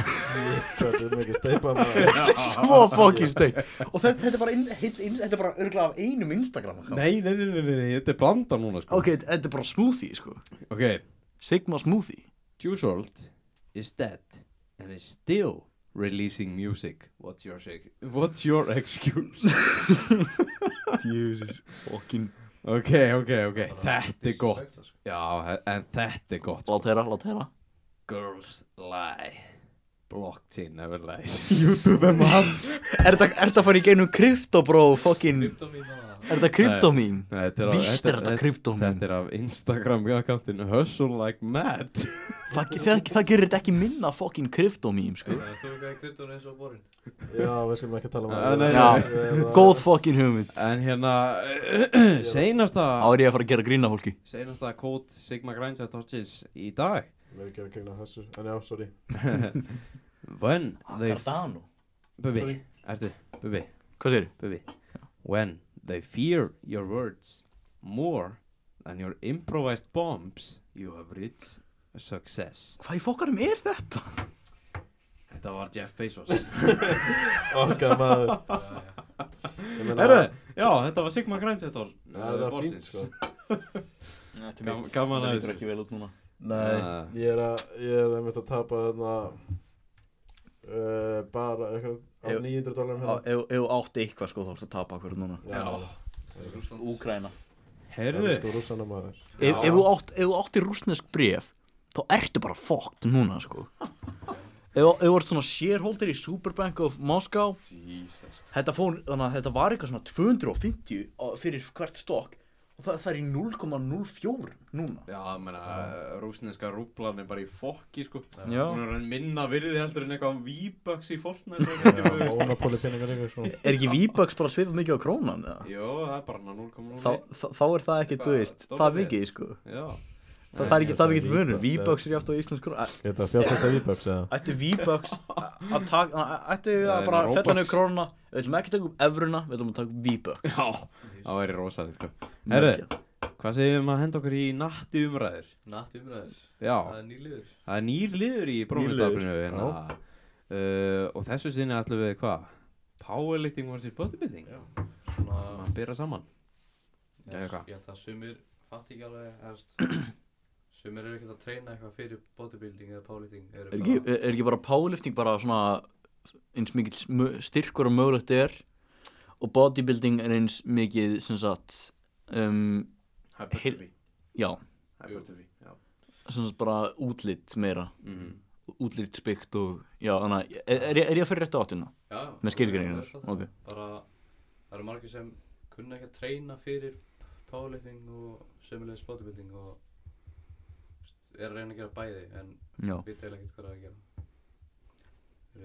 [SPEAKER 3] Þetta er mikið steipað maður
[SPEAKER 2] Svo fokkin steik Og þetta, þetta er bara, inn, inn, inn, þetta er bara örgla af einum Instagram account.
[SPEAKER 1] nei, nei, nei, nei, nei, nei, þetta er blanda núna, sko.
[SPEAKER 2] Ok, þetta er bara smoothie sko
[SPEAKER 1] Ok,
[SPEAKER 2] Sigma smoothie
[SPEAKER 1] Juice WRLD is dead and is still releasing music. What's your, sig- what's your excuse?
[SPEAKER 2] Jesus fokkin
[SPEAKER 1] ok, ok, ok, þetta er gott. Já, he- en þetta er gott. sko.
[SPEAKER 2] Lát herra, lát herra
[SPEAKER 1] Girls lie. Blockchain never lies. you do them up.
[SPEAKER 2] Er þetta er þetta að fara í gegnum kryptobró fokkin Er
[SPEAKER 4] Kryptomín hana
[SPEAKER 2] þetta kryptomín?
[SPEAKER 1] Nei, þetta
[SPEAKER 2] Víst er þetta
[SPEAKER 1] þetta-
[SPEAKER 2] kryptomín
[SPEAKER 1] Þetta er af Instagram akkantinu Hustle Like Mad
[SPEAKER 2] það, það, það gerir þetta ekki minna fucking kryptomím sko.
[SPEAKER 4] Það tókaði kryptónu eins og borin.
[SPEAKER 3] Já, við skulum ekki tala um
[SPEAKER 1] Nei, nei,
[SPEAKER 2] Já.
[SPEAKER 3] Við erum að-
[SPEAKER 2] góð fucking hugmynd
[SPEAKER 1] En hérna, seinasta
[SPEAKER 2] árið að fara að gera grína fólki
[SPEAKER 1] Seinasta kót Sigma Grindset Hotchins í dag
[SPEAKER 3] Við erum ekki að gegna þessu En já, sorry
[SPEAKER 1] When they
[SPEAKER 2] Cardano
[SPEAKER 1] Bubi,
[SPEAKER 3] Sorry.
[SPEAKER 1] ertu, Bubi,
[SPEAKER 2] Hvað segir
[SPEAKER 1] Bubi When they fear your words more than your improvised bombs you have reached success
[SPEAKER 2] Hvað í fokkarum er þetta?
[SPEAKER 1] Þetta var Jeff Bezos
[SPEAKER 3] Okkar maður Ég meina-
[SPEAKER 1] Herru, já, þetta var Sigma Grindsetor
[SPEAKER 3] Já, Það er fínt sko
[SPEAKER 2] Þetta
[SPEAKER 1] Gam- gaman að
[SPEAKER 2] lítur
[SPEAKER 1] þessu.
[SPEAKER 2] ekki vel út núna
[SPEAKER 3] Nei,
[SPEAKER 1] Ah.
[SPEAKER 3] ég er að, ég er einmitt að tapa þarna uh, bara eitthvað á
[SPEAKER 2] Ef-
[SPEAKER 3] 900 dólarum
[SPEAKER 2] Á-
[SPEAKER 3] hérna.
[SPEAKER 2] Ef ef þú átt eitthvað sko þá ertu að tapa hverju núna
[SPEAKER 3] Já,
[SPEAKER 2] Úkraina
[SPEAKER 3] það er
[SPEAKER 1] Herru,
[SPEAKER 3] sko rússana maður.
[SPEAKER 2] Ef ef þú átt, ef þú átti rúsnesk bref þá ertu bara fucked núna sko Ef ef þú ert svona shareholder í Superbank of Moscow
[SPEAKER 1] Jesus
[SPEAKER 2] Þetta fór, þannig að þetta var eitthvað svona 250 á- fyrir hvert stokk og það, það er í 0,04 núna
[SPEAKER 1] Já, ég meina, uh, rúsneska rúblan er bara í fokki, sko
[SPEAKER 2] Já.
[SPEAKER 1] Hún er enn minna virði heldur en eitthvað um V-Bucks í Fortnite og eitthvað,
[SPEAKER 3] Já,
[SPEAKER 1] veist.
[SPEAKER 3] ónapóli peningar ykkur svona.
[SPEAKER 2] Er ekki V-Bucks bara svipað mikið á krónan eða?
[SPEAKER 1] Jó, það er bara hann að 0,0
[SPEAKER 2] Þá, þá, þá er það ekki, þú
[SPEAKER 1] Eitthvað
[SPEAKER 2] veist, það
[SPEAKER 1] dollarbið.
[SPEAKER 2] mikið sko
[SPEAKER 1] Já,
[SPEAKER 2] Það, það er ekki, það er ekki
[SPEAKER 3] Eitthvað
[SPEAKER 2] munur,
[SPEAKER 3] V-Bucks,
[SPEAKER 2] V-Bucks er játt á íslensk krónan Æ,
[SPEAKER 3] Þetta fjárfæsta V-Bucks eða?
[SPEAKER 2] Ættu V-Bucks að taka, að- ættu að
[SPEAKER 1] Nei,
[SPEAKER 2] bara
[SPEAKER 1] Robux.
[SPEAKER 2] fella niður krónuna Við ætlum ekki að taka upp evruna, við ætlum að taka upp V-Bucks
[SPEAKER 1] já, það væri rosalegt, sko Herru, hvað segjum um að henda okkur í natti umræður?
[SPEAKER 4] Natt umræður.
[SPEAKER 1] Já,
[SPEAKER 4] Það er nýliður.
[SPEAKER 1] það er nýr liður í brómiðstaflinu hérna uh, Og þessu sinni ætlum við hvað? Powerlifting versus bodybuilding
[SPEAKER 4] Já.
[SPEAKER 1] Svona
[SPEAKER 4] Svona,
[SPEAKER 1] að byrja saman Jæja,
[SPEAKER 4] ég, ég
[SPEAKER 1] hvað?
[SPEAKER 4] held að sumir fatt ekki alveg, hefst. Sumir eru ekkert að treyna eitthvað fyrir bodybuilding eða powerlifting.
[SPEAKER 2] Er ekki, er, er ekki bara powerlifting bara svona eins mikið smö- styrkur og mögulegt er og bodybuilding er eins mikið sem sagt um,
[SPEAKER 1] Hypertrophy
[SPEAKER 2] já,
[SPEAKER 1] Hypertrophy, já
[SPEAKER 2] sem sagt bara útlitt meira,
[SPEAKER 1] Mhm.
[SPEAKER 2] útlitt spikt og já, þannig, að- er, er, ég- er ég að fyrir rétt á áttina?
[SPEAKER 4] Já.
[SPEAKER 2] Með skilgreiningar,
[SPEAKER 4] það er
[SPEAKER 2] ok.
[SPEAKER 4] Bara, það eru margir sem kunna ekki að treyna fyrir powerlifting og sömulegis bodybuilding og hefst, er að reyna að gera bæði en
[SPEAKER 2] Já,
[SPEAKER 4] vita eiginlega ekkert hvað það er að gera.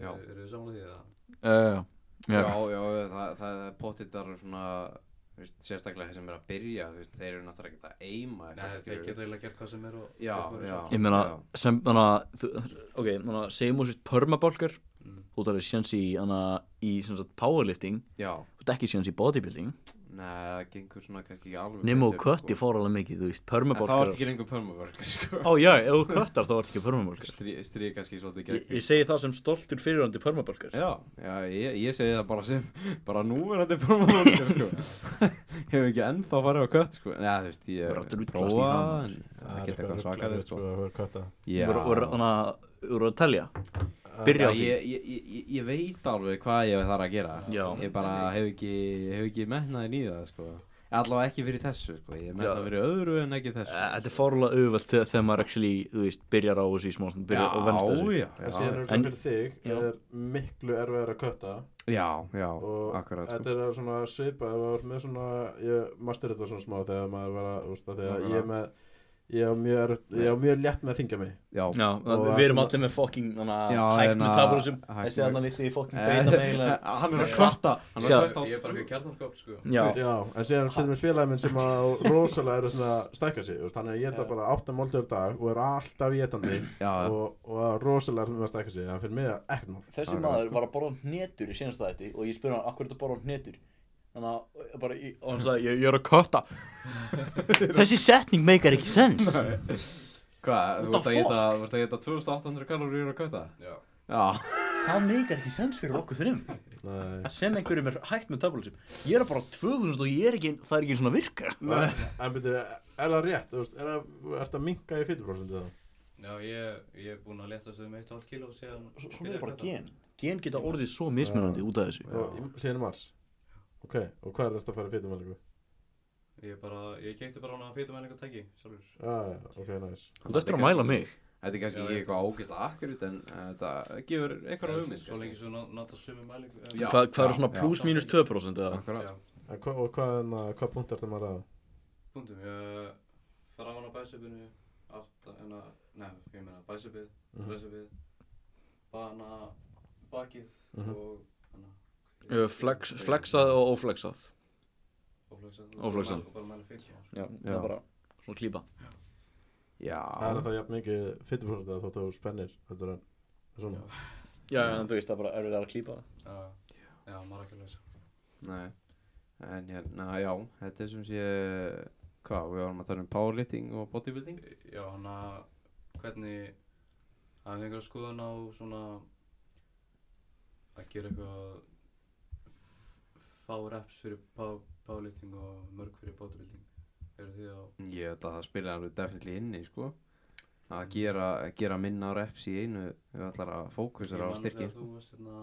[SPEAKER 1] Já.
[SPEAKER 4] Eru- Eru þið samlega því eða?
[SPEAKER 2] uh, já,
[SPEAKER 1] Já,
[SPEAKER 2] já.
[SPEAKER 1] já, það, það er pottitar svona þú veist, sérstaklega þeir sem er að byrja þú veist, þeir eru náttúrulega ekki að eima
[SPEAKER 4] Nei,
[SPEAKER 1] eitthvað,
[SPEAKER 4] þeir
[SPEAKER 1] skilurðu.
[SPEAKER 4] geta eiginlega gert hvað sem er og
[SPEAKER 1] Já,
[SPEAKER 4] og-
[SPEAKER 1] já.
[SPEAKER 2] Ég meina, sem, þannig að, þú- ok, þannig að segjum úr sitt permabálkar,
[SPEAKER 4] Mm.
[SPEAKER 2] þú þarf að séns í, þannig að í sem sagt powerlifting,
[SPEAKER 1] Já,
[SPEAKER 2] þú þarf ekki séns í bodybuilding,
[SPEAKER 1] neða, það gengur svona kannski ekki alveg
[SPEAKER 2] nema og
[SPEAKER 1] betur,
[SPEAKER 2] kötti
[SPEAKER 1] sko.
[SPEAKER 2] fór alveg mikið, þú veist,
[SPEAKER 1] En þá ertu
[SPEAKER 2] permabálkar
[SPEAKER 1] ekki lengur pörmabörg sko.
[SPEAKER 2] Ó já, ef þú köttar þá ertu ekki permabálkar
[SPEAKER 1] Strí- Stríð kannski svolítið gegn
[SPEAKER 2] ég,
[SPEAKER 1] því.
[SPEAKER 2] ég segi það sem stoltur fyrirhandi permabálkar
[SPEAKER 1] Já, já, ég, ég segi það bara sem bara núverandi pörmabörg sko. Hefur ekki ennþá farið á kött sko. Neða, þú veist,
[SPEAKER 2] Bara
[SPEAKER 1] ég
[SPEAKER 2] drullast í
[SPEAKER 1] prófa
[SPEAKER 2] hana.
[SPEAKER 1] en það geta eitthvað
[SPEAKER 3] rugglaður,
[SPEAKER 1] svakalegt sko.
[SPEAKER 3] að vera kötta.
[SPEAKER 1] Já,
[SPEAKER 2] Þú voru þannig að, þú voru að telja Byrja á
[SPEAKER 1] Já,
[SPEAKER 2] því
[SPEAKER 1] ég, ég, ég, ég veit alveg hvað ég þarf að gera
[SPEAKER 2] Já.
[SPEAKER 1] Ég bara hef ekki, hef ekki metnaðin í það sko. Allavega ekki fyrir þessu sko. Ég hef
[SPEAKER 2] Já.
[SPEAKER 1] metnað fyrir öðru en ekki
[SPEAKER 2] Eh,
[SPEAKER 1] þessu
[SPEAKER 2] Þetta er fárlega auðvelt þegar þegar maður actually, þú veist, byrjar á þessu í smástund, byrjar og venst þessu
[SPEAKER 1] já,
[SPEAKER 3] En
[SPEAKER 1] já,
[SPEAKER 3] síðan er
[SPEAKER 2] En-
[SPEAKER 3] það fyrir þig,
[SPEAKER 2] Já.
[SPEAKER 3] er miklu erfiðar að kötta
[SPEAKER 1] já, já,
[SPEAKER 3] og
[SPEAKER 1] akkurat sko.
[SPEAKER 3] þetta er svona svipað ef maður er með svona, ég master þetta svona smá þegar maður var að, úst, að þegar ég er með, ég er mjög, erfitt- ég er mjög létt með að þingja mig.
[SPEAKER 1] Já,
[SPEAKER 2] Já,
[SPEAKER 3] Og
[SPEAKER 2] við
[SPEAKER 3] það
[SPEAKER 2] erum
[SPEAKER 3] sem-
[SPEAKER 2] allir með fucking
[SPEAKER 1] Já,
[SPEAKER 2] hægt
[SPEAKER 1] hérna,
[SPEAKER 2] með tabulisum
[SPEAKER 1] hægt
[SPEAKER 2] Þessi
[SPEAKER 1] með-
[SPEAKER 2] annan litli í fucking
[SPEAKER 1] Eh,
[SPEAKER 2] beita meila
[SPEAKER 1] Hann er að kvarta Hann er
[SPEAKER 2] Sjá.
[SPEAKER 1] að
[SPEAKER 4] Ég
[SPEAKER 1] kvarta á
[SPEAKER 4] ég er bara
[SPEAKER 1] trú.
[SPEAKER 4] ekki kjartanskóp, sko.
[SPEAKER 2] Já,
[SPEAKER 3] Já, en síðan er til dæmis félagið minn sem að rosalega eru svona að stækka sig, þú veist, þannig að ég geta bara 8 móldur á dag og er alltaf étandi
[SPEAKER 1] Já, já.
[SPEAKER 3] og, og er rosalega með að stækka sig, þannig fyrir mig er ekkert mál.
[SPEAKER 2] þessi maður var að borða hnetur í senast þætti og ég spurði hann, akkur er þetta borða hnetur? Þannig að, og bara, í- og hann sagði, ég, ég er að kötta Þessi setning meikar ekki sens
[SPEAKER 1] Hvað, þú
[SPEAKER 2] What
[SPEAKER 1] ert
[SPEAKER 2] the
[SPEAKER 1] að geta, þú ert að geta 2800 kaloríur að kauta?
[SPEAKER 4] Já.
[SPEAKER 1] Já,
[SPEAKER 2] Það meikar ekki sens fyrir okkur þrjum
[SPEAKER 3] Nei.
[SPEAKER 2] sem einhverjum er hægt með tabulism ég er bara á 2000 og ég er ekki það er ekki einu svona virka
[SPEAKER 3] Nei. En byrju, er það rétt, þú veist, er það, er það minka í fytuprosentu það?
[SPEAKER 4] Já, ég, ég er búinn að letast um 1,5 kíló síðan...
[SPEAKER 2] svo svona
[SPEAKER 4] byrjaði
[SPEAKER 2] er bara
[SPEAKER 4] að
[SPEAKER 2] gen gen geta orðið svo mismunandi út af þessu
[SPEAKER 3] Og í- síðan í mars? Ok, og hvað er þetta að fara í fytumælingu?
[SPEAKER 4] kvarta. Ég bara, ég keipti bara hana fytumælingu tæki, sjálfur.
[SPEAKER 3] Já, já, ok, næs.
[SPEAKER 2] þú ert eftir að mæla mig
[SPEAKER 1] Þetta er kannski
[SPEAKER 4] Já,
[SPEAKER 1] ekki
[SPEAKER 4] ég-
[SPEAKER 1] eitthvað ógeðslega akkurat en eh, þetta gefur eitthvað
[SPEAKER 4] Eða
[SPEAKER 1] hugmynd
[SPEAKER 4] Svo lengi sem þú nota sömu mælingu. eða-
[SPEAKER 1] Já.
[SPEAKER 2] Hva, hvað er svona
[SPEAKER 1] já.
[SPEAKER 2] pluss mínus 2% eða?
[SPEAKER 1] Akkurat
[SPEAKER 4] Já,
[SPEAKER 3] En hva, og hvað, hva, hvað punkt er þetta maður að?
[SPEAKER 4] eh, búndum. Ég fara á hana bæsöpunni, aftan, en að, nei, ég meina, bicep Ræsubið,
[SPEAKER 2] Mhm.
[SPEAKER 3] Mhm,
[SPEAKER 4] ræsubið, bana, bakið
[SPEAKER 3] mhm.
[SPEAKER 4] og hana.
[SPEAKER 2] Ö, Mhm. Eh, Flex, flexað og óflexað
[SPEAKER 4] Óflöksað.
[SPEAKER 2] Óflexað.
[SPEAKER 4] Og bara mæla fyrir.
[SPEAKER 2] Já, það er bara svona klípa
[SPEAKER 3] Það er
[SPEAKER 2] Já,
[SPEAKER 3] það jafn mikið 50% að þótt þú spennir Þetta er svona
[SPEAKER 2] já, en þú veist það er bara erfið að klípa
[SPEAKER 4] Já, já, maður ekki að leysa.
[SPEAKER 1] Nei, en hérna, já, þetta er sem sé, hvað, við varum að tala um powerlifting og bodybuilding?
[SPEAKER 4] Já, hann að hvernig hafið þið einhverja skoðun á svona að gera eitthvað fá reps fyrir pá- powerlifting og mörg fyrir bodybuilding eru þið á
[SPEAKER 1] Ég veit að það spila alveg definitely inni, sko. Að gera, að gera minna reps í einu, við ætlar að
[SPEAKER 4] Ég
[SPEAKER 1] fókusera á
[SPEAKER 4] man
[SPEAKER 1] styrki.
[SPEAKER 4] þegar þú varst hérna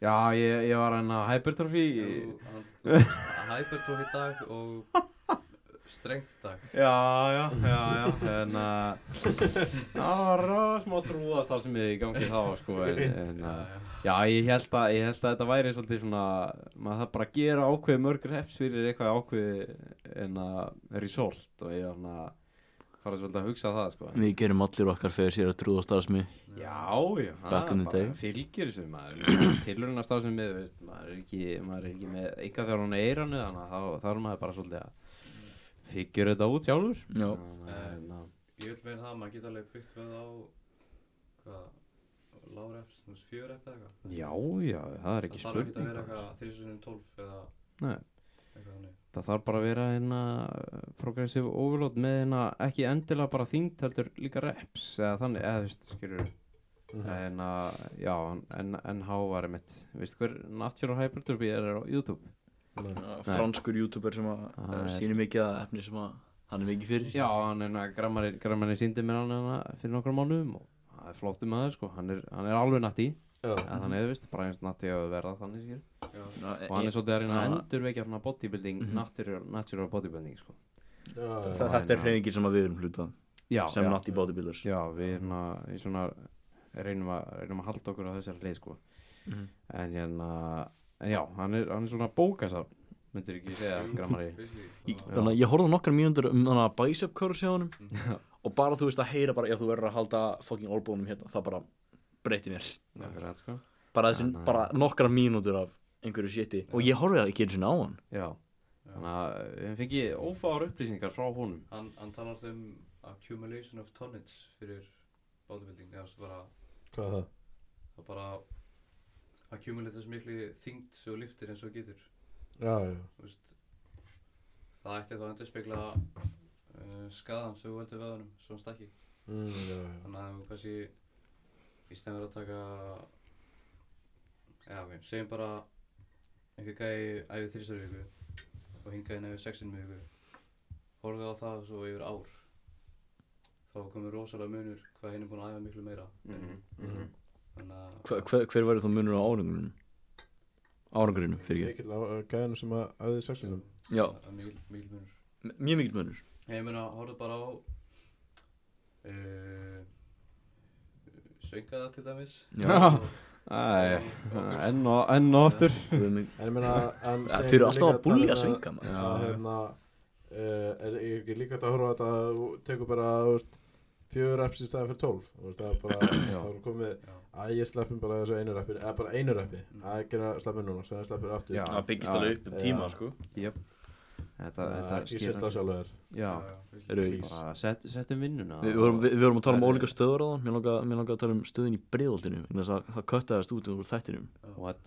[SPEAKER 1] Já, ég, ég var hann að hypertrophy.
[SPEAKER 4] þú- hann- þú varst að hypertrophy dag og strengt dag
[SPEAKER 1] Já, já, já, já, en að, það var rá- smá trúastar sem ég í gangi þá, sko, en, en að,
[SPEAKER 4] Já, já.
[SPEAKER 1] Já, ég held, að, ég held að þetta væri svolítið svona, maður þarf bara að gera ákveðið mörg reps fyrir eitthvað ákveðið en að result og ég var svona, fara svolítið að hugsa það, sko.
[SPEAKER 2] Við gerum allir okkar fyrir sér að trúða starfsmi
[SPEAKER 1] Já, já, það
[SPEAKER 2] Back in the
[SPEAKER 1] bara
[SPEAKER 2] day.
[SPEAKER 1] fylgir þessu, maður, tilurinn að starfsum við, veist, maður er ekki, maður er ekki með enga þegar hún er eiranu, þannig að þá, þá er maður bara svolítið að figgjur þetta út sjálfur.
[SPEAKER 2] Já,
[SPEAKER 1] Þannig að, hérna,
[SPEAKER 4] ég vil meina það að maður geta alveg byggt við á hvað lág reps, þú veist fjör rep eða eitthvað
[SPEAKER 1] Já, já, það er ekki
[SPEAKER 4] það þarf ekki að vera
[SPEAKER 1] spurning.
[SPEAKER 4] eitthvað 3012 eða
[SPEAKER 1] Nei.
[SPEAKER 4] eitthvað þannig
[SPEAKER 1] Það þarf bara að vera hérna progressive overload með hérna ekki endilega bara þyngd heldur líka reps eða þannig, eða þú veist, skilur
[SPEAKER 3] Mhm.
[SPEAKER 1] en að, já, en, en há var mitt, veistu hver Natural Hypertrophy er á YouTube?
[SPEAKER 2] franskur youtuber sem að
[SPEAKER 1] Það
[SPEAKER 2] eh,
[SPEAKER 1] er-
[SPEAKER 2] sýnir mikið að efni sem að hann er mikið fyrir
[SPEAKER 1] Já, hann er að grammari, grammari síndi mér hann hérna fyrir nokkrum mánuðum og það er flottum með það, sko, hann er, hann er alveg natti
[SPEAKER 3] Já.
[SPEAKER 1] eða
[SPEAKER 2] Mhm.
[SPEAKER 1] þannig, þú veist, bara eins natti að verða þannig, skilur
[SPEAKER 2] Ná,
[SPEAKER 1] og hann er
[SPEAKER 2] ég-
[SPEAKER 1] svolítið að reyna að
[SPEAKER 2] Eh, Já. Mhm.
[SPEAKER 1] endurvekja svona bodybuilding, natural, natural bodybuilding, sko
[SPEAKER 3] Já, já.
[SPEAKER 2] þa- Þetta er hreyfingin sem að við erum hluta
[SPEAKER 1] Já,
[SPEAKER 2] sem
[SPEAKER 1] já.
[SPEAKER 2] nátt í bodybuilders
[SPEAKER 1] Já, við hérna, við svona reynum að, reynum að halda okkur á þessari hlið sko.
[SPEAKER 2] Mhm.
[SPEAKER 1] en hérna en já, hann er, hann er svona bókasar myndir ekki segja grammari
[SPEAKER 2] Ég- Þannig að ég horfði á nokkar mínútur um þannig að bicep curls hjá honum og bara þú veist að heyra bara, já þú verður að halda fucking olbónum hérna, það bara breyti mér
[SPEAKER 1] akkurat, sko.
[SPEAKER 2] bara, þessi,
[SPEAKER 1] Já, nei.
[SPEAKER 2] bara nokkar mínútur af einhverju shiti og ég horfði að ekki eins og ná hann
[SPEAKER 1] já, þannig að við fengi ófáar upplýsingar frá honum
[SPEAKER 4] hann, hann talar um accumulation of tonnage fyrir bodybuilding eða þú veist, bara,
[SPEAKER 3] Hvað er það?
[SPEAKER 4] það bara accumulate þessu miklu þyngd svo liftir eins og getur
[SPEAKER 3] Já, já,
[SPEAKER 4] Þú veist, það ætti þá að endurspegla uh, skaðan sem þú veldur veðunum svo hann stakki
[SPEAKER 3] mm, já, já.
[SPEAKER 4] þannig að þú kannski í stæðan verður að taka já ok, segjum bara einhver gæi æfið þrýsar viku og hingaði nefnir sexin viku horfðu á það svo yfir ár þá komur rosalega munur hvað hinn er búin að æfa miklu meira en
[SPEAKER 1] Mhm.
[SPEAKER 4] hinn. þannig að
[SPEAKER 2] hver, hver, hver verður þú munur á árangurinn árangurinn fyrir
[SPEAKER 3] Mikill á uh, gæðinu sem að auðið sexunum
[SPEAKER 2] ekki já,
[SPEAKER 4] það er mikil, mikil munur
[SPEAKER 2] m- mjög mikil munur
[SPEAKER 4] ég meina horfðu bara á uh, svengaða til dæmis
[SPEAKER 2] Já.
[SPEAKER 4] Og-
[SPEAKER 1] Æ,
[SPEAKER 4] og-
[SPEAKER 1] enn og, enn og aftur
[SPEAKER 2] Guð minn.
[SPEAKER 3] En ég meina en
[SPEAKER 2] Ja,
[SPEAKER 3] segjum
[SPEAKER 2] þeir eru
[SPEAKER 3] líka
[SPEAKER 2] alltaf að
[SPEAKER 3] tala
[SPEAKER 2] búlja
[SPEAKER 3] um
[SPEAKER 2] svenga maður.
[SPEAKER 3] að hérna uh, er ég ekki líka hægt að horfa á þetta að þú tekur bara þú veist, fjögur reps í staðan fyrir tólf þú veist, það er bara, þá er komið
[SPEAKER 4] Já.
[SPEAKER 3] að ég sleppum bara þessu einu reppi eða bara einu reppi, að gera sleppum núna sem sleppur aftur
[SPEAKER 1] Já.
[SPEAKER 2] það byggist alveg upp um
[SPEAKER 3] Já.
[SPEAKER 2] tíma sko
[SPEAKER 1] þetta,
[SPEAKER 3] það
[SPEAKER 1] þetta
[SPEAKER 3] er ekki sett á sjálfur þér
[SPEAKER 1] já,
[SPEAKER 4] já, virkilega.
[SPEAKER 2] Eru,
[SPEAKER 1] bara set, settum vinnuna
[SPEAKER 2] við, vorum, við, við vorum að tala um
[SPEAKER 1] Það er-
[SPEAKER 2] ólíka stöður á þann mér langaði langa að tala um stöðin í breiðoltinu það köttaðist út úr þættinum
[SPEAKER 1] what,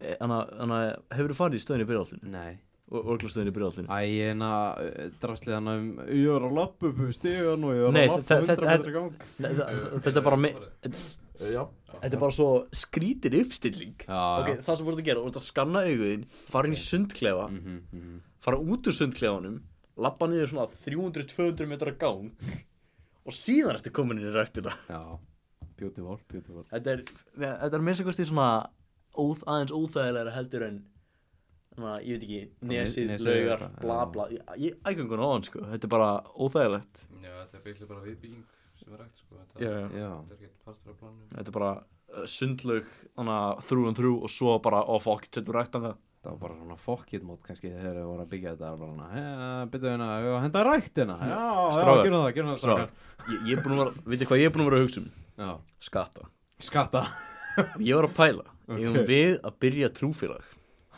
[SPEAKER 2] Eh, Þannig að- þannig að hefur þú farið í stöðin í breiðoltinu
[SPEAKER 1] nei
[SPEAKER 2] orglastöðin í breiðoltinu
[SPEAKER 1] Æ, ég hérna drastlið hann um ég var að lappa upp um stegan og ég var að
[SPEAKER 2] Nei,
[SPEAKER 1] lappa
[SPEAKER 2] þe-
[SPEAKER 1] 100
[SPEAKER 2] þe- þe-
[SPEAKER 1] metra gang
[SPEAKER 2] Nei, þa- þa- Þetta er bara me- Þetta
[SPEAKER 3] Eh, já,
[SPEAKER 2] er bara svo skrítir uppstilling
[SPEAKER 1] Já,
[SPEAKER 2] Ok, það sem voru að gera, voru að skanna auguðin fara inn í sundklefa,
[SPEAKER 1] Mhm, mhm.
[SPEAKER 2] fara út úr sundklefanum labba niður svona 300-200 metra gang og síðan ertu komin inn í rættina
[SPEAKER 1] Já, beautiful, beautiful
[SPEAKER 2] Þetta er, þetta er minnst að kosti svona óð, aðeins óþægilega heldur en svona, ég veit ekki, nesið,
[SPEAKER 1] Nesið,
[SPEAKER 2] laugar,
[SPEAKER 1] já.
[SPEAKER 2] bla bla Ég- ég ægöngun á hann sko, þetta er bara óþægilegt
[SPEAKER 4] Já, þetta er byggilega bara viðbygging sem er rægt sko, þetta
[SPEAKER 2] Já,
[SPEAKER 1] Já,
[SPEAKER 4] þetta er ekkert partur af planinu.
[SPEAKER 2] Þetta er bara uh, sundlaug, þannig að þrú en þrú og svo bara, oh fuck, þetta er rættan það
[SPEAKER 1] það var bara svona fokkið mót kannski þegar þau voru að byggja þetta það var bara svona, byrjuðu hérna, við varum að henda ræktina já, já,
[SPEAKER 2] Strákar.
[SPEAKER 1] gerum það, gerum það
[SPEAKER 2] Strákar.
[SPEAKER 1] strákar
[SPEAKER 2] Ég, ég er búin að vera, veitir hvað ég er búin að vera að hugsa um?
[SPEAKER 1] já,
[SPEAKER 2] Skatta.
[SPEAKER 1] skatta
[SPEAKER 2] Ég var að pæla,
[SPEAKER 1] Ok.
[SPEAKER 2] hefum við að byrja trúfélag?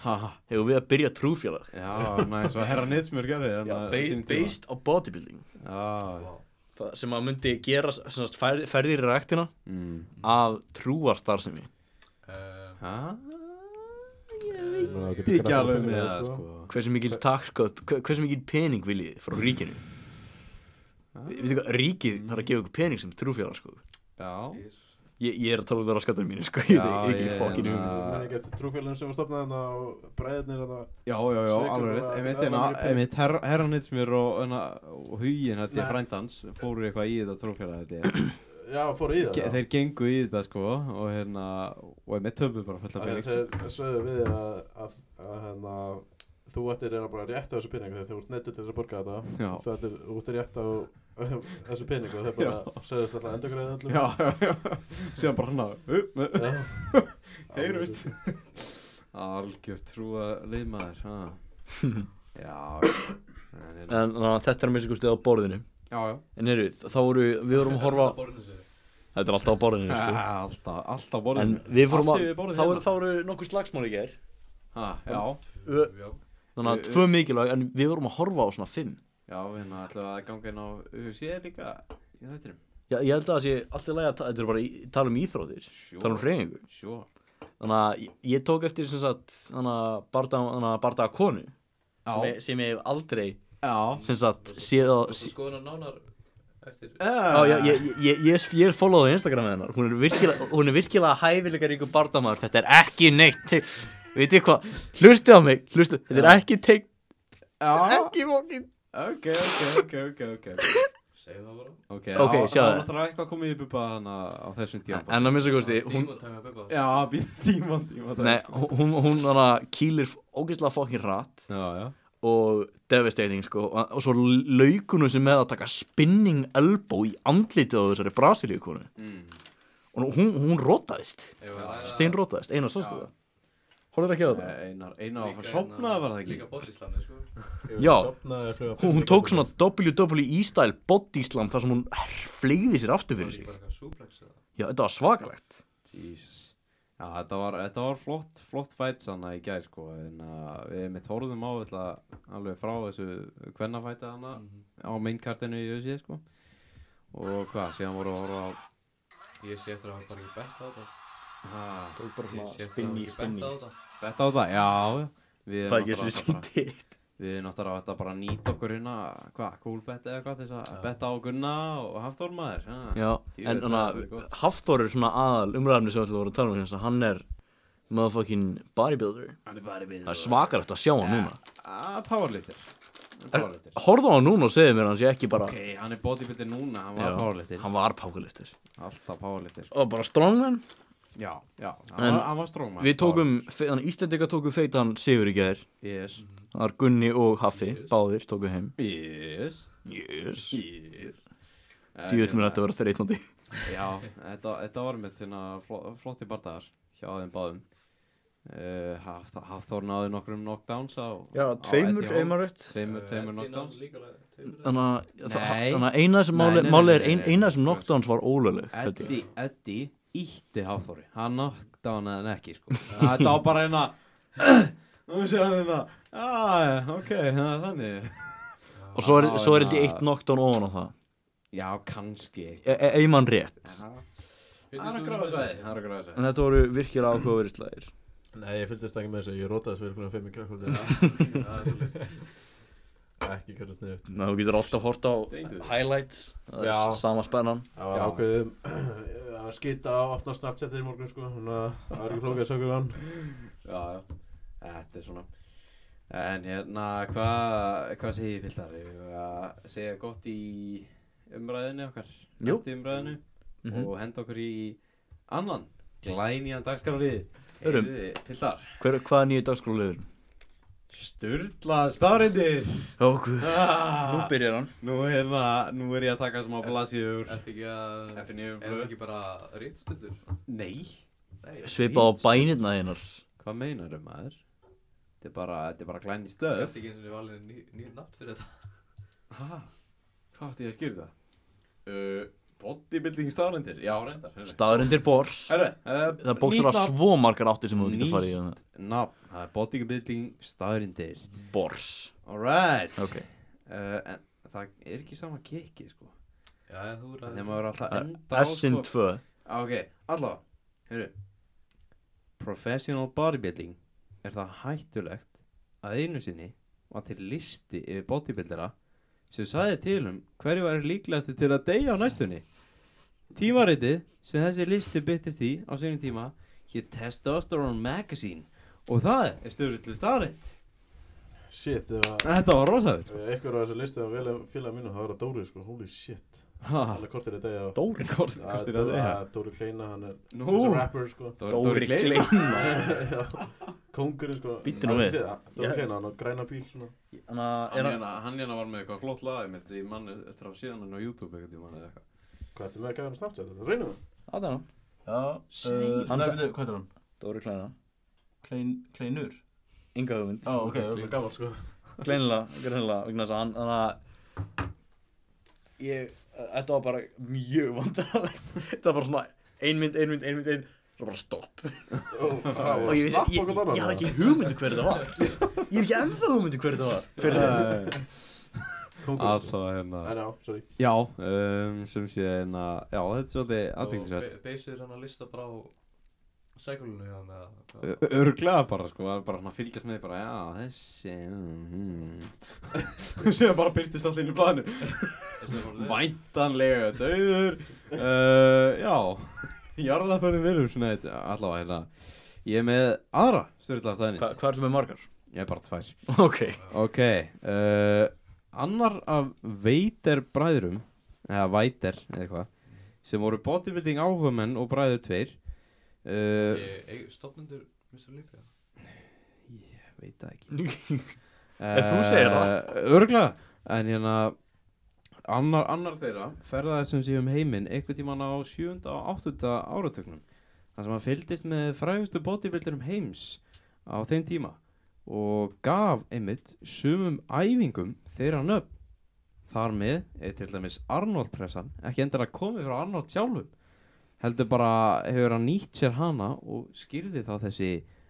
[SPEAKER 1] Ha, ha.
[SPEAKER 2] Hefum við að byrja trúfélag?
[SPEAKER 1] já, næs, og herra Nitsmjör gerði
[SPEAKER 2] Já,
[SPEAKER 1] þarna á
[SPEAKER 2] be
[SPEAKER 1] sínum tíma.
[SPEAKER 2] based á bodybuilding.
[SPEAKER 1] já,
[SPEAKER 2] Það sem að myndi gera sem sagt, fer, ferðir í ræktina
[SPEAKER 1] mm.
[SPEAKER 2] af trúarstarfsemi.
[SPEAKER 4] Uh,
[SPEAKER 1] ha?
[SPEAKER 3] Nú, það
[SPEAKER 1] ég veit
[SPEAKER 3] getur
[SPEAKER 1] ekki
[SPEAKER 3] krakkar
[SPEAKER 1] alveg
[SPEAKER 3] að
[SPEAKER 1] með
[SPEAKER 3] finna
[SPEAKER 1] það
[SPEAKER 3] það,
[SPEAKER 1] sko
[SPEAKER 2] Hversu mikil takkot, hversu mikil pening viljið þið frá ríkinu?
[SPEAKER 1] Ah.
[SPEAKER 2] Við veitum hvað, ríkið þarf að gefa ykkur pening sem trúfélag, sko.
[SPEAKER 1] já,
[SPEAKER 2] Ég, ég er að tala út á raskatum mínu, sko. Ég
[SPEAKER 1] Já,
[SPEAKER 2] er ekki
[SPEAKER 1] ég-
[SPEAKER 2] fokkin um
[SPEAKER 1] Já.
[SPEAKER 3] Man ekki eftir trúfélagin sem var stopnað hérna og bræðirnir hérna
[SPEAKER 1] já, já, já,
[SPEAKER 3] Sveik
[SPEAKER 1] alveg
[SPEAKER 3] bara-
[SPEAKER 1] rétt
[SPEAKER 3] þetta
[SPEAKER 1] einmitt,
[SPEAKER 3] er
[SPEAKER 1] hérna,
[SPEAKER 3] alveg pín.
[SPEAKER 1] einmitt herra, herra Nitsmjör og, hérna- og hugin, þetta er
[SPEAKER 3] Nei.
[SPEAKER 1] frændans fóru eitthvað í þetta trúfélag þetta er
[SPEAKER 3] Já, fóru í það
[SPEAKER 1] Ge
[SPEAKER 3] já.
[SPEAKER 1] þeir gengu í þetta sko og hérna og með töfbu bara fullt af
[SPEAKER 3] Af því
[SPEAKER 1] pening sko.
[SPEAKER 3] að Þeir sögðu við þér að, að, að hérna, þú ættir er bara rétt á þessu peningu þegar þú ert neittur til þess að borga þetta
[SPEAKER 1] Já.
[SPEAKER 3] þú ættir, þú ættir rétt á þessu peningu og þeir bara sögðust alltaf endurgræðið öllum
[SPEAKER 1] já, já, já, síðan bara hana upp með heyrust
[SPEAKER 3] Alveg.
[SPEAKER 1] algjör trúa liðmaður ha. já en, hérna-
[SPEAKER 2] En ná, þetta er að missa ykkur stuð á borðinu.
[SPEAKER 1] já, já,
[SPEAKER 2] En eru, þá voru, við vorum að horfa, þetta er alltaf á borðinu, sko.
[SPEAKER 1] alltaf, alltaf
[SPEAKER 2] En
[SPEAKER 1] Ah, borðinu
[SPEAKER 2] við fórum
[SPEAKER 1] Allt
[SPEAKER 2] að,
[SPEAKER 1] yfir borðið
[SPEAKER 2] þá voru,
[SPEAKER 1] hérna.
[SPEAKER 2] þá voru nokkuð slagsmál í ger
[SPEAKER 1] ha, já,
[SPEAKER 2] Ö-
[SPEAKER 4] Já,
[SPEAKER 2] Þannig að
[SPEAKER 1] Ö-
[SPEAKER 2] tvö mikilvæg, en við vorum að horfa á svona fimm
[SPEAKER 1] já, hérna ætlum við að ganga inn á sé líka í þættinum
[SPEAKER 2] Já, ég held að það sé allt í lagi að ta- þetta er bara í, tala um íþróðir
[SPEAKER 1] Sure.
[SPEAKER 2] Tala um hreyfingu
[SPEAKER 1] sjó,
[SPEAKER 2] Þannig að ég, ég tók eftir sem sagt, þannig að barda, þannig að barda konu sem,
[SPEAKER 1] já,
[SPEAKER 2] ég- sem ég hef aldrei,
[SPEAKER 1] já
[SPEAKER 2] sem sagt, séð á
[SPEAKER 4] þú
[SPEAKER 2] sé,
[SPEAKER 4] skoðan að nánar eftir
[SPEAKER 2] Já, já, ég, ég, ég, ég, ég er followað á Instagram með hennar Hún er virkilega, hún er virkilega hæfilega ríku bardamaður Þetta er ekki neitt til- Vitið hvað, hlustið á mig, hlustið Þetta er ekki teikt,
[SPEAKER 1] já,
[SPEAKER 2] ekki fókin
[SPEAKER 1] ok, ok, ok, ok, ok
[SPEAKER 4] Segðu það bara
[SPEAKER 1] Ok,
[SPEAKER 2] Ok,
[SPEAKER 1] þá-
[SPEAKER 2] sjáðu.
[SPEAKER 1] þá er náttúrulega eitthvað komið í bubba hana á þessum tíma
[SPEAKER 2] En að minnst að kosti, hún,
[SPEAKER 4] Tíma taka bubba
[SPEAKER 1] Já, við tíman, tíman
[SPEAKER 2] Nei, hún, hún hana, kýlir ógeðslega fokkin hratt
[SPEAKER 1] Já, já
[SPEAKER 2] og devastating sko og, og svo laukunum sem með að taka spinning elbow í andlitið á þessari brasilíu konu
[SPEAKER 1] mm.
[SPEAKER 2] og hún, hún rótaðist,
[SPEAKER 4] Eigum við að ræða-
[SPEAKER 2] stein rótaðist, eina sástu
[SPEAKER 1] Já.
[SPEAKER 2] það Hólar ekki á þetta?
[SPEAKER 1] Einar, einar að
[SPEAKER 4] Líka hérna,
[SPEAKER 1] fara sopna var það ekki
[SPEAKER 4] Líka bodyslamni, sko
[SPEAKER 2] Já,
[SPEAKER 3] Sofnaði, flaug á
[SPEAKER 2] hún, hún
[SPEAKER 3] fyrstu
[SPEAKER 2] tók
[SPEAKER 3] gangi.
[SPEAKER 2] svona WWE style body slam þar sem hún fleigði sér aftur
[SPEAKER 4] Það er
[SPEAKER 2] fyrir sig
[SPEAKER 4] ekki bara eitthvað suplex eða
[SPEAKER 2] Já, þetta var svakalegt
[SPEAKER 1] Jesus Já, þetta var, þetta var flott, flott fæt sanna í gær sko en að við mitt horfðum á ætla, alveg frá þessu kvennafæti hana
[SPEAKER 4] Mhm.
[SPEAKER 1] á mainkartinu í USA sko og hvað, síðan voru að horfa á
[SPEAKER 4] Ég sé eftir að hafa bara ekki bett á þetta
[SPEAKER 1] ha,
[SPEAKER 2] Tók bara
[SPEAKER 4] Ég sé eftir að hafa ekki bett á þetta
[SPEAKER 1] Þetta á það, já, já Við
[SPEAKER 2] Það er ekki
[SPEAKER 1] náttúrulega
[SPEAKER 2] eins og
[SPEAKER 1] bara-
[SPEAKER 2] sýndið
[SPEAKER 1] Við náttúrulega þetta bara að nýta okkur hérna, hvað, kúlbett eða hvað til þess að betta á Gunna og Hafþór maður. ha?
[SPEAKER 2] Já,
[SPEAKER 1] Djú,
[SPEAKER 2] en
[SPEAKER 1] þetta
[SPEAKER 2] þannig
[SPEAKER 1] er alveg
[SPEAKER 2] að
[SPEAKER 1] gott.
[SPEAKER 2] Hafþór er svona aðal umræðumni sem við ætlum að voru að tala um hérna hann er motherfucking bodybuilder
[SPEAKER 1] Hann er bara við.
[SPEAKER 2] það er svakarlegt að sjá hann núna
[SPEAKER 1] Að, Ah, powerlifter. Hann er Powerlifter.
[SPEAKER 2] horfðu á hann núna og segðu mér að hann sé ekki bara
[SPEAKER 1] Ok, hann er bodybuilder núna, hann
[SPEAKER 2] Já,
[SPEAKER 1] var powerlifter.
[SPEAKER 2] hann var powerlifter
[SPEAKER 1] Alltaf powerlifter.
[SPEAKER 2] og bara strongman
[SPEAKER 1] Já, já, hann,
[SPEAKER 2] En
[SPEAKER 1] var, hann var strong maður.
[SPEAKER 2] við tókum þannig Íslendinga tóku feitan Sigur í gær
[SPEAKER 1] Yes.
[SPEAKER 2] það er Gunni og Haffi báðir tóku heim
[SPEAKER 1] Yes.
[SPEAKER 2] yes
[SPEAKER 1] Yes. En
[SPEAKER 2] djúvill
[SPEAKER 1] hérna,
[SPEAKER 2] mér þetta að vera þreitnandi
[SPEAKER 1] Já, þetta, þetta var mitt svona fló- flotti bardagar hjá þeim báðum. Uh, Hafþór Hafþór náði nokkrum knockdowns á á Eddie Hall.
[SPEAKER 2] rétt
[SPEAKER 1] Tveimur,
[SPEAKER 4] Eh,
[SPEAKER 1] tveimur
[SPEAKER 4] Eddie
[SPEAKER 1] knockdowns
[SPEAKER 4] náði líka alveg tveimur eða-
[SPEAKER 2] þannig að
[SPEAKER 1] Nei.
[SPEAKER 2] þannig að eina sem
[SPEAKER 1] Nei, nei,
[SPEAKER 2] máli
[SPEAKER 1] nei,
[SPEAKER 2] máli er
[SPEAKER 1] nei,
[SPEAKER 2] ein-
[SPEAKER 1] nei,
[SPEAKER 2] eina
[SPEAKER 1] nei.
[SPEAKER 2] sem knockdowns var ólögleg held ég.
[SPEAKER 1] Eddi, Eddi ítti Hafþóri hann nátt á hann eða ekki sko. þetta var bara eina nú sé hann eina ah, ok, það er þannig
[SPEAKER 2] og svo er
[SPEAKER 1] Já,
[SPEAKER 2] svo
[SPEAKER 1] hérna-
[SPEAKER 2] er þetta eitt knockdown ofan á það E-
[SPEAKER 1] já, kannski
[SPEAKER 2] einmann rétt
[SPEAKER 1] það
[SPEAKER 4] Hittir
[SPEAKER 1] er að
[SPEAKER 4] þú
[SPEAKER 1] gráða
[SPEAKER 4] með
[SPEAKER 1] sæði það er að gráða
[SPEAKER 2] en þetta voru virkilega áhugaverið slæðir
[SPEAKER 3] Nei, ég fylgdist ekki með þessu, ég rótaði þessu fyrir fyrir fimm í kjökkvöldi
[SPEAKER 4] sæði? Það er svolítið
[SPEAKER 3] Ekki kjökkvöldi sniðut
[SPEAKER 2] Ná, þú getur alltaf hort á
[SPEAKER 1] sæði
[SPEAKER 2] highlights það er
[SPEAKER 3] Já.
[SPEAKER 2] s- sama spennan
[SPEAKER 3] Það var
[SPEAKER 1] Já.
[SPEAKER 3] ákveðið að skita á opna Snapchat í morgun sko Þannig að það var ekki flókið að sjá hverju hann
[SPEAKER 1] já, já, þetta er svona en hérna, hvað hvað segir Pildar að segja gott í umræðinu okkar
[SPEAKER 2] Jú.
[SPEAKER 1] Gott í umræðinu
[SPEAKER 2] Mhm.
[SPEAKER 1] og henda okkur í annan glænýjan dagskrálið
[SPEAKER 2] Förum.
[SPEAKER 1] Pildar
[SPEAKER 2] Hver, hvað er nýju dagskólulegur?
[SPEAKER 1] Sturla staðrindir
[SPEAKER 2] Ógur
[SPEAKER 1] ah,
[SPEAKER 2] byrjar hann
[SPEAKER 1] Nú er það, nú er ég að taka smá blasíður
[SPEAKER 4] Ertu ekki að
[SPEAKER 1] FNU
[SPEAKER 4] Erum við ekki bara rítstöldur?
[SPEAKER 1] Nei
[SPEAKER 2] Svipa á bænirna þínar
[SPEAKER 1] Hvað meinaru maður? Þetta er bara, þetta er bara glæni
[SPEAKER 4] Ég
[SPEAKER 1] stöð
[SPEAKER 4] eftir ekki eins og ég valið nýtt ný nafn fyrir þetta
[SPEAKER 1] Hæ? Hvað átti ég að skýra það? Uh, bodybuilding staðrendir? Já, reyndar heyrðu.
[SPEAKER 8] Staðurindir bors
[SPEAKER 1] Herru, uh,
[SPEAKER 8] Það bókstur að svo margar áttir sem þú getur farið í þannig.
[SPEAKER 1] Nýtt nafn, það er bodybuilding staðrendir
[SPEAKER 8] Bors
[SPEAKER 1] Alright
[SPEAKER 8] Ok
[SPEAKER 1] uh, En það er ekki sama kiki, sko
[SPEAKER 4] Já, já, þú er að
[SPEAKER 1] Þegar maður er alltaf að enda á,
[SPEAKER 8] S-in
[SPEAKER 1] sko
[SPEAKER 8] 2
[SPEAKER 1] Ah, Ok, allavega, heyrðu Professional bodybuilding Er það hættulegt að einu sinni var til listi yfir bodybuildera sem sagði til um hverju væri líklegasti til að deyja á næstunni Tímaritið sem þessi listi byttist í á sínum tíma hér Testosterone Magazine og það er stöðuristlu staðrætt
[SPEAKER 3] Shit, ef að
[SPEAKER 1] Þetta var rosalega
[SPEAKER 3] ef einhver á þessu listu að velja félag mínu þá er það Dóri sko, holy shit
[SPEAKER 1] Dóri
[SPEAKER 8] Ah.
[SPEAKER 3] Alveg kortir í dag að
[SPEAKER 1] Kort, kostir að deyja
[SPEAKER 3] að Dóri Kleina, hann er
[SPEAKER 1] Nú.
[SPEAKER 3] þessi rapper sko
[SPEAKER 8] Dóri Kleina
[SPEAKER 3] Já, Kóngurinn sko
[SPEAKER 8] Bíddu nú
[SPEAKER 3] Hafið
[SPEAKER 8] við.
[SPEAKER 3] þið séð það? Dóri
[SPEAKER 8] Já.
[SPEAKER 3] Kleina, hann á græna bíl svona
[SPEAKER 2] Þannig að
[SPEAKER 1] Hann
[SPEAKER 2] er
[SPEAKER 1] hérna, hann hérna var með eitthvað flott lag mitt í manni eftir að síðan hann á YouTube eitthvað tíma eða eitthvað.
[SPEAKER 3] Hvað ertu með að gæða hann snabbt þetta? Reynum við
[SPEAKER 2] það hann Já,
[SPEAKER 8] Uh, Shit.
[SPEAKER 2] hann sagði
[SPEAKER 8] veitu,
[SPEAKER 2] hvað er hann? Dóri Kleina
[SPEAKER 8] Klein, Kleinur
[SPEAKER 2] Inga hugmynd
[SPEAKER 8] Ó, ok,
[SPEAKER 3] Það er gaman sko
[SPEAKER 2] Kleinlega, greinlega, vegna þess að hann Þannig að Ég, þetta var bara mjög vandrarlegt Þetta var bara svona Einmynd, einmynd, einmynd, einmynd Svo bara stopp
[SPEAKER 3] Og
[SPEAKER 8] Og ég,
[SPEAKER 3] slapp
[SPEAKER 8] ég, ég,
[SPEAKER 3] okkur þannig
[SPEAKER 8] ég hafði ekki
[SPEAKER 2] um
[SPEAKER 8] hugmyndu hver þetta var Ég hef ekki ennþá hugmyndu hver þetta var Hver þetta var
[SPEAKER 1] eh,
[SPEAKER 3] Kóngurinn sko
[SPEAKER 1] Alltaf hérna.
[SPEAKER 3] En já, sorry
[SPEAKER 1] Já, um, sem sé hérna, já þetta er svolítið aðdenglisvert.
[SPEAKER 4] Beisir hann að lista bara á seglunu hjá hann eða hvað?
[SPEAKER 1] Örglega bara sko, það er bara hann að fylgjast með því bara, já þessi, mm, mm. Sér bara byrtist allir inn í blæðinu.
[SPEAKER 4] Þessi er bara leið.
[SPEAKER 1] Væntanlega döður, uh, já, jarðaförðum verður svona þetta, allavega hérna. Ég er með aðra styrla
[SPEAKER 2] Hva,
[SPEAKER 1] staðinni,
[SPEAKER 2] Hvað ertu með margar?
[SPEAKER 1] ég er bara tvær.
[SPEAKER 8] Ok
[SPEAKER 1] Ok, uh, annar af veitir bræðurum, eða vætir, eða eitthvað, sem voru bodybuilding áhugamenn og bræður tveir. Uh,
[SPEAKER 4] Ég- ég- Stofnendur Mr. Olympia
[SPEAKER 1] Ég veit það ekki.
[SPEAKER 8] Ef þú segir
[SPEAKER 1] það. Örglega, en hérna, annar, annar þeirra ferðaði sem sé um heiminn einhvern tíman á 7. og 8. áratögnum. Það sem hann fylgdist með frægustu bodybuildurum heims á þeim tíma og gaf einmitt sumum æfingum þeirra nöfn. Þar með er til dæmis Arnold pressan ekki endilega komið frá Arnold sjálfum heldur bara hefur hann nýtt sér hana og skýrði þá þessi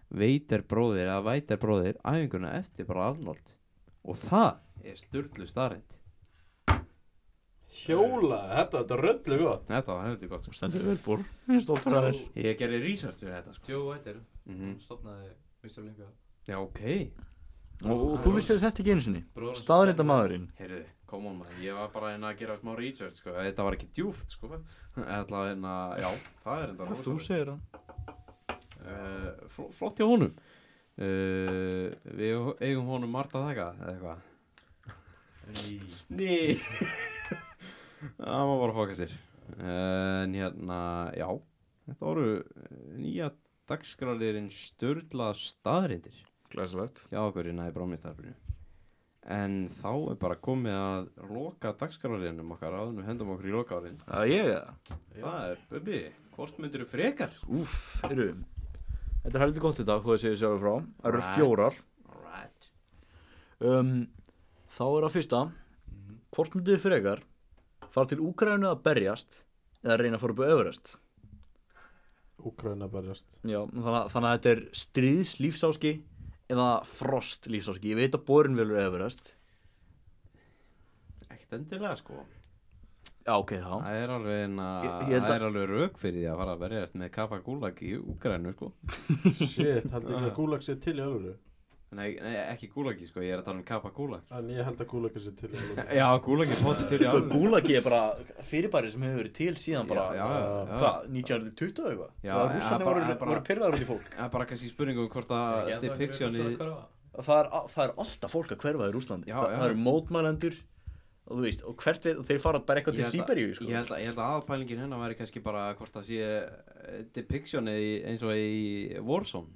[SPEAKER 1] veitir bróðir eða vætir bróðir æfinguna eftir bara Arnold og það er styrlu starrend
[SPEAKER 3] Hjóla, þetta, þetta er röllu gott
[SPEAKER 1] Þetta var hefði gott sko.
[SPEAKER 8] Stendur vel bór Ég er stoltur af þér
[SPEAKER 1] Ég gerði research fyrir þetta sko.
[SPEAKER 4] Joe Whiter
[SPEAKER 1] mm
[SPEAKER 4] stofnaði Mr. Olympia
[SPEAKER 1] Já ok
[SPEAKER 8] Og, og þú vissir þetta ekki einu sinni
[SPEAKER 4] Bróðir hans-
[SPEAKER 8] Staðurinda maðurinn
[SPEAKER 1] Heyrðu, come on maður, ég var bara hérna að gera smá research sko. Þetta var ekki djúft sko. Ætla hérna, já, það er enda rosalegt.
[SPEAKER 8] segir hann
[SPEAKER 1] uh, fl flott hjá honum uh, við eigum honum margt að þakka eða eitthvað
[SPEAKER 4] Í
[SPEAKER 1] ný það má bara fóka sér uh, en hérna, já þetta voru eh, nýja dagskrarleirinn störla staðrindir
[SPEAKER 8] Glæsilegt
[SPEAKER 1] hjá okkur hérna í brámiðstarfinu en þá er bara komið að loka dagskrarleirinnum okkar áður en við hendum okkur í loka árin
[SPEAKER 8] Það er ég það
[SPEAKER 1] það er, Bubi, hvort myndir þú frekar?
[SPEAKER 8] Úf, eru Þetta er heldur gott í dag, þú þessi ég sjálfur frá Það eru
[SPEAKER 1] Right.
[SPEAKER 8] fjórar
[SPEAKER 1] alright
[SPEAKER 8] um, Þá er að fyrsta
[SPEAKER 1] Mhm.
[SPEAKER 8] Hvort myndið þið frekar fara til Úkraunu að berjast eða reyna að fara upp á Everest
[SPEAKER 3] Úkraina berjast
[SPEAKER 8] Já, þannig, að- þannig að þetta er stríðs lífsáski eða frost lífsáski Ég veit að borin velur Everest
[SPEAKER 1] ekkert endilega sko
[SPEAKER 8] Já, ok, þá
[SPEAKER 1] Það er alveg en að,
[SPEAKER 8] Ég- ég held
[SPEAKER 1] það
[SPEAKER 8] að-
[SPEAKER 1] er alveg rauk fyrir því að fara að verjast með Kappa Gulag í Úgrænu, sko.
[SPEAKER 3] Shit, held ekki að Gulag sé til í alvöru
[SPEAKER 1] Nei, nei, ekki Gulagi, sko, ég er að tala um Kappa Gulag.
[SPEAKER 3] En ég held að Gulag sé til í alvöru
[SPEAKER 1] Já, Gulag er fótt fyrir alveg.
[SPEAKER 8] Gúlagi er bara fyrirbæri sem hefur verið til síðan bara
[SPEAKER 1] Sko, Já, já, já.
[SPEAKER 8] Hvað, 1920 eitthvað?
[SPEAKER 1] Já,
[SPEAKER 8] Það
[SPEAKER 1] en það
[SPEAKER 8] rússanir voru,
[SPEAKER 1] bara- það bara-
[SPEAKER 8] voru pyrraðar út í fólk
[SPEAKER 1] Það er bara kannski spurningum hvort að
[SPEAKER 4] Ekki ennþá einhverjir
[SPEAKER 1] depictionið...
[SPEAKER 4] að hverfa?
[SPEAKER 8] það er, það er alltaf fólk að hverfa í Rúslandi
[SPEAKER 1] Já,
[SPEAKER 8] það,
[SPEAKER 1] já.
[SPEAKER 8] það eru mótmælendur og þú veist, og hvert við, þeir fara bara eitthvað
[SPEAKER 1] Ég
[SPEAKER 8] til
[SPEAKER 1] held að-
[SPEAKER 8] Sýberíu sko.
[SPEAKER 1] Ég held að, ég held að aðpælingin hennar væri kannski bara hvort að sé eh, depictionið í- eins og í Warzone.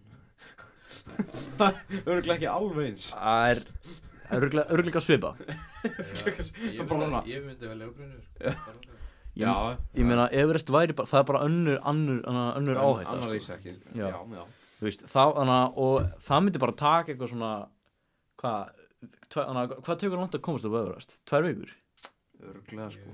[SPEAKER 1] Örgulega ekki alveg eins.
[SPEAKER 8] það er örgleika svipa
[SPEAKER 4] Já, ég
[SPEAKER 1] Bara
[SPEAKER 4] myndi-
[SPEAKER 1] svona.
[SPEAKER 4] Ég myndi velja Úkraínu, sko. Bara Úkraínu.
[SPEAKER 8] ég meina, Everest væri bara, það er bara önnur, annur, annur, önnur áhætta
[SPEAKER 1] Annar
[SPEAKER 8] sko.
[SPEAKER 1] ísækir.
[SPEAKER 8] Já.
[SPEAKER 1] Já, já.
[SPEAKER 2] þú veist, það, þannig að og það myndi bara taka eitthvað svona hvað, tve- þannig að hvað tekur langt að komast upp öðrast? Tvær vikur?
[SPEAKER 1] Örglega sko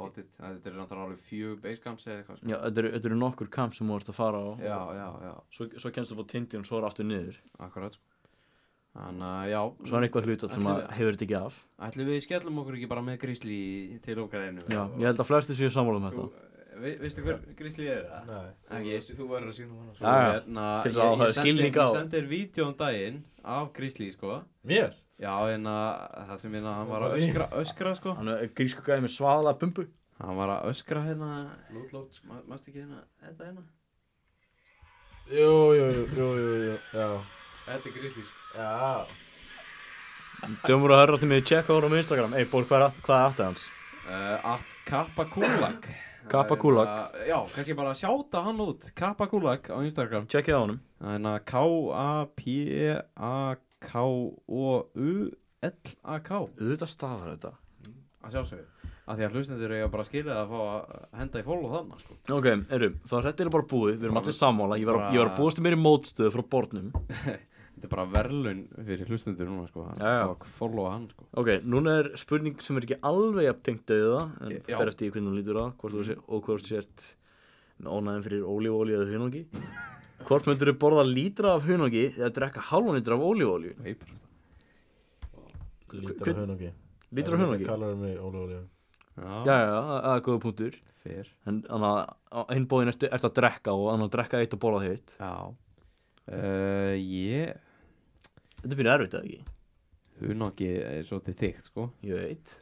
[SPEAKER 1] Pottit, þetta er náttúrulega alveg fjög basecamps eða eitthvað sko
[SPEAKER 2] Já, þetta eru, þetta eru nokkur kamp sem þú ert að fara á
[SPEAKER 1] Já, já, já,
[SPEAKER 2] svo, svo kennst þú bara tindin og svo er aftur niður
[SPEAKER 1] akkurat sko Þannig að já,
[SPEAKER 2] svo er eitthvað hlutat sem að
[SPEAKER 1] Ætli-
[SPEAKER 2] hefur þetta ekki af
[SPEAKER 1] ætlum við skellum okkur ekki bara með grísli til okkar einu
[SPEAKER 2] Já, ég held að flesti séu sammála um þetta
[SPEAKER 1] Þú, vi, veistu hver grísli er það?
[SPEAKER 3] Nei.
[SPEAKER 1] Ekki,
[SPEAKER 4] Þú verður að sína hana sko.
[SPEAKER 1] Svo
[SPEAKER 2] Já, já.
[SPEAKER 1] hérna,
[SPEAKER 2] Til þess að
[SPEAKER 1] ég-
[SPEAKER 2] hafa
[SPEAKER 1] ég sendi-
[SPEAKER 2] skilning á.
[SPEAKER 1] Ég sendi þér vídeo um daginn af Grizzly sko
[SPEAKER 3] Mér?
[SPEAKER 1] Já, en að það sem hérna, hann var að
[SPEAKER 3] Hvað segir?
[SPEAKER 1] öskra, öskra sko
[SPEAKER 2] Hann er grísku gæði með svala bumbu
[SPEAKER 1] Hann var að öskra hérna,
[SPEAKER 4] Lótlót sko
[SPEAKER 1] ma- manstu ekki hérna, þetta hérna
[SPEAKER 3] Jú, jú, jú, jú, jú, jú, já.
[SPEAKER 4] Þetta er grísli sko
[SPEAKER 3] Já.
[SPEAKER 2] Dömur að hörra því mig að checka hún á Instagram Ey, Borg, hvað er aft- hvað er aftur hans?
[SPEAKER 1] uh, At Kappa Kulak
[SPEAKER 2] Kappa Kulak.
[SPEAKER 1] Það er, uh, Já, kannski bara sjáta hann út Kappa Kulak á Instagram
[SPEAKER 2] Checkið á honum
[SPEAKER 1] Það er hérna E K-A-P-A-K-O-U-L-A-K
[SPEAKER 2] Auðvitað stafar þetta
[SPEAKER 1] Að sjálfsögðu Af því að hlustendur eiga bara að skilja að fá að henda í follow þarna sko
[SPEAKER 2] Ok, erum, þá er þetta eiginlega bara búið Við erum
[SPEAKER 1] Bara-
[SPEAKER 2] allir sammála Ég var,
[SPEAKER 1] bara-
[SPEAKER 2] ég var að búast til meiri mótstöðu frá bornum
[SPEAKER 1] Þetta er bara verðlun fyrir hlustendur núna sko að
[SPEAKER 2] Já, já.
[SPEAKER 1] fá að followa hann sko
[SPEAKER 2] Ok, núna er spurning sem er ekki alveg jafntengt dauða en
[SPEAKER 1] Já.
[SPEAKER 2] fer eftir í hvernig hún lítur á hvort þú sé, og hvort þú sért með ónæðin fyrir ólífóli eða hunangi Hvort myndur þú borða lítra af hunangi eða drekka hálfan lítra af ólífóli
[SPEAKER 1] Veiprast
[SPEAKER 3] Lítur
[SPEAKER 2] hvern-
[SPEAKER 3] að hunangi.
[SPEAKER 2] Lítra af hunangi?
[SPEAKER 3] Kallar mig Óli Óli.
[SPEAKER 2] Já, já, það það er góða punktur
[SPEAKER 1] Fyrr
[SPEAKER 2] en þannig að á einn bóðin ertu, ertu að drekka og þannig að drekka eitt og borða hitt
[SPEAKER 1] Já uh, Ég
[SPEAKER 2] Þetta byrja erfitt eða ekki?
[SPEAKER 1] Hunangi er svolítið þygt sko
[SPEAKER 2] Ég veit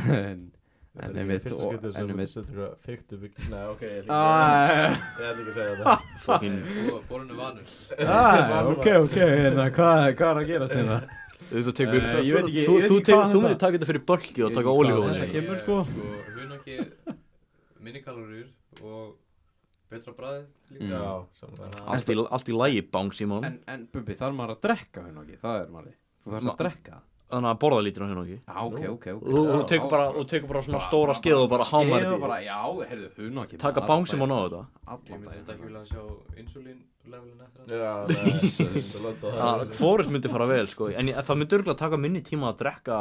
[SPEAKER 1] En En
[SPEAKER 3] Þetta er
[SPEAKER 1] einmitt
[SPEAKER 3] ekki fyrsta
[SPEAKER 1] og-
[SPEAKER 3] skiptið
[SPEAKER 1] en
[SPEAKER 3] sem
[SPEAKER 1] einmitt-
[SPEAKER 3] þú setur eitthvað þykkt upp í- Nei, ok, ég ætla ekki að-
[SPEAKER 1] Ah,
[SPEAKER 3] ég ætla ekki að segja þetta.
[SPEAKER 2] Fucking
[SPEAKER 4] Borðinu vanur sko.
[SPEAKER 1] ah, ok, ok, hérna, hvað hva er að gera hérna? þetta?
[SPEAKER 2] Þú tekur,
[SPEAKER 1] Eh,
[SPEAKER 2] þú,
[SPEAKER 1] ég veit ekki-
[SPEAKER 2] þú,
[SPEAKER 1] ég veit
[SPEAKER 2] þú,
[SPEAKER 1] ekki
[SPEAKER 2] tekur,
[SPEAKER 1] hvað
[SPEAKER 2] þú
[SPEAKER 1] þetta-
[SPEAKER 2] myndir taka þetta fyrir bölki og
[SPEAKER 1] Ég
[SPEAKER 2] taka
[SPEAKER 1] veit ekki hvað
[SPEAKER 2] hérna. ólífóli
[SPEAKER 1] þetta kemur, sko.
[SPEAKER 4] Ég, sko hunangi minni kaloríur og betra bræðið líka
[SPEAKER 1] Mm.
[SPEAKER 3] Já, samanlega.
[SPEAKER 4] Þannig að
[SPEAKER 2] Allt í, allt í lægi bang Simon
[SPEAKER 1] En, en Bubi, þarf maður að drekka hunangi? Það er maður Þú þarfst
[SPEAKER 2] Ma-
[SPEAKER 1] að drekka það?
[SPEAKER 2] Þannig að borða lítra af hunangi
[SPEAKER 1] Já, ok, ok, ok
[SPEAKER 2] Þú þú tekur bara, þú tekur bara svona stóra skeið og bara hámar
[SPEAKER 1] þetta
[SPEAKER 2] þetta í.
[SPEAKER 1] bara, Já, heyrðu, hunangi
[SPEAKER 2] Taka bang sem hann á þetta
[SPEAKER 4] Ég
[SPEAKER 1] Allan
[SPEAKER 4] myndi þetta ekki
[SPEAKER 1] daginn
[SPEAKER 4] vilja sjá insulín levelin eftir það
[SPEAKER 3] Já, nei, þetta landa
[SPEAKER 1] Ah,
[SPEAKER 2] Það-
[SPEAKER 3] það.
[SPEAKER 2] Hvorugt myndi fara vel sko En ég- það myndi örgulega taka minni tíma að drekka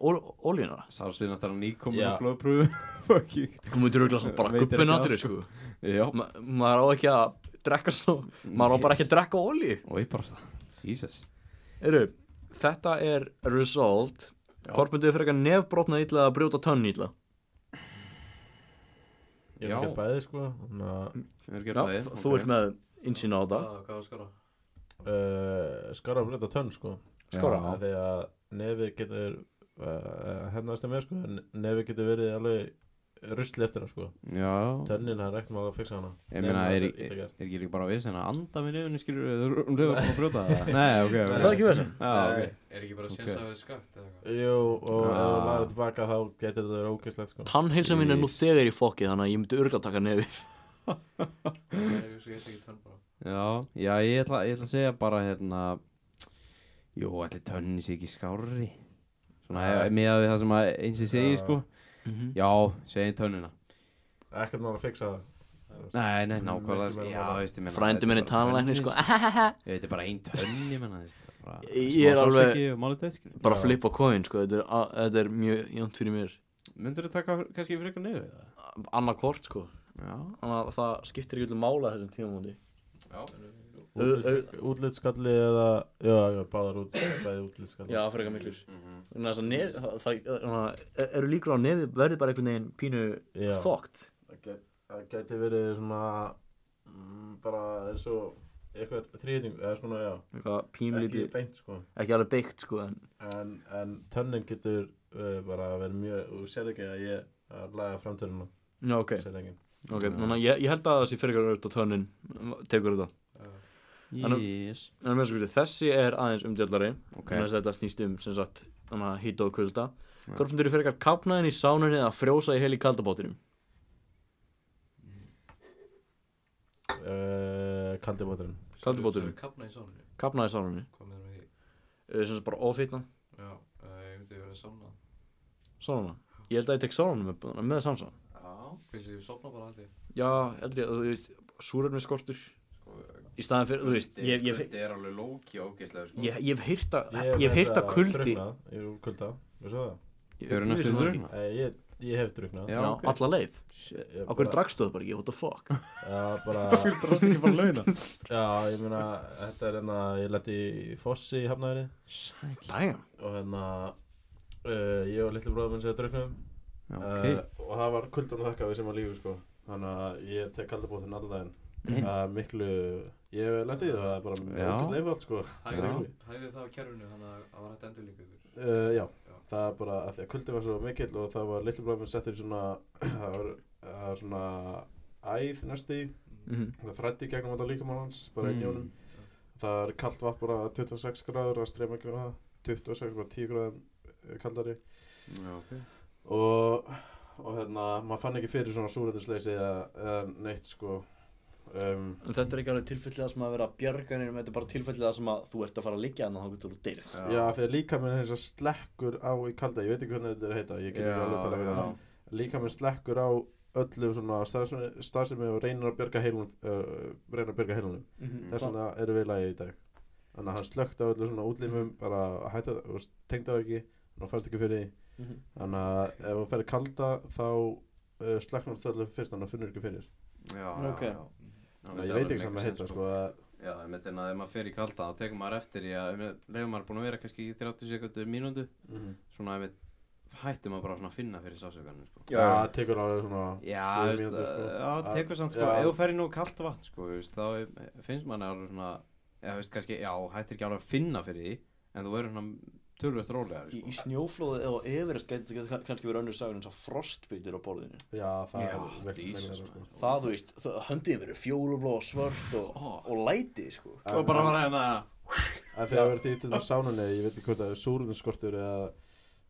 [SPEAKER 2] ólíuna
[SPEAKER 1] Sálsýnast er hann nýkomin
[SPEAKER 3] Já.
[SPEAKER 1] á blóðpröfu Fucking
[SPEAKER 2] Þú myndi örgulega svona bara
[SPEAKER 1] Veitir ekki
[SPEAKER 2] gubbin
[SPEAKER 1] af,
[SPEAKER 2] aðrið sko
[SPEAKER 1] Já
[SPEAKER 2] Ma- Maður á ekki að drekka svo Maður á bara ekki að drekka ólí
[SPEAKER 1] Og ég bara það Jesus
[SPEAKER 2] Eru, þetta er resolved Hvort myndið fyrir eitthvað nefbrotna illa eða brjóta tönn illa
[SPEAKER 3] Ég er
[SPEAKER 1] Já.
[SPEAKER 3] ekki bæði, sko. Þannig að
[SPEAKER 1] Kemur ekki
[SPEAKER 2] Já,
[SPEAKER 1] að ræðið
[SPEAKER 2] Þú ert með insýn á þetta
[SPEAKER 4] Ah, Hvað var skara?
[SPEAKER 3] uh, skara að breyta tönn, sko.
[SPEAKER 2] Skora
[SPEAKER 3] Af Því að nefið getur, uh, hennast það með, sko, en nefið getur verið alveg rusli eftir það, sko.
[SPEAKER 1] Já
[SPEAKER 3] Tönnin, það er ekkert maður að fixa hana.
[SPEAKER 1] Ég meina, er,
[SPEAKER 3] Nefið er
[SPEAKER 1] er,
[SPEAKER 3] illa
[SPEAKER 1] er
[SPEAKER 3] gert.
[SPEAKER 1] ekki líka bara að vissina að anda með nefnum skilur um lögum að brjóta það? Nei, ok, ok.
[SPEAKER 2] Er Það er ekki vesen
[SPEAKER 1] Já, ok.
[SPEAKER 4] Er ekki bara
[SPEAKER 1] Ok.
[SPEAKER 4] séns að það verið skakt eða eitthvað?
[SPEAKER 3] Jú, og ef þú
[SPEAKER 1] Ah.
[SPEAKER 3] laðir það tilbaka þá getur þetta verið ógeðslegt, sko.
[SPEAKER 2] Tannheilsa mín er nú þegar í fokki þannig að ég myndi örgulega taka nefið
[SPEAKER 4] Ég er ekki svo ekki tönn bara
[SPEAKER 1] Já, já, ég ætla, ég ætla að segja bara hérna, jú, ætli tönni sé ekki skárri. Svona,
[SPEAKER 3] Já.
[SPEAKER 1] ja. miðað við það sem að eins og segir,
[SPEAKER 3] Já.
[SPEAKER 1] sko.
[SPEAKER 2] Mhm.
[SPEAKER 1] Já, segjum tönnina.
[SPEAKER 3] Ekkert maður að fixa það.
[SPEAKER 1] Nei, nei,
[SPEAKER 3] Mm,
[SPEAKER 1] nákvæmlega,
[SPEAKER 3] miklu meira
[SPEAKER 1] já,
[SPEAKER 3] bara-
[SPEAKER 1] veist, ég meina.
[SPEAKER 2] Frændi minn er tannlæknir sko
[SPEAKER 1] Þetta er bara ein tönn, ég meina, veist. það er bara
[SPEAKER 2] Ég er
[SPEAKER 1] smá
[SPEAKER 2] alveg-
[SPEAKER 1] sársauki og Málið dætt, skilur.
[SPEAKER 2] Bara
[SPEAKER 3] Já.
[SPEAKER 2] flip á coin sko Þetta er, a- þetta er mjög jæmt fyrir mér
[SPEAKER 1] Myndur þú taka kannski frekar nefnum það?
[SPEAKER 2] Annað kort sko
[SPEAKER 1] Já.
[SPEAKER 2] Þannig að það skiptir ekki öllu mála á þessum tímamóti
[SPEAKER 3] Útlits- Útlitskalli eða, já, já, báðar út, bæði útlitskalli.
[SPEAKER 2] Já, frekar miklur Þannig að þess að nef, það, það, þannig að e, eru líkur á nefið verði bara einhvern veginn pínu
[SPEAKER 3] Já.
[SPEAKER 2] fokkt
[SPEAKER 3] Það gæti, það gæti verið svona mm, bara eins og eitthvað þrýðing eða svona já,
[SPEAKER 2] Eitthvað
[SPEAKER 3] ekki
[SPEAKER 2] pínlítið,
[SPEAKER 3] beint sko
[SPEAKER 2] ekki alveg beikt sko en
[SPEAKER 3] en, en tönnin getur uh, bara verið mjög, þú sér ekki að ég að laga framtörnuna,
[SPEAKER 2] Já, ok,
[SPEAKER 3] okay. sér ekki
[SPEAKER 2] ok, þannig að ég, ég held að það sé frekar auðvitað tönnin tekur þetta Þannig-
[SPEAKER 1] Yes.
[SPEAKER 2] En mér sko, þessi er aðeins umdjallari
[SPEAKER 1] Ok.
[SPEAKER 2] Þannig að þetta snýst um, sem sagt, þannig að hýta og kulda Hvort myndir þú frekar kapnaðin í sánunni eða frjósa í heil í kaldabótinum?
[SPEAKER 3] uh, kaldi bóturinn
[SPEAKER 2] Kaldur báturinn.
[SPEAKER 4] Kapna í sánunni
[SPEAKER 2] Kapnaði í sánunni,
[SPEAKER 4] Hvað með því?
[SPEAKER 2] Eh, sem sagt bara ofýtna
[SPEAKER 4] Já, eh, ég myndi vera að sofna
[SPEAKER 2] Sánuna Ég held að ég tek sánunum með, með sánsa
[SPEAKER 4] Já Finnst þið að ég sofna bara alltaf
[SPEAKER 2] Já, held ég að þú veist, súrefniskortur
[SPEAKER 4] Sko,
[SPEAKER 2] í staðan fyrir, þú veist, ég, ég,
[SPEAKER 1] Kuldi er alveg lóki og ógeðslega sko.
[SPEAKER 2] ég, ég hef heyrt að, Ah, ég hef heyrt að kuldi
[SPEAKER 3] drukna, Ég hef kulda, við sagðum það
[SPEAKER 1] Hefurðu næstum
[SPEAKER 2] Ég vissi það
[SPEAKER 1] drukknað?
[SPEAKER 3] Nei, Ég, ég hef druknað
[SPEAKER 1] Já,
[SPEAKER 2] Já,
[SPEAKER 1] ok.
[SPEAKER 2] alla leið
[SPEAKER 3] Shit, ég
[SPEAKER 2] Á hverju
[SPEAKER 3] bara-
[SPEAKER 2] dragstöðu bara, ég, what the fuck
[SPEAKER 3] Já, bara
[SPEAKER 2] Drast ekki bara launa
[SPEAKER 3] Já, ég meina, þetta er hérna Ég lendi í Fossi í Hafnæri
[SPEAKER 2] Damn
[SPEAKER 3] Og hérna uh, Ég og litli bróðum minn segja druknum
[SPEAKER 1] Já,
[SPEAKER 3] okay.
[SPEAKER 1] ok.
[SPEAKER 3] uh, og það var kuldan að þakka við sem að lífi sko þannig að ég tek kalda bóð þennan allan
[SPEAKER 1] Nei.
[SPEAKER 3] daginn að miklu ég lendi í það, það er bara
[SPEAKER 1] Mhm. Já.
[SPEAKER 3] mjög einfalt sko
[SPEAKER 1] Já.
[SPEAKER 4] Hægði hægði það á kerfinu þannig að það var hægt endur líka ykkur.
[SPEAKER 3] uh, já,
[SPEAKER 4] Já.
[SPEAKER 3] það er bara að því að kuldin var svo mikill og það var litlu bróðum settur í svona það var uh, svona æð næstu í.
[SPEAKER 2] Mhm.
[SPEAKER 3] það frætti í gegnum alltaf líkamann hans bara mm. í njónum það er kalt vatn bara 26 gráður að streyma ekki með það 26 gráður, 10 gráðum eh, kaldari
[SPEAKER 1] Já, ok.
[SPEAKER 3] og, og hérna, maður fann ekki fyrir svona súrætisleysi eða, eða neitt sko um,
[SPEAKER 9] En þetta er ekki alveg tilfellið það sem að vera björganir Þetta er bara tilfellið það sem að þú ert að fara að liggja þannig að þá getur þú deyrð
[SPEAKER 3] já. þegar líkaminn er þess að slekkur á í kalda, ég veit ekki hvernig þetta er að heita ég get
[SPEAKER 1] Já,
[SPEAKER 3] ekki alveg talað
[SPEAKER 1] já.
[SPEAKER 3] við það líkaminn slekkur á öllu svona starfsemi, starfsemi og reynir að bjarga heilunum uh, reynir að bjarga heilunum
[SPEAKER 2] Mhm. Mm.
[SPEAKER 3] þess vegna eru við í lagi í dag þannig að hann slökkt á öllu svona útlimum bara að hætta það, þú veist, tengdi það ekki þannig að fannst ekki fyrir því
[SPEAKER 9] Mhm.
[SPEAKER 3] þannig að ef þú ferði kalda þá uh, slöknar það öllu fyrst þannig að finnur ekki fyrir
[SPEAKER 1] Já,
[SPEAKER 9] Ok.
[SPEAKER 1] já, já. Já,
[SPEAKER 3] Nei,
[SPEAKER 1] þetta
[SPEAKER 3] ég veit
[SPEAKER 1] alveg
[SPEAKER 3] ekki sem
[SPEAKER 1] make
[SPEAKER 3] að heita
[SPEAKER 1] sense,
[SPEAKER 3] sko að-
[SPEAKER 1] Já, ég myndi en að ef maður fer í kalda þá tekur maður eftir í að leiðum maður er búin að vera kannski í 30 sekundur mínúndu svona ef við hættum maður bara svona að finna fyrir sásugarnir sko.
[SPEAKER 3] Já, það tekur alveg svona
[SPEAKER 1] Já,
[SPEAKER 3] sjö
[SPEAKER 1] veist,
[SPEAKER 3] mínútur, sko.
[SPEAKER 1] já, tekur samt sko,
[SPEAKER 3] Já.
[SPEAKER 1] ef þú fer í nú kalt vatn sko, veist, þá er- finnst maður alveg svona eða veist kannski, já, hættir ekki alveg að finna fyrir því en þú verður svona tölvöld rólegar
[SPEAKER 9] Í,
[SPEAKER 1] sko.
[SPEAKER 9] í snjóflóði eða Everest gæti þetta kannski verið önnur sagur en það frostbytur á borðinu
[SPEAKER 3] Já, það
[SPEAKER 1] Já,
[SPEAKER 3] er vel-
[SPEAKER 1] Jesus,
[SPEAKER 3] meira, sko.
[SPEAKER 1] man.
[SPEAKER 9] Það, þú veist, það- höndin verið fjólublá og svört og, og læti, sko
[SPEAKER 1] Það var hérna- bara að reyna
[SPEAKER 3] En þegar verður því til þess sánunni, ég veit ekki hvort það er súrunnskortur eða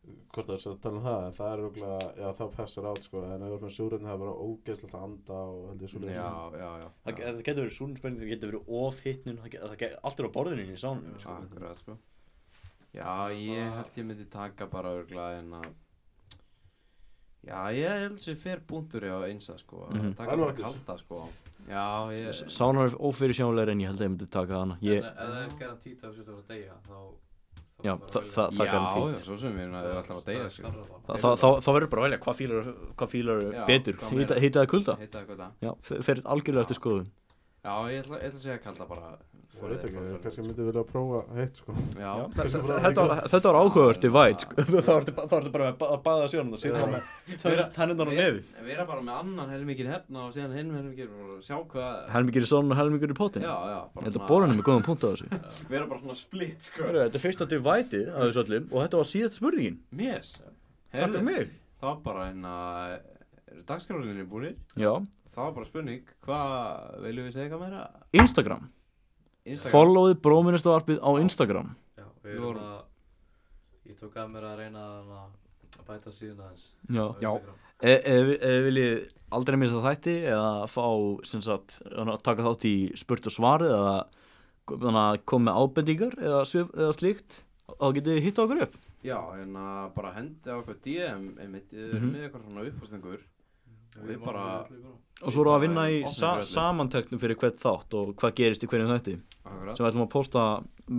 [SPEAKER 3] hvort það er svo að tala um það en það er okkur, já, þá passar át sko en ef þú er með súrunni það er bara ógeðslegt að anda og held ég sko. svo
[SPEAKER 1] Já, já, já,
[SPEAKER 9] Það,
[SPEAKER 1] já.
[SPEAKER 9] það getur verið súlinspenning, það getur verið ofhittnun, það, get- það getur allt er á borðinu í sánum, sko
[SPEAKER 1] Akkurat sko Já, ég held ég myndi taka bara örgla en að Já, ég held sem fer búntur á einsa sko
[SPEAKER 2] Mhm.
[SPEAKER 1] að taka
[SPEAKER 3] Alveg
[SPEAKER 1] bara
[SPEAKER 3] aftur.
[SPEAKER 1] kalda sko Já, ég
[SPEAKER 2] Sánar er ófyrirsjónlegar en ég held að ég myndi taka hana
[SPEAKER 4] En
[SPEAKER 2] ég,
[SPEAKER 4] ef það er garantít að þú setur að deyja þá... þá
[SPEAKER 2] Já,
[SPEAKER 4] bara
[SPEAKER 2] þa-
[SPEAKER 4] velja-
[SPEAKER 2] þa- það
[SPEAKER 1] Já,
[SPEAKER 2] garantít.
[SPEAKER 1] já, svo sem ég meina, við ætlum að deyja sko
[SPEAKER 4] Starra
[SPEAKER 2] Þá,
[SPEAKER 4] bara.
[SPEAKER 2] þá, þá, þá verður bara að velja hvað fílar, hvað fílar
[SPEAKER 1] Já,
[SPEAKER 2] betur,
[SPEAKER 1] hvað meira.
[SPEAKER 2] hýta eða kulda
[SPEAKER 1] Heita eitthvað það
[SPEAKER 2] Já, fer- fer algjörlega eftir skoðun
[SPEAKER 1] Já, ég ætla, ég ætla að segja kalda bara sko.
[SPEAKER 3] Ég veit ekki,
[SPEAKER 1] for-
[SPEAKER 3] ég kannski myndi vilja prófa heitt sko
[SPEAKER 1] Já,
[SPEAKER 3] Kannski bara-
[SPEAKER 2] Þetta var- þetta var áhugavert í væt sko.
[SPEAKER 9] Þá ertu ba- þá ertu bara með ba- að baða sjónum og sitja með tennundan á nefið
[SPEAKER 1] við erum bara með annan helmingir hefna og síðan hinn helmingir og sjá hvað
[SPEAKER 2] Helmingur í sónun og helmingur í
[SPEAKER 1] Já,
[SPEAKER 2] potinu
[SPEAKER 1] já,
[SPEAKER 2] Ég
[SPEAKER 1] bara
[SPEAKER 2] held að borunum er góðan punkt á þessu
[SPEAKER 1] Við erum bara svona split sko
[SPEAKER 2] Heyrðu, Þetta er fyrsta divætið af þessu öllum og þetta var síðast spurningin
[SPEAKER 1] Mér
[SPEAKER 2] Takk fyrir mig
[SPEAKER 1] Það var bara hérna, eru dagskrálinni búinir?
[SPEAKER 2] Já,
[SPEAKER 1] Það var bara spurning, hvað viljum við segja eitthvað meira?
[SPEAKER 2] Instagram Followið bróministavarpið á Instagram
[SPEAKER 4] Já, við erum að... Ég tók að mér að reyna að að bæta síðan aðeins.
[SPEAKER 2] Já,
[SPEAKER 4] á
[SPEAKER 1] Já.
[SPEAKER 4] Instagram.
[SPEAKER 2] E- Ef ef viljið aldrei missa þætti eða fá sem sagt að taka þátt í spurt og svar eða þannig að koma með ábendingar eða, svif, eða slíkt þá getið þið hitta okkur upp
[SPEAKER 1] Já, hérna bara hendi á okkur DM einmitt, við erum
[SPEAKER 2] Mhm.
[SPEAKER 1] með eitthvað svona uppástengur
[SPEAKER 4] Við
[SPEAKER 1] Við
[SPEAKER 4] erum
[SPEAKER 1] bara,
[SPEAKER 4] að bæta líka.
[SPEAKER 2] og svo erum við að vinna í
[SPEAKER 1] Opnum
[SPEAKER 2] sa
[SPEAKER 1] fyrir öllu.
[SPEAKER 2] samanteknum fyrir hvert þátt og hvað gerist í hverjum þætti sem
[SPEAKER 1] akkurat,
[SPEAKER 2] við ætlum að posta,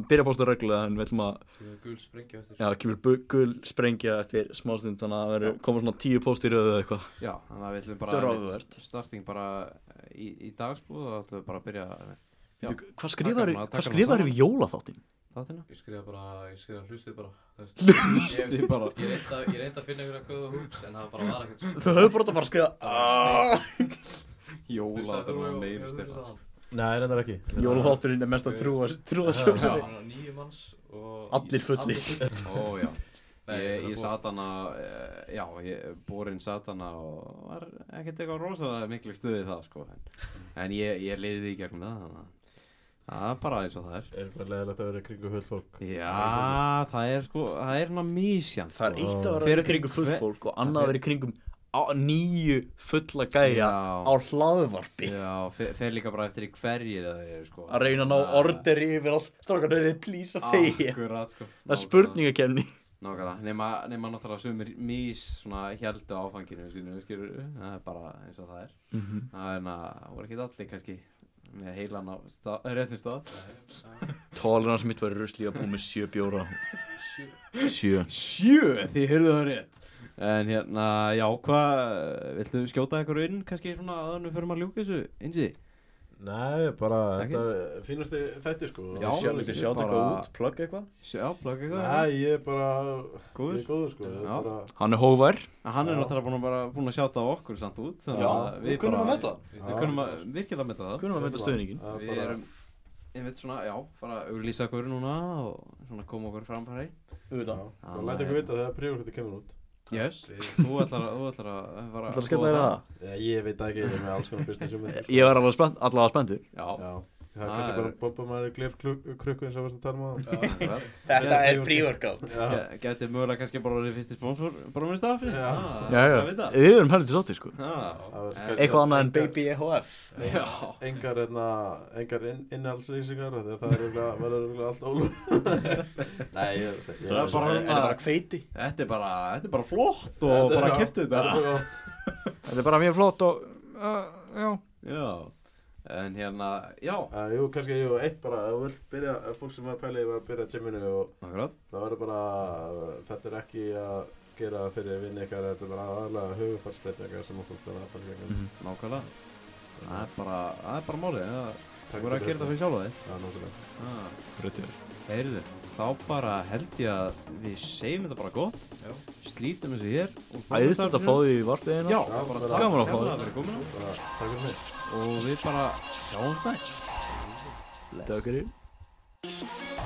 [SPEAKER 2] byrja að posta reglulega en við ætlum að,
[SPEAKER 4] Við erum gul sprengja eftir.
[SPEAKER 2] já, kemur buggul sprengja eftir smástund þannig að það verður koma svona tíu post í röðu eða eitthvað
[SPEAKER 1] já, þannig að við ætlum bara
[SPEAKER 2] Þetta er
[SPEAKER 1] einmitt
[SPEAKER 2] áhugavert.
[SPEAKER 1] Starting bara í, í dag sko, þá ætlum við bara að byrja Já.
[SPEAKER 2] Bíddu, Hvað skrifar,
[SPEAKER 1] Taka hana- taka
[SPEAKER 2] hvað
[SPEAKER 1] hana
[SPEAKER 2] skrifar
[SPEAKER 1] saman.
[SPEAKER 2] við jólaþáttin?
[SPEAKER 1] þáttina
[SPEAKER 4] Ég skrifa bara, ég skrifa hlusti bara Hlusti bara Ég reyndi að, ég reyndi að finna einhverja góða húks en það bara var ekkert sko.
[SPEAKER 2] Þau höfðu bara að skrifa Ah!
[SPEAKER 1] Jóla,
[SPEAKER 4] Hlustaði
[SPEAKER 1] þetta var
[SPEAKER 4] þú-
[SPEAKER 1] meiri
[SPEAKER 4] hefur þú
[SPEAKER 1] stefna
[SPEAKER 4] hlustað á hann?
[SPEAKER 3] Nei, þetta er ekki
[SPEAKER 2] Jólaþátturinn er mest að trúa, trúa
[SPEAKER 4] Já,
[SPEAKER 2] sjálf
[SPEAKER 4] hann var Níu manns og
[SPEAKER 2] Allir fullir.
[SPEAKER 1] Ó, já
[SPEAKER 4] Nei,
[SPEAKER 1] Ég,
[SPEAKER 4] þetta
[SPEAKER 1] ég
[SPEAKER 4] er
[SPEAKER 1] sat hana, eh, já, ég, borin sat hana og var ekkert eitthvað rosalega miklu stuði það, sko. En, en ég, ég leiði í gegnum það, þannig að það er bara eins og það er.
[SPEAKER 3] Er bara leðilegt að vera í kringu höll fólk
[SPEAKER 1] Já, það er sko, það er svona sko. mísjan.
[SPEAKER 2] Það er eitt að
[SPEAKER 1] Fyrir
[SPEAKER 2] vera í kringum fullt
[SPEAKER 1] hver-
[SPEAKER 2] fólk og annað að vera í kringum á- níu fulla gæja
[SPEAKER 1] Já.
[SPEAKER 2] á hlaðvarpi
[SPEAKER 1] Já, fe- fer líka bara eftir í hverjir það er, sko.
[SPEAKER 2] að reyna að ná orderi yfir allt strákan er að plýsa
[SPEAKER 1] Ah,
[SPEAKER 2] þegi
[SPEAKER 1] Akkurat, sko.
[SPEAKER 2] það er spurningakefni
[SPEAKER 1] Nákvæmlega, nema, nema náttúrulega sumir mís svona heldu áfanginu sínu, skilur, það er bara eins og það er. Það er en að, voru ekki allir kannski með heilan á stað, réttum stað
[SPEAKER 8] Tolerans mitt var rusli að búið með sjö bjóra
[SPEAKER 4] Sjö.
[SPEAKER 8] Sjö
[SPEAKER 1] sjö, þið hyrðu það rétt en hérna, já, hvað viltu skjóta eitthvað inn, kannski svona aðan við förum að ljúka þessu, einsi
[SPEAKER 3] Nei, bara,
[SPEAKER 1] Ekki?
[SPEAKER 3] þetta er fínasti þætti sko
[SPEAKER 1] Já,
[SPEAKER 3] Það er
[SPEAKER 1] viltu
[SPEAKER 3] ekki-
[SPEAKER 1] sjá-
[SPEAKER 2] Sjáta eitthvað
[SPEAKER 1] bara-
[SPEAKER 2] út, plugga eitthvað
[SPEAKER 1] sjá, plaka eitthvað,
[SPEAKER 3] Nei, ég er bara, ég
[SPEAKER 1] góður
[SPEAKER 3] er góður sko Ég er
[SPEAKER 1] Já.
[SPEAKER 3] bara,
[SPEAKER 8] Hann er hóvær
[SPEAKER 1] En hann er
[SPEAKER 3] Já.
[SPEAKER 1] náttúrulega búin að, bara, búin að sjáta á okkur samt út þannig
[SPEAKER 3] Já,
[SPEAKER 1] að
[SPEAKER 2] við kunnum
[SPEAKER 1] bara-
[SPEAKER 2] að meta.
[SPEAKER 1] Við kunnum að virkilega að meta það
[SPEAKER 8] Hvernig var þetta stöðningin?
[SPEAKER 3] það er
[SPEAKER 1] Við
[SPEAKER 3] bara-
[SPEAKER 1] erum, einmitt svona, já, bara auglýsa okkur núna og svona koma okkur fram framfæri
[SPEAKER 2] Auðvitað
[SPEAKER 3] Já, og læta ykkur vita þegar prífurkvöldi kemur út
[SPEAKER 1] Yes,
[SPEAKER 4] Við-
[SPEAKER 1] þú ætlar að, þú ætlar að fara
[SPEAKER 8] Ætlarðu að
[SPEAKER 1] skoða
[SPEAKER 8] skella þér Sko, það?
[SPEAKER 3] Já, ég veit ekki, ég er með alls konar business um
[SPEAKER 2] sko.
[SPEAKER 3] þetta
[SPEAKER 8] Ég var alveg spennt, allavega spenntur
[SPEAKER 1] Já,
[SPEAKER 3] Já, það er
[SPEAKER 1] Það
[SPEAKER 3] kannski
[SPEAKER 1] er-
[SPEAKER 3] bara bomba maður glir krukku eins og varst að tala um á
[SPEAKER 1] akkurat.
[SPEAKER 2] Þetta er pre-workout
[SPEAKER 3] Já,
[SPEAKER 1] Gæ- Gæti mögulega kannski bara orðið fyrsti sponsor bara með stafi
[SPEAKER 3] Já.
[SPEAKER 8] Já, já, við erum heldur sáttir sko
[SPEAKER 1] já
[SPEAKER 3] það var
[SPEAKER 1] En-
[SPEAKER 3] kannski-
[SPEAKER 8] Eitthvað annað en baby
[SPEAKER 2] E
[SPEAKER 8] EHF
[SPEAKER 1] Já,
[SPEAKER 3] Engar, enna, engar inn, innhaldslýsingar þegar það er örugglega- verður örugglega allt ólum Nei, ég er ég-
[SPEAKER 1] Það er bara-
[SPEAKER 8] Þetta er bara kveiti
[SPEAKER 1] þetta er bara, þetta er bara flott og bara kæftu
[SPEAKER 3] Það
[SPEAKER 1] þetta
[SPEAKER 3] er bara gott
[SPEAKER 8] Þetta er bara mjög flott og uh, Já
[SPEAKER 1] Já, en hérna, já
[SPEAKER 3] Uh, jú, kannski, jú, eitt bara, ef þú vilt byrja, ef fólk sem er pælið var að byrja gyminu og
[SPEAKER 1] Akkurat,
[SPEAKER 3] það verður bara, uh, þetta er ekki að gera fyrir vinn ykkar, þetta er bara aðalega hugufarsbreytingar sem fólk þarf að fara í
[SPEAKER 1] Mhm.
[SPEAKER 3] gegnum.
[SPEAKER 1] nákvæmlega Það er bara, það er bara málið það- Þú
[SPEAKER 3] Takk
[SPEAKER 1] verður að gera þetta fyrir sjálfa þig
[SPEAKER 3] Já, náttúrulega.
[SPEAKER 1] Ah.
[SPEAKER 8] Röttur
[SPEAKER 1] Heyrðu, þá bara held ég að við segjum þetta bara gott Já. Slítum þessu hér og-
[SPEAKER 8] Æðist þetta að fá því í hérna. varpiðina
[SPEAKER 1] Já,
[SPEAKER 3] Já,
[SPEAKER 1] bara
[SPEAKER 3] bara-
[SPEAKER 1] takk
[SPEAKER 8] Gaman að fá
[SPEAKER 1] kærlega
[SPEAKER 8] þig.
[SPEAKER 1] fyrir komuna
[SPEAKER 3] Bara, takk fyrir mig.
[SPEAKER 1] Og við bara sjáumst næst
[SPEAKER 8] Takk fyrir